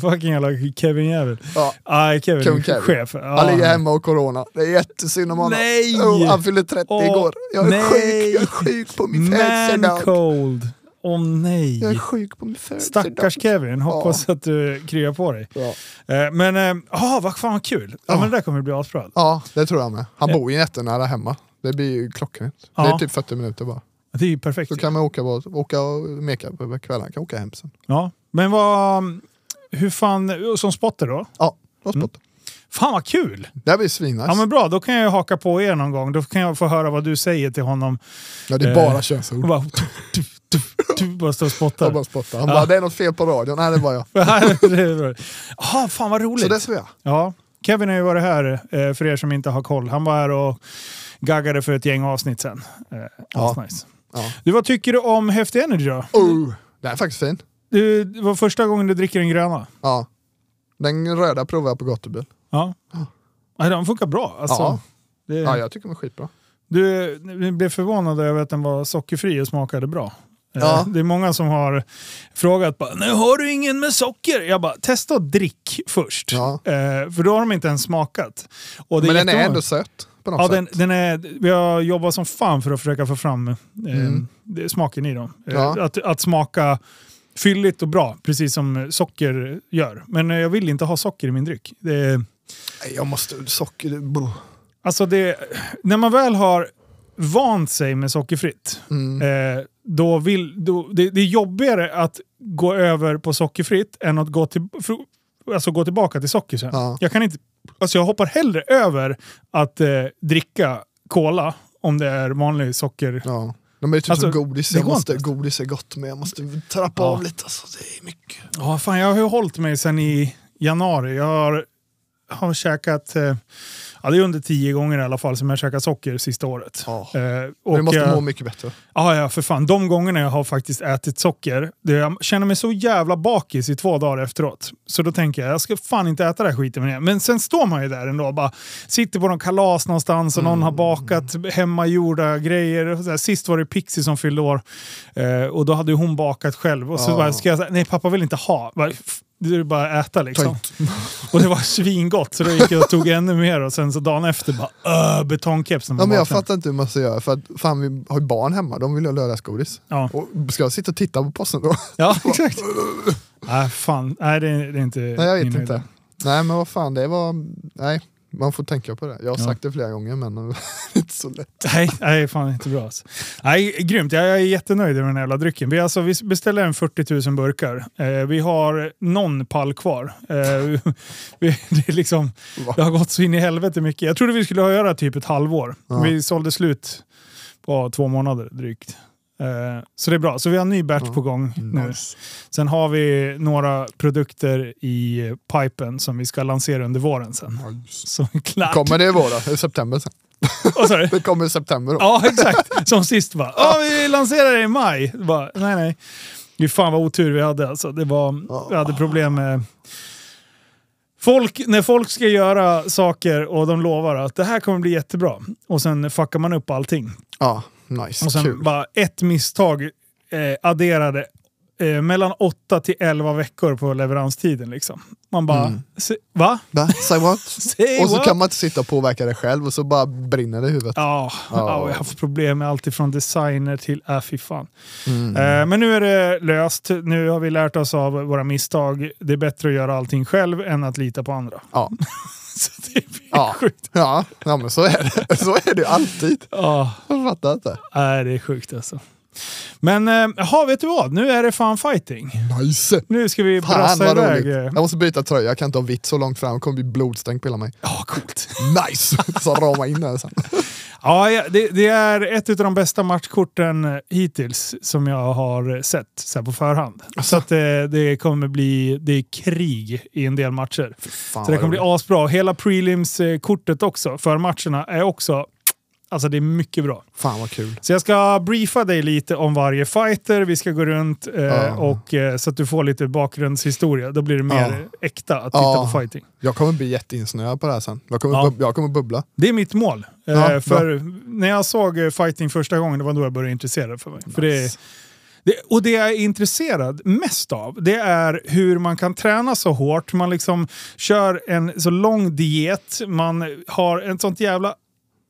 Speaker 1: fucking jävla Kevin-jävel.
Speaker 2: Ja.
Speaker 1: Ah, Kevin,
Speaker 2: Kung Kevin.
Speaker 1: chef. Ja.
Speaker 2: Han ligger hemma och corona. Det är jättesynd om honom.
Speaker 1: Nej!
Speaker 2: Jo, han fyllde 30
Speaker 1: Åh,
Speaker 2: igår. Jag är
Speaker 1: nej.
Speaker 2: sjuk, jag är sjuk på min
Speaker 1: Man
Speaker 2: födelsedag.
Speaker 1: cold. Åh nej.
Speaker 2: Jag är sjuk på min födelsedag.
Speaker 1: Stackars Kevin, hoppas att du kryar på dig.
Speaker 2: Ja.
Speaker 1: Eh, Men, eh, ah, vad fan vad kul! Ja,
Speaker 2: Ja.
Speaker 1: men det där kommer bli asbra.
Speaker 2: ja, det tror jag med. Han bor ju jättenära hemma. Det blir ju klockrent. Det
Speaker 1: Ja.
Speaker 2: är typ 40 minuter bara.
Speaker 1: Det är ju perfekt.
Speaker 2: Så kan man åka, bara, åka och meka på kvällen. Han kan åka hem sen.
Speaker 1: Ja. Men vad, hur fan, som spotter då?
Speaker 2: Ja, då spottar.
Speaker 1: Fan vad kul!
Speaker 2: Det här blir svinnice.
Speaker 1: Mm. Ja men bra, då kan jag ju haka på er någon gång. Då kan jag få höra vad du säger till honom.
Speaker 2: Ja, det är
Speaker 1: Eh,
Speaker 2: bara
Speaker 1: Och
Speaker 2: könsord.
Speaker 1: bara, du, du, du, du, bara står och
Speaker 2: Jag
Speaker 1: spottar.
Speaker 2: bara spottar. Han bara, det är något fel på radion. Nej, det är bara jag.
Speaker 1: Jaha, fan vad roligt!
Speaker 2: Så det ser jag.
Speaker 1: Ja, Kevin har ju varit här, eh, för er som inte har koll. Han var här och gaggade för ett gäng avsnitt sen. Eh,
Speaker 2: Ja.
Speaker 1: nice.
Speaker 2: Ja.
Speaker 1: Du, vad tycker du om Häftig Energy då?
Speaker 2: Oh, det här är faktiskt fin.
Speaker 1: Du, det var första gången du dricker den gröna.
Speaker 2: Ja. Den röda provade jag på gatubil.
Speaker 1: Ja. Nej, den funkar bra. Alltså,
Speaker 2: Ja.
Speaker 1: Det,
Speaker 2: Ja, jag tycker den är skitbra.
Speaker 1: Du du blev förvånad över att den var sockerfri och smakade bra. Eh,
Speaker 2: Ja.
Speaker 1: Det är många som har frågat bara, nu har du ingen med socker. Jag bara, testa och drick först.
Speaker 2: Ja.
Speaker 1: Eh, för då har de inte ens smakat. Och det
Speaker 2: Men den är
Speaker 1: jättemånga-
Speaker 2: ändå söt på något
Speaker 1: Ja,
Speaker 2: sätt.
Speaker 1: den, den är, vi har jobbat som fan för att försöka få fram eh,
Speaker 2: Mm.
Speaker 1: det- smaken i dem. Eh,
Speaker 2: Ja.
Speaker 1: Att, att smaka fylligt och bra, precis som eh, socker gör. Men eh, jag vill inte ha socker i min dryck. Det,
Speaker 2: Nej, Jag måste... Socker... det- brr.
Speaker 1: alltså det, när man väl har vant sig med sockerfritt,
Speaker 2: Mm.
Speaker 1: eh, då vill, då, det, det är jobbigare att gå över på sockerfritt än att gå, till, för, alltså gå tillbaka till socker sen.
Speaker 2: Ja.
Speaker 1: Jag, kan inte, alltså jag hoppar hellre över att eh, dricka cola om det är vanlig socker.
Speaker 2: Ja. De är ju typ
Speaker 1: Alltså,
Speaker 2: som godis.
Speaker 1: det
Speaker 2: Jag
Speaker 1: går
Speaker 2: måste, godis är gott men jag måste trappa
Speaker 1: Ja.
Speaker 2: av lite. Alltså, det är mycket.
Speaker 1: Ja, fan, jag har ju hållit mig sen i januari. Jag har, har käkat, eh, ja, det är under tio gånger i alla fall som jag har käkat socker sista året.
Speaker 2: Ja.
Speaker 1: Eh,
Speaker 2: Men du måste
Speaker 1: jag-
Speaker 2: må mycket bättre.
Speaker 1: Ja, ja, för fan. De gångerna jag har faktiskt ätit socker, det, jag känner mig så jävla bakis i två dagar efteråt. Så då tänker jag, jag ska fan inte äta den här skiten mer. Men sen står man ju där ändå och bara sitter på någon kalas någonstans och någon
Speaker 2: Mm.
Speaker 1: har bakat hemmagjorda grejer. Och så här, sist var det Pixie som fyllde år eh, och då hade ju hon bakat själv. Och så
Speaker 2: Ja.
Speaker 1: bara, ska jag säga, nej pappa vill inte ha. Bara, "F- det är bara att äta
Speaker 2: Ta
Speaker 1: liksom.
Speaker 2: inte.
Speaker 1: Och det var svingott så då gick jag och tog ännu mer och sen så dagen efter bara öh, betongkeps. när man
Speaker 2: Ja, men jag
Speaker 1: vaknar.
Speaker 2: fattar inte hur man ska göra. För att, fan, vi har ju barn hemma. De vill ju ha lördagsgodis.
Speaker 1: Ja.
Speaker 2: Och ska jag sitta och titta på posten då?
Speaker 1: Ja, exakt. Nej, fan. Nej, det är, Eh, det är inte
Speaker 2: Nej, jag vet
Speaker 1: min
Speaker 2: inte.
Speaker 1: höjd.
Speaker 2: Nej, men vad fan, det var... Nej, man får tänka på det. Jag har
Speaker 1: Ja.
Speaker 2: sagt det flera gånger, men det är inte så lätt.
Speaker 1: Nej, nej, fan inte bra alltså. Nej, grymt. Jag jag är jättenöjd med den här jävla drycken. Vi, alltså, vi beställer en 40 000 burkar. Eh, vi har någon pall kvar. Eh, vi, det, är liksom,
Speaker 2: Va?
Speaker 1: det har gått så in i helvete mycket. Jag trodde vi skulle ha göra typ ett halvår.
Speaker 2: Ja.
Speaker 1: Vi sålde slut på två månader drygt. Eh, så det är bra. Så vi har en ny batch
Speaker 2: Ja.
Speaker 1: på gång nu.
Speaker 2: Nice.
Speaker 1: Sen har vi några produkter i pipen som vi ska lansera under våren sen. Som är klart.
Speaker 2: Kommer det i vår då? I september sen?
Speaker 1: Vad sa du?
Speaker 2: Det kommer i september då?
Speaker 1: Ja, exakt. Som sist bara. Ja, vi lanserar det i maj. Bara, nej, nej. Fy fan vad otur vi hade alltså. Det var,
Speaker 2: Ja.
Speaker 1: vi hade problem med... Folk, när folk ska göra saker och de lovar att det här kommer bli jättebra och sen fuckar man upp allting.
Speaker 2: Ja, Ah, nice.
Speaker 1: Och sen
Speaker 2: Kul.
Speaker 1: bara ett misstag eh, adderade eh, mellan 8 till 11 veckor på leveranstiden. Liksom. Man bara,
Speaker 2: Mm.
Speaker 1: se, va?
Speaker 2: Va? Say what?
Speaker 1: Say
Speaker 2: och så
Speaker 1: what?
Speaker 2: kan man inte sitta och påverka det själv och så bara brinner det i huvudet.
Speaker 1: Ja,
Speaker 2: Ja.
Speaker 1: ja, jag har haft problem med allt ifrån designer till, äh fy fan.
Speaker 2: Mm.
Speaker 1: Eh, Men nu är det löst. Nu har vi lärt oss av våra misstag. Det är bättre att göra allting själv än att lita på andra.
Speaker 2: Ja.
Speaker 1: Så det blir
Speaker 2: Ja.
Speaker 1: sjukt.
Speaker 2: Ja, ja, men så är det. Så är det ju alltid.
Speaker 1: Ja,
Speaker 2: Jag fattar inte.
Speaker 1: nej, det är sjukt alltså. Men eh, jaha, vet du vad? Nu är det fan fighting.
Speaker 2: Nice!
Speaker 1: Nu ska vi
Speaker 2: Fan
Speaker 1: brassa
Speaker 2: vad
Speaker 1: iväg.
Speaker 2: roligt.
Speaker 1: eh,
Speaker 2: Jag måste byta tröja, jag kan inte ha vitt så långt fram, det kommer bli blodstänk på hela mig.
Speaker 1: Ja, coolt.
Speaker 2: Nice! Så rama in den sen.
Speaker 1: Ja, Ja, ja, det, det är ett av de bästa matchkorten hittills som jag har sett så här på förhand. Så att det, det kommer bli det är krig i en del matcher.
Speaker 2: Fan,
Speaker 1: Så det kommer bli
Speaker 2: vad
Speaker 1: asbra. Hela prelims-kortet också, för matcherna, är också... Alltså det är mycket bra.
Speaker 2: roligt. Fan vad kul.
Speaker 1: Så jag ska briefa dig lite om varje fighter, vi ska gå runt eh,
Speaker 2: Ja.
Speaker 1: och, eh, så att du får lite bakgrundshistoria. Då blir det mer
Speaker 2: Ja.
Speaker 1: äkta att titta
Speaker 2: Ja.
Speaker 1: på fighting.
Speaker 2: Jag kommer bli jätteinsnöad på det här sen. Jag kommer,
Speaker 1: Ja.
Speaker 2: bub- jag kommer bubbla.
Speaker 1: Det är mitt mål. Eh,
Speaker 2: Ja,
Speaker 1: för när jag såg eh, fighting första gången, det var då jag började intressera för mig. För det,
Speaker 2: Nice.
Speaker 1: det, och det jag är intresserad mest av, det är hur man kan träna så hårt. Man liksom kör en så lång diet, man har ett sånt jävla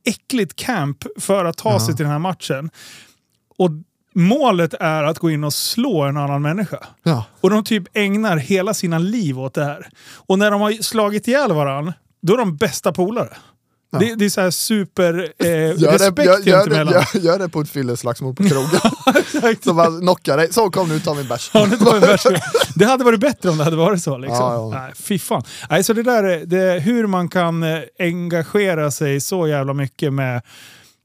Speaker 1: äckligt camp för att ta sig till den här matchen. Och målet är att gå in och slå en annan människa.
Speaker 2: Ja.
Speaker 1: Och de typ ägnar hela sina liv åt det här. Och när de har slagit ihjäl varann, då är de bästa polare.
Speaker 2: Ja.
Speaker 1: Det, det är så här super eh,
Speaker 2: Gör
Speaker 1: respekt
Speaker 2: det, gör, gör, det,
Speaker 1: sinsemellan.
Speaker 2: gör, gör det på ett fylleslagsmål på krogen.
Speaker 1: Exakt.
Speaker 2: Så bara knockar dig. Så kom nu, ta min bärs.
Speaker 1: Ja, det var värst. Det hade varit bättre om det hade varit så. Liksom.
Speaker 2: Ja, ja.
Speaker 1: Nej, fy fan. Nej, så det där, är- det, är hur man kan eh, engagera sig så jävla mycket med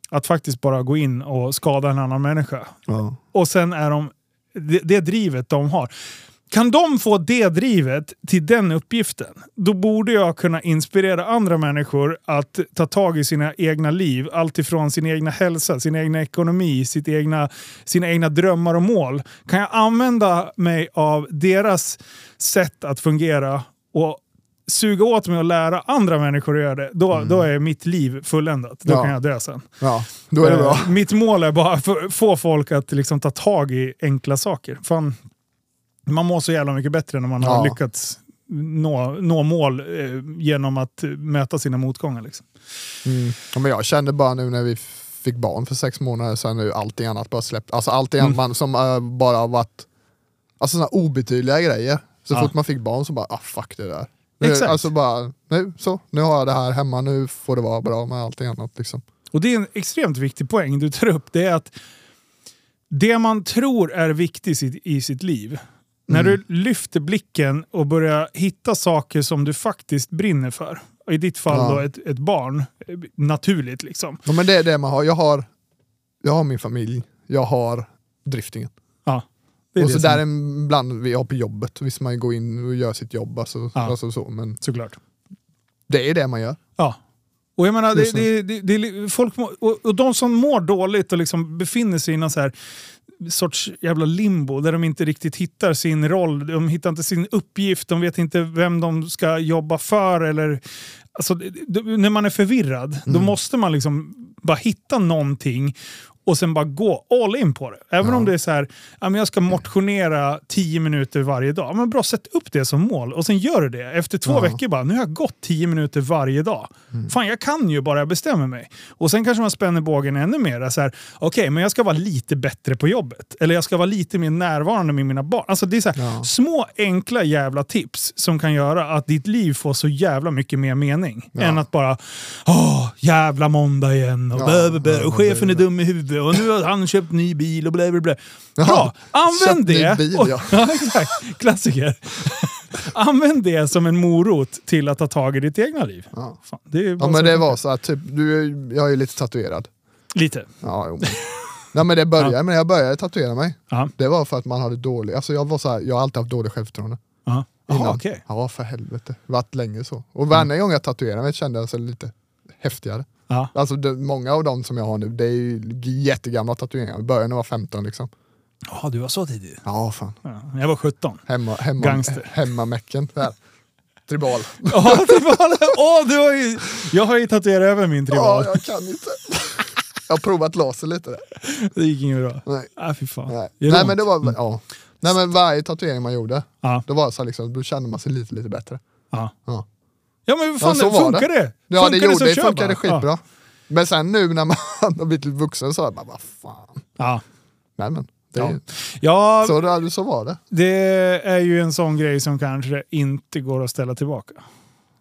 Speaker 1: att faktiskt bara gå in och skada en annan människa.
Speaker 2: Ja.
Speaker 1: Och sen är de, det, det drivet de har. Kan de få det drivet till den uppgiften, då borde jag kunna inspirera andra människor att ta tag i sina egna liv. Allt ifrån sin egna hälsa, sin egna ekonomi, sitt egna, sina egna drömmar och mål. Kan jag använda mig av deras sätt att fungera och suga åt mig och lära andra människor att göra det, då, då är mitt liv fulländat. Då
Speaker 2: Ja.
Speaker 1: kan jag dö sen.
Speaker 2: ja, då är det bra.
Speaker 1: Eh, Mitt mål är bara att få folk att liksom ta tag i enkla saker. Fan, man mår så jävla mycket bättre när man har
Speaker 2: Ja.
Speaker 1: lyckats nå, nå mål eh, genom att eh, möta sina motgångar. Liksom.
Speaker 2: Mm. Ja, men jag kände bara nu när vi fick barn för sex månader sedan nu allting annat bara släppt. Alltså allting
Speaker 1: Mm.
Speaker 2: annat man, som eh, bara har varit alltså sådana obetydliga grejer. Så
Speaker 1: Ja.
Speaker 2: fort man fick barn så bara, ah fuck det där. Nu,
Speaker 1: Exakt.
Speaker 2: alltså bara, nu så, nu har jag det här hemma, nu får det vara bra med allting annat liksom.
Speaker 1: Och det är en extremt viktig poäng du tar upp. Det är att det man tror är viktigt i sitt, i sitt liv, när
Speaker 2: Mm.
Speaker 1: du lyfter blicken och börjar hitta saker som du faktiskt brinner för. Och I ditt fall
Speaker 2: Ja.
Speaker 1: då ett, ett barn, eh, naturligt liksom.
Speaker 2: Ja, men det är det man har. Jag har, jag har min familj, jag har driftingen.
Speaker 1: Ja, det är
Speaker 2: och
Speaker 1: det
Speaker 2: så
Speaker 1: som-
Speaker 2: där ibland vi har på jobbet, visst man går in och gör sitt jobb alltså,
Speaker 1: Ja.
Speaker 2: alltså så, men
Speaker 1: såklart.
Speaker 2: det är det man gör.
Speaker 1: Ja. Och jag menar, det,
Speaker 2: Just
Speaker 1: det, det, det, folk mår, och, och de som mår dåligt och liksom befinner sig i någon så här sorts jävla limbo där de inte riktigt hittar sin roll, de hittar inte sin uppgift, de vet inte vem de ska jobba för eller... Alltså, det- det- när man är förvirrad, då måste man liksom bara hitta någonting och sen bara gå all in på det. Även om det är så här, ja, men jag ska motionera 10 minuter varje dag. Ja, Men bra, sätt upp det som mål och sen gör du det. Efter två veckor bara, nu har jag gått 10 minuter varje dag.
Speaker 2: Mm.
Speaker 1: Fan, jag kan ju bara jag bestämmer mig. Och sen kanske man spänner bågen ännu mer. så här, Okej, men jag ska vara lite bättre på jobbet. Eller jag ska vara lite mer närvarande med mina barn. Alltså det är så här,
Speaker 2: Ja.
Speaker 1: små enkla jävla tips som kan göra att ditt liv får så jävla mycket mer mening.
Speaker 2: Ja.
Speaker 1: Än att bara, åh, jävla måndag igen. Och,
Speaker 2: Ja,
Speaker 1: blä, blä, blä,
Speaker 2: ja,
Speaker 1: och chefen
Speaker 2: det
Speaker 1: är
Speaker 2: är
Speaker 1: dum i huvudet och nu har han köpt ny bil och blä, blä, blä.
Speaker 2: Jaha,
Speaker 1: Bra! Använd
Speaker 2: köpt ny
Speaker 1: det!
Speaker 2: bil,
Speaker 1: och,
Speaker 2: ja.
Speaker 1: exakt. Klassiker. Använd det som en morot till att ta tag i ditt egna liv.
Speaker 2: Ja.
Speaker 1: Fan, det är
Speaker 2: Ja
Speaker 1: bara
Speaker 2: men
Speaker 1: så-
Speaker 2: det var så här, typ, du, jag är ju lite tatuerad.
Speaker 1: Lite.
Speaker 2: Ja, jo. men- Nej men det började, men jag började tatuera mig.
Speaker 1: Ja.
Speaker 2: Det var för att man hade dålig, alltså jag var så här, jag har alltid haft dåligt självförtroende.
Speaker 1: Ja. Jaha,
Speaker 2: Innan.
Speaker 1: okej.
Speaker 2: Ja för helvete, varit länge så. Och varje gång jag tatuerade mig kände jag sig lite häftigare.
Speaker 1: Ja.
Speaker 2: Alltså det, många av dem som jag har nu, det är ju jättegamla tatueringar. Jag började när jag var 15 liksom.
Speaker 1: Jaha, du var så tidig.
Speaker 2: Ja fan.
Speaker 1: Ja, jag var 17.
Speaker 2: Hemma, hemma,
Speaker 1: Gangster.
Speaker 2: hemmamäcken. där. Tribal.
Speaker 1: Ja, det var det. Åh, du har ju... Jag har ju tatuerat över min
Speaker 2: Ja,
Speaker 1: tribal.
Speaker 2: jag kan inte. Jag har provat laser lite där.
Speaker 1: Det gick inget bra.
Speaker 2: Nej.
Speaker 1: Ah, fy fan.
Speaker 2: Nej,
Speaker 1: Gör
Speaker 2: Nej
Speaker 1: ont? Mm.
Speaker 2: men det var, ja. Nej men varje tatuering man gjorde,
Speaker 1: Ja.
Speaker 2: då var det så här liksom, då kände man sig lite, lite bättre.
Speaker 1: Ja.
Speaker 2: Ja,
Speaker 1: ja, men vad fan,
Speaker 2: Ja, så
Speaker 1: det
Speaker 2: var
Speaker 1: funkar det?
Speaker 2: ja det
Speaker 1: Funkar
Speaker 2: gjorde,
Speaker 1: så
Speaker 2: det
Speaker 1: kör
Speaker 2: funkade
Speaker 1: bara.
Speaker 2: skitbra.
Speaker 1: Ja.
Speaker 2: Men sen nu när man har blivit lite vuxen så är man bara, vad fan.
Speaker 1: Ja.
Speaker 2: Nej men, det
Speaker 1: Ja.
Speaker 2: är,
Speaker 1: Ja,
Speaker 2: så, det- så var det.
Speaker 1: det är ju en sån grej som kanske inte går att ställa tillbaka.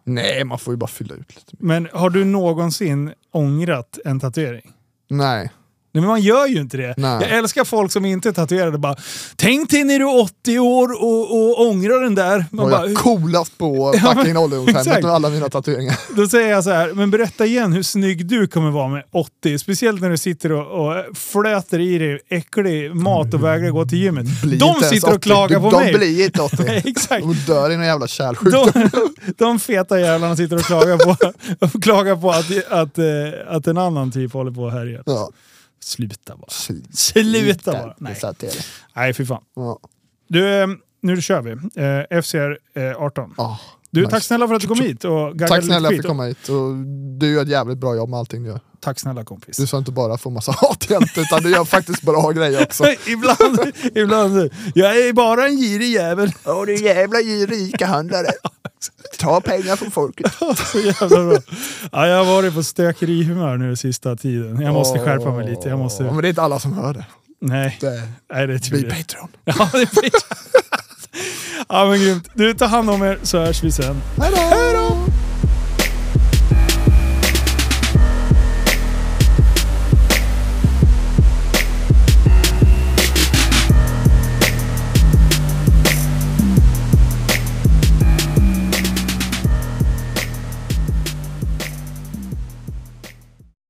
Speaker 2: Nej, man får ju bara fylla ut lite.
Speaker 1: Men har du någonsin ångrat en tatuering?
Speaker 2: Nej,
Speaker 1: Nej, men man gör ju inte det.
Speaker 2: Nej.
Speaker 1: Jag älskar folk som inte är tatuerade. Bara, Tänk dig när du är 80 år och, och ångrar den där. Man
Speaker 2: Var
Speaker 1: bara,
Speaker 2: jag coolast på fucking ålderdomshemmet
Speaker 1: exakt.
Speaker 2: med alla mina tatueringar.
Speaker 1: Då säger jag så här, men berätta igen hur snygg du kommer vara med 80. Speciellt när du sitter och, och flöter i dig äcklig mat och vägrar gå till gymmet.
Speaker 2: Bli inte
Speaker 1: De
Speaker 2: ens
Speaker 1: sitter
Speaker 2: 80.
Speaker 1: och klagar
Speaker 2: Du-
Speaker 1: på mig.
Speaker 2: De blir inte 80.
Speaker 1: Exakt.
Speaker 2: De dör i någon jävla kärlsjukdom.
Speaker 1: De, de feta jävlarna sitter och klagar på, och klagar på att, att, eh, att en annan typ håller på och härjar.
Speaker 2: Ja.
Speaker 1: Sluta bara.
Speaker 2: Sluta
Speaker 1: Sluta bara. Nej,
Speaker 2: Så att det är det.
Speaker 1: Nej fy fan.
Speaker 2: Ja.
Speaker 1: Du, eh, nu kör vi. Eh, FCR eh, 18.
Speaker 2: Ah,
Speaker 1: Du,
Speaker 2: nice.
Speaker 1: tack snälla för att du kom hit och gaggade
Speaker 2: Tack
Speaker 1: lite
Speaker 2: snälla för att
Speaker 1: skit.
Speaker 2: du kom hit. Och du gör ett jävligt bra jobb med allting du gör.
Speaker 1: Tack snälla kompis.
Speaker 2: Du sa inte bara få massa hat jämt, utan du gör faktiskt bra grejer också.
Speaker 1: ibland, ibland. Jag är bara en girig jävel.
Speaker 2: Åh du jävla rika handlare. Ta pengar från folket.
Speaker 1: Så jävla bra. Ja, jag har varit på stökerihumör nu sista tiden. Jag måste skärpa mig lite. Jag måste...
Speaker 2: Men det är inte alla som hör det.
Speaker 1: Nej,
Speaker 2: det
Speaker 1: nej det är
Speaker 2: bli
Speaker 1: tur det.
Speaker 2: Patreon.
Speaker 1: Ja, det blir... ja men grymt. Du, ta hand om er så hörs vi sen.
Speaker 2: Hej då!